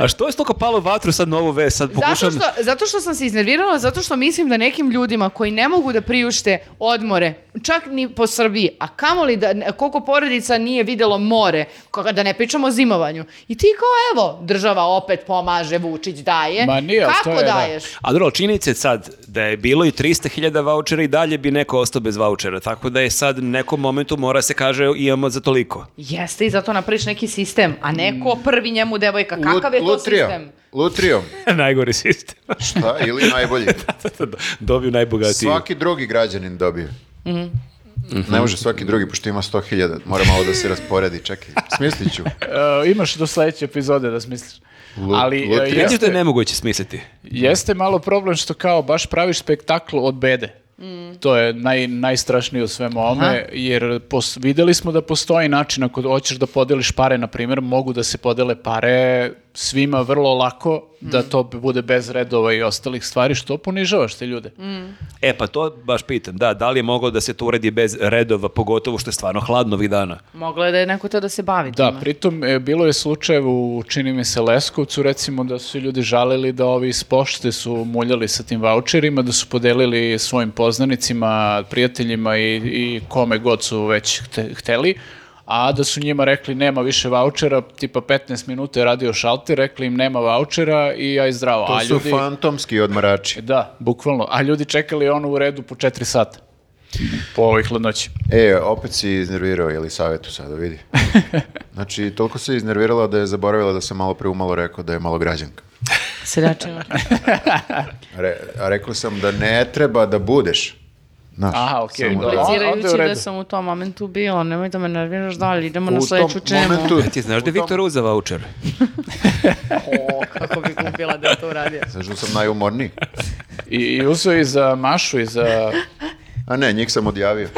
[SPEAKER 3] A što je toliko palo vatru sad na ovu vest? Sad
[SPEAKER 4] Zato
[SPEAKER 3] pokušam...
[SPEAKER 4] što, zato što sam se iznervirala, zato što mislim da nekim ljudima koji ne mogu da priušte odmore, čak ni po Srbiji, a kamoli da, koliko porodica nije videlo more, koga- da ne pričamo o zimovanju. I ti kao evo, država opet pomaže, Vučić daje.
[SPEAKER 2] Ma nije, ali to
[SPEAKER 4] Kako
[SPEAKER 2] je, da.
[SPEAKER 4] daješ?
[SPEAKER 3] A dobro, ali činjenica je sad da je bilo i 300.000 vouchera i dalje bi neko ostao bez vouchera, tako da je sad u nekom momentu mora se kaže imamo za toliko.
[SPEAKER 4] Jeste i zato napraviš neki sistem, a
[SPEAKER 2] Mm.
[SPEAKER 4] neko prvi njemu devojka. Kakav je to
[SPEAKER 1] Lutrijom.
[SPEAKER 4] sistem?
[SPEAKER 1] Lutrijom.
[SPEAKER 3] Najgori sistem.
[SPEAKER 1] Šta? Ili najbolji.
[SPEAKER 3] Dobiju najbogatiji.
[SPEAKER 1] Svaki drugi građanin dobije.
[SPEAKER 4] Mhm.
[SPEAKER 1] Ne može svaki drugi, pošto ima 100.000. Mora malo da se rasporedi. Čekaj, smislit ću.
[SPEAKER 2] E, imaš do sledeće epizode da smisliš.
[SPEAKER 1] Lu-
[SPEAKER 2] Ali e,
[SPEAKER 1] lutrija.
[SPEAKER 3] Reći da je
[SPEAKER 2] jeste,
[SPEAKER 3] nemoguće smisliti.
[SPEAKER 2] jeste malo problem što kao baš praviš spektakl od bede. To je naj, najstrašnije u svemu ovome, jer pos, videli smo da postoji način ako hoćeš da podeliš pare, na primjer, mogu da se podele pare svima vrlo lako, da to bude bez redova i ostalih stvari, što ponižavaš te ljude.
[SPEAKER 3] E pa to baš pitam, da, da li je moglo da se to uredi bez redova, pogotovo što je stvarno hladno ovih dana.
[SPEAKER 4] Moglo je da je neko to da se bavi.
[SPEAKER 2] Da,
[SPEAKER 4] time.
[SPEAKER 2] pritom e, bilo je slučajev u, čini mi se, Leskovcu, recimo da su ljudi žalili da ovi iz pošte su muljali sa tim voucherima, da su podelili svojim poznanicima, prijateljima i, i kome god su već hte- hteli, a da su njima rekli nema više vouchera, tipa 15 minuta je radio šalter, rekli im nema vouchera i aj zdravo.
[SPEAKER 1] To
[SPEAKER 2] a
[SPEAKER 1] su
[SPEAKER 2] ljudi,
[SPEAKER 1] fantomski odmarači.
[SPEAKER 2] Da, bukvalno. A ljudi čekali ono u redu po 4 sata po ovoj hladnoći.
[SPEAKER 1] E, opet si iznervirao Jelisavetu sada, vidi. Znači, toliko se iznervirala da je zaboravila da sam malo pre umalo rekao da je malo građanka.
[SPEAKER 4] Seljačina.
[SPEAKER 1] Re, a rekao sam da ne treba da budeš. Znaš,
[SPEAKER 2] Aha, okej,
[SPEAKER 1] samo
[SPEAKER 2] dobro.
[SPEAKER 1] da-
[SPEAKER 2] Onda je u
[SPEAKER 4] Implicirajući da
[SPEAKER 2] redu.
[SPEAKER 4] sam u tom momentu bila, nemoj da me nerviraš dalje, idemo na
[SPEAKER 1] U tom
[SPEAKER 4] sledeću čemu.
[SPEAKER 1] momentu-
[SPEAKER 3] E, ti znaš da je
[SPEAKER 1] U tom-
[SPEAKER 3] Viktor uzeo voucher?
[SPEAKER 4] O, kako bi kupila da je to uradio.
[SPEAKER 1] Znaš da sam najumorniji.
[SPEAKER 2] I, i uzeo i za Mašu i za
[SPEAKER 1] A ne, njih sam odjavio.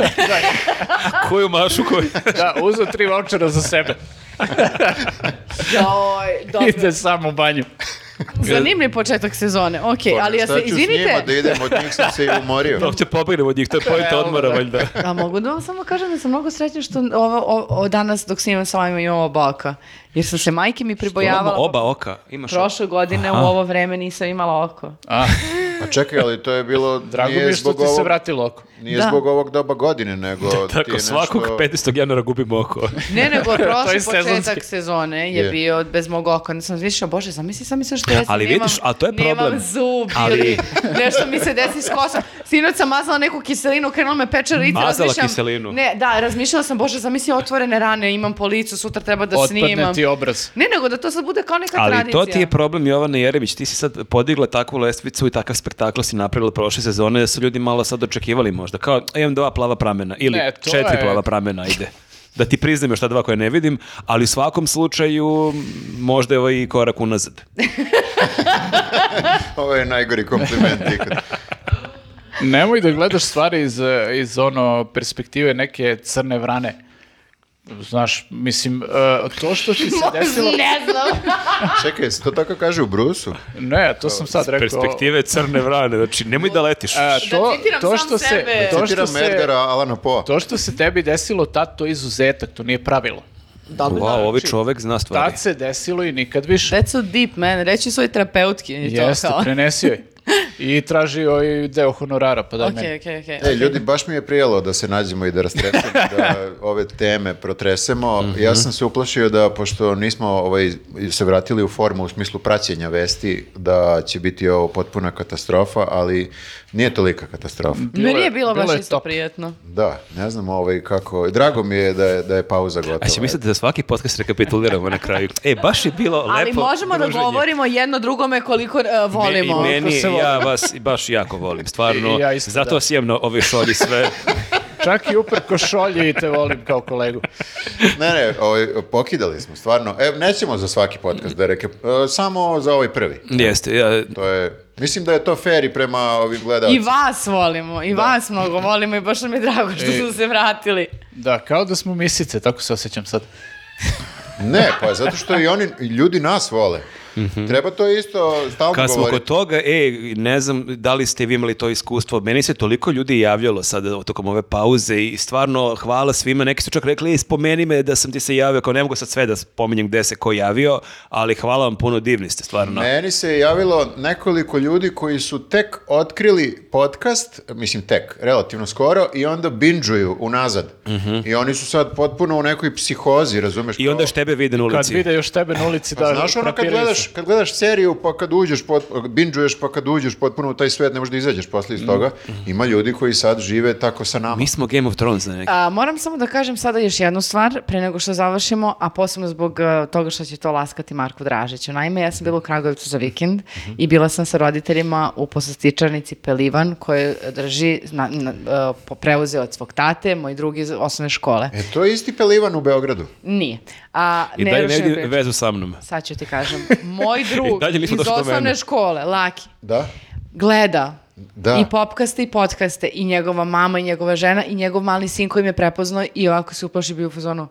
[SPEAKER 3] Koju mašu, koju?
[SPEAKER 2] Da, uzeo tri vouchera za sebe.
[SPEAKER 4] Joj, dobro.
[SPEAKER 2] Ide samo u banju.
[SPEAKER 4] Zanimljiv početak sezone, ok, ali ja
[SPEAKER 1] Pa, Šta
[SPEAKER 4] se,
[SPEAKER 1] ću s njima
[SPEAKER 4] izvinite,
[SPEAKER 1] da idem, od njih sam se i umorio.
[SPEAKER 3] Uopće pobegnemo od njih, to je pojenta odmora, valjda.
[SPEAKER 4] a mogu da vam samo kažem da sam mnogo srećna što ovo, o- o- danas dok snimam sa vama imam oba oka, jer sam se majke mi pribojavala.
[SPEAKER 3] Imamo oba oka. Imaš oka.
[SPEAKER 4] Prošle godine u ovo vreme nisam imala oko.
[SPEAKER 2] A,
[SPEAKER 1] A čekaj, ali to je bilo...
[SPEAKER 2] drago mi
[SPEAKER 1] nije
[SPEAKER 2] je što
[SPEAKER 1] zbog
[SPEAKER 2] ti se
[SPEAKER 1] ovog-
[SPEAKER 2] vratilo oko.
[SPEAKER 1] Nije
[SPEAKER 4] Da.
[SPEAKER 1] zbog ovog doba godine, nego... ti je
[SPEAKER 3] Tako,
[SPEAKER 1] nešto-
[SPEAKER 3] svakog 15. januara gubimo oko.
[SPEAKER 4] Ne, nego
[SPEAKER 2] To
[SPEAKER 4] prošli
[SPEAKER 2] je
[SPEAKER 4] početak
[SPEAKER 2] sezonski.
[SPEAKER 4] sezone je
[SPEAKER 1] Je.
[SPEAKER 4] bio bez mog oka. Ne sam razmišljala, bože, zamisli sam misle što ja
[SPEAKER 3] Ali
[SPEAKER 4] nemam-
[SPEAKER 3] vidiš, a to je problem.
[SPEAKER 4] Nemam zub
[SPEAKER 3] Ali-
[SPEAKER 4] ili nešto mi se desi s kosom. Sinoć sam mazala neku kiselinu, krenula me peče lice.
[SPEAKER 3] Mazala
[SPEAKER 4] razmišljam-
[SPEAKER 3] kiselinu.
[SPEAKER 4] Ne, da, razmišljala sam, bože, zamisli otvorene rane, imam po licu, sutra treba da
[SPEAKER 2] Otpadne
[SPEAKER 4] snimam.
[SPEAKER 2] ti obraz.
[SPEAKER 4] Ne, nego da to sad bude kao neka
[SPEAKER 3] Ali
[SPEAKER 4] tradicija.
[SPEAKER 3] to ti je problem Jovana Jeremić, ti si sad podigla takvu lestvicu i takav spektakl si napravila prošle sezone da su ljudi malo sad očekivali možda. Kao, "E, imam dva plava pramena ili
[SPEAKER 2] Ne, to
[SPEAKER 3] četiri
[SPEAKER 2] je-
[SPEAKER 3] plava pramena, ide. Da ti priznam još ta dva koje ne vidim, ali u svakom slučaju m, možda je ovaj i korak unazad.
[SPEAKER 1] Ovo je najgori kompliment ikad.
[SPEAKER 2] Nemoj da gledaš stvari iz, eh, iz ono perspektive neke crne vrane. Znaš, mislim, eh, to što ti se desilo...
[SPEAKER 4] Ne znam.
[SPEAKER 1] Čekaj, se to tako kaže u Brusu?
[SPEAKER 2] Ne, to sam sad rekao.
[SPEAKER 3] Perspektive crne vrane, znači nemoj da letiš.
[SPEAKER 2] Eh, to,
[SPEAKER 4] Da citiram
[SPEAKER 2] to
[SPEAKER 4] sam
[SPEAKER 2] što se,
[SPEAKER 4] sebe.
[SPEAKER 2] to što
[SPEAKER 1] Citiram Edgara
[SPEAKER 2] se,
[SPEAKER 1] Alana Poe.
[SPEAKER 2] to što se tebi desilo, tad to je izuzetak, to nije pravilo.
[SPEAKER 4] Dobro,
[SPEAKER 3] Wow,
[SPEAKER 4] da.
[SPEAKER 3] ovaj čovek zna stvari.
[SPEAKER 2] Tad se desilo i nikad više.
[SPEAKER 4] That's so deep, man. Reći svoj terapeutki. i to
[SPEAKER 2] Jeste,
[SPEAKER 4] kao.
[SPEAKER 2] prenesio je. I tražio i deo honorara, pa daj meni.
[SPEAKER 4] Okej, okej, okej.
[SPEAKER 1] E, ljudi, baš mi je prijelo da se nađemo i da rastresemo, da ove teme protresemo. Ja
[SPEAKER 2] Mhm.
[SPEAKER 1] sam se uplašio da, pošto nismo ovaj, se vratili u formu u smislu praćenja vesti, da će biti ovo potpuna katastrofa, ali nije tolika katastrofa.
[SPEAKER 2] Bilo
[SPEAKER 4] Meni
[SPEAKER 2] je-
[SPEAKER 4] je bilo,
[SPEAKER 2] bilo
[SPEAKER 4] baš
[SPEAKER 2] je
[SPEAKER 4] isto
[SPEAKER 2] top.
[SPEAKER 4] prijetno.
[SPEAKER 1] Da, ne znam ovaj kako... Drago mi je da je, da je pauza gotova.
[SPEAKER 3] A će misliti E, da svaki podcast rekapituliramo na kraju. E, baš je bilo lepo
[SPEAKER 4] Ali možemo da
[SPEAKER 3] druženje.
[SPEAKER 4] govorimo jedno drugome koliko e, volimo.
[SPEAKER 3] Me, I meni,
[SPEAKER 2] se voli.
[SPEAKER 3] ja vas baš jako volim, stvarno.
[SPEAKER 2] I ja isto,
[SPEAKER 3] Zato
[SPEAKER 2] da.
[SPEAKER 3] vas imam na ove šolji sve.
[SPEAKER 2] Čak i uprko šolje i te volim kao kolegu.
[SPEAKER 1] Ne, ne, ovaj, pokidali smo, stvarno. E, nećemo za svaki podcast da reke... e, samo za ovaj prvi.
[SPEAKER 3] Jeste, ja,
[SPEAKER 1] To je... Mislim da je to fair i prema ovim
[SPEAKER 4] I
[SPEAKER 1] gledalcima.
[SPEAKER 4] vas volimo, i vas mnogo volimo i baš nam je drago što
[SPEAKER 2] E.
[SPEAKER 4] su se vratili.
[SPEAKER 2] Da, kao da smo misice, tako se osjećam sad.
[SPEAKER 1] Ne, pa zato što i oni, i ljudi nas vole. Treba to isto stalno
[SPEAKER 3] Mhm. Kad smo
[SPEAKER 1] govoriti.
[SPEAKER 3] kod toga, e, ne znam da li ste vi imali to iskustvo, meni se toliko ljudi javljalo sad tokom ove pauze i stvarno hvala svima, neki su čak rekli, e, spomeni me da sam ti se javio, kao ne mogu sad sve da spominjem gde se ko javio, ali hvala vam puno, divni ste stvarno.
[SPEAKER 1] Meni se javilo nekoliko ljudi koji su tek otkrili podcast, mislim tek, relativno skoro, i onda binđuju unazad. I oni su sad potpuno u nekoj psihozi, razumeš?
[SPEAKER 3] Mhm. I onda
[SPEAKER 1] kao-
[SPEAKER 3] još tebe vide na
[SPEAKER 2] Kad
[SPEAKER 3] ulici.
[SPEAKER 2] vide još tebe na ulici
[SPEAKER 1] Pa
[SPEAKER 2] da...
[SPEAKER 1] znaš ono kad
[SPEAKER 2] prepiraju se.
[SPEAKER 1] gledaš, kad gledaš seriju pa kad uđeš, pot, binđuješ pa kad uđeš potpuno u taj svet, ne možeš da izađeš posle
[SPEAKER 2] Mm.
[SPEAKER 1] iz toga. Ima ljudi koji sad žive tako sa nama.
[SPEAKER 3] Mi smo Game of Thrones na neki.
[SPEAKER 4] A, moram samo da kažem sada još jednu stvar pre nego što završimo, a posebno zbog e, toga što će to laskati Marku Dražiću. Naime, ja sam bila u Kragovicu za vikend
[SPEAKER 3] Mhm.
[SPEAKER 4] i bila sam sa roditeljima u poslastičarnici Pelivan koju drži, na, na, e, po- preuzeo od svog tate, moj drugi iz osnovne škole.
[SPEAKER 1] E to je isti pelivan u Beogradu.
[SPEAKER 4] Nije. A,
[SPEAKER 3] I
[SPEAKER 4] ne,
[SPEAKER 3] dalje
[SPEAKER 4] još jedna
[SPEAKER 3] negdje
[SPEAKER 4] priča.
[SPEAKER 3] vezu sa mnom.
[SPEAKER 4] Sad ću ti kažem. Moj drug
[SPEAKER 3] dalje nismo
[SPEAKER 4] iz
[SPEAKER 3] došli do
[SPEAKER 4] osnovne
[SPEAKER 3] mene.
[SPEAKER 4] škole, Laki,
[SPEAKER 1] Da?
[SPEAKER 4] gleda
[SPEAKER 1] Da.
[SPEAKER 4] i popkaste i podkaste i njegova mama i njegova žena i njegov mali sin koji me prepoznao i ovako se uplaši bio u fazonu.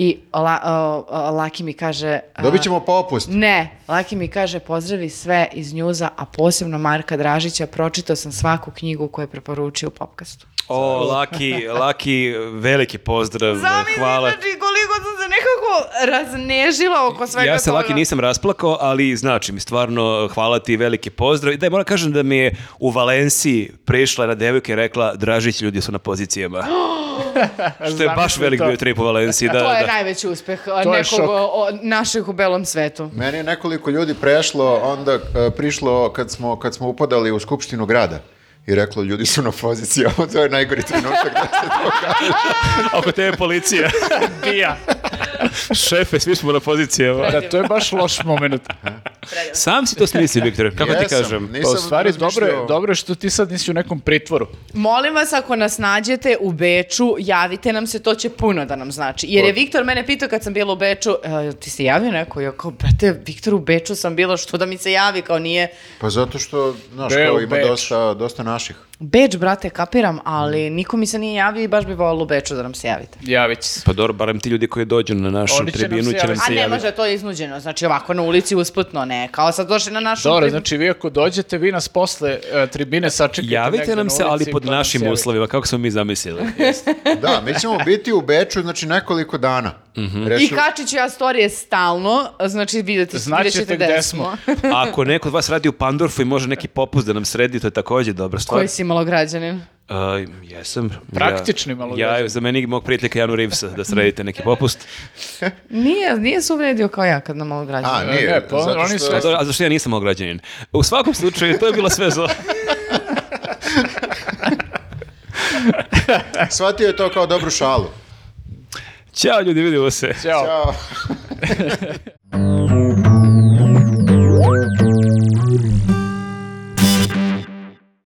[SPEAKER 4] I la, o- o- Laki mi kaže... a,
[SPEAKER 1] Dobit ćemo popust.
[SPEAKER 4] Ne, Laki mi kaže pozdravi sve iz njuza, a posebno Marka Dražića, pročitao sam svaku knjigu koju je preporučio u popkastu.
[SPEAKER 3] O, Laki, Laki, veliki pozdrav,
[SPEAKER 4] Zamisli,
[SPEAKER 3] hvala.
[SPEAKER 4] znači, koliko sam se nekako raznežila oko svega
[SPEAKER 3] Ja se
[SPEAKER 4] toga.
[SPEAKER 3] laki nisam rasplakao, ali znači mi stvarno hvala ti, veliki pozdrav. I da moram kažem da mi je u Valenciji prešla na devojka i rekla Dražić, ljudi su na pozicijama. Što je baš
[SPEAKER 2] Zamisli
[SPEAKER 3] velik
[SPEAKER 2] to.
[SPEAKER 3] bio trip u Valenciji. Da,
[SPEAKER 4] to je
[SPEAKER 3] da.
[SPEAKER 4] najveći uspeh a,
[SPEAKER 2] To je
[SPEAKER 4] nekog
[SPEAKER 2] šok.
[SPEAKER 4] o- o- naših u belom svetu.
[SPEAKER 1] Meni je nekoliko ljudi prešlo, onda e, prišlo kad smo, kad smo upadali u skupštinu grada i reklo ljudi su na poziciji, ovo to je najgori trenutak.
[SPEAKER 3] Ako te je policija.
[SPEAKER 2] Bija.
[SPEAKER 3] Šefe, svi smo na pozicijama.
[SPEAKER 2] Da, to je baš loš moment.
[SPEAKER 3] Sam si to smisli, Viktor, kako ti
[SPEAKER 1] Jesam,
[SPEAKER 3] kažem?
[SPEAKER 1] nisam
[SPEAKER 2] Pa, u stvari, dobro je,
[SPEAKER 1] razmišljao.
[SPEAKER 2] dobro je što ti sad nisi u nekom pritvoru.
[SPEAKER 4] Molim vas, ako nas nađete u Beču, javite nam se, to će puno da nam znači. Jer je Viktor mene pitao kad sam bila u Beču, "E, jel ti se javio neko? Ja kao, brate, Viktor, u Beču sam bila, što da mi se javi? Kao nije.
[SPEAKER 1] Pa zato što, znaš,
[SPEAKER 2] Beo,
[SPEAKER 1] kao ima
[SPEAKER 2] Beč.
[SPEAKER 1] dosta, dosta naših.
[SPEAKER 4] Beč, brate, kapiram,
[SPEAKER 2] Mm.
[SPEAKER 4] ali niko mi se nije javio i baš bi volila u Beču da nam se javite.
[SPEAKER 2] Javit će se.
[SPEAKER 3] Pa dobro, barem ti ljudi koji dođu na našu
[SPEAKER 2] Oni će nam
[SPEAKER 3] tribinu
[SPEAKER 2] se
[SPEAKER 3] će nam
[SPEAKER 2] javiti.
[SPEAKER 4] A
[SPEAKER 3] se
[SPEAKER 4] ne
[SPEAKER 3] javiti.
[SPEAKER 4] može, to je iznuđeno, znači ovako na ulici usputno, ne, kao sad došli na našu...
[SPEAKER 2] Dobro,
[SPEAKER 4] pri-
[SPEAKER 2] znači vi ako dođete, vi nas posle e, tribine sačekajte.
[SPEAKER 3] Javite
[SPEAKER 2] negde
[SPEAKER 3] nam
[SPEAKER 2] na
[SPEAKER 3] se, ali
[SPEAKER 2] ulici,
[SPEAKER 3] pod
[SPEAKER 2] pa nam se
[SPEAKER 3] našim
[SPEAKER 2] javite.
[SPEAKER 3] uslovima, kako smo mi zamislili.
[SPEAKER 1] Da, mi ćemo biti u Beču, znači nekoliko dana.
[SPEAKER 4] I
[SPEAKER 2] Mhm.
[SPEAKER 1] Rešili-
[SPEAKER 4] kačit ću ja storije stalno, znači vidjet ćete,
[SPEAKER 2] Znaćete
[SPEAKER 4] vidjet ćete
[SPEAKER 2] gde
[SPEAKER 4] gde
[SPEAKER 2] smo.
[SPEAKER 4] smo.
[SPEAKER 3] Ako neko od vas radi u Pandorfu i može neki popust da nam sredi, to je također dobra
[SPEAKER 2] Pa-
[SPEAKER 3] stvar.
[SPEAKER 4] Koji si malo građanin?
[SPEAKER 3] A, jesam.
[SPEAKER 2] Praktični
[SPEAKER 3] ja,
[SPEAKER 2] malo
[SPEAKER 3] Ja,
[SPEAKER 2] građani.
[SPEAKER 3] za meni i mog prijatelja Janu Rivsa da sredite neki popust.
[SPEAKER 4] Nije, nije se uvredio kao ja kad na malo građanin.
[SPEAKER 1] A, nije,
[SPEAKER 2] Ne, pa
[SPEAKER 1] zato
[SPEAKER 2] oni
[SPEAKER 1] što-
[SPEAKER 2] sve-
[SPEAKER 3] A, dobro, a zašto ja nisam mog građanin? U svakom slučaju, to je bilo sve za...
[SPEAKER 1] Shvatio je to kao dobru šalu.
[SPEAKER 3] Ćao ljudi, vidimo se.
[SPEAKER 2] Ćao.
[SPEAKER 1] Ćao.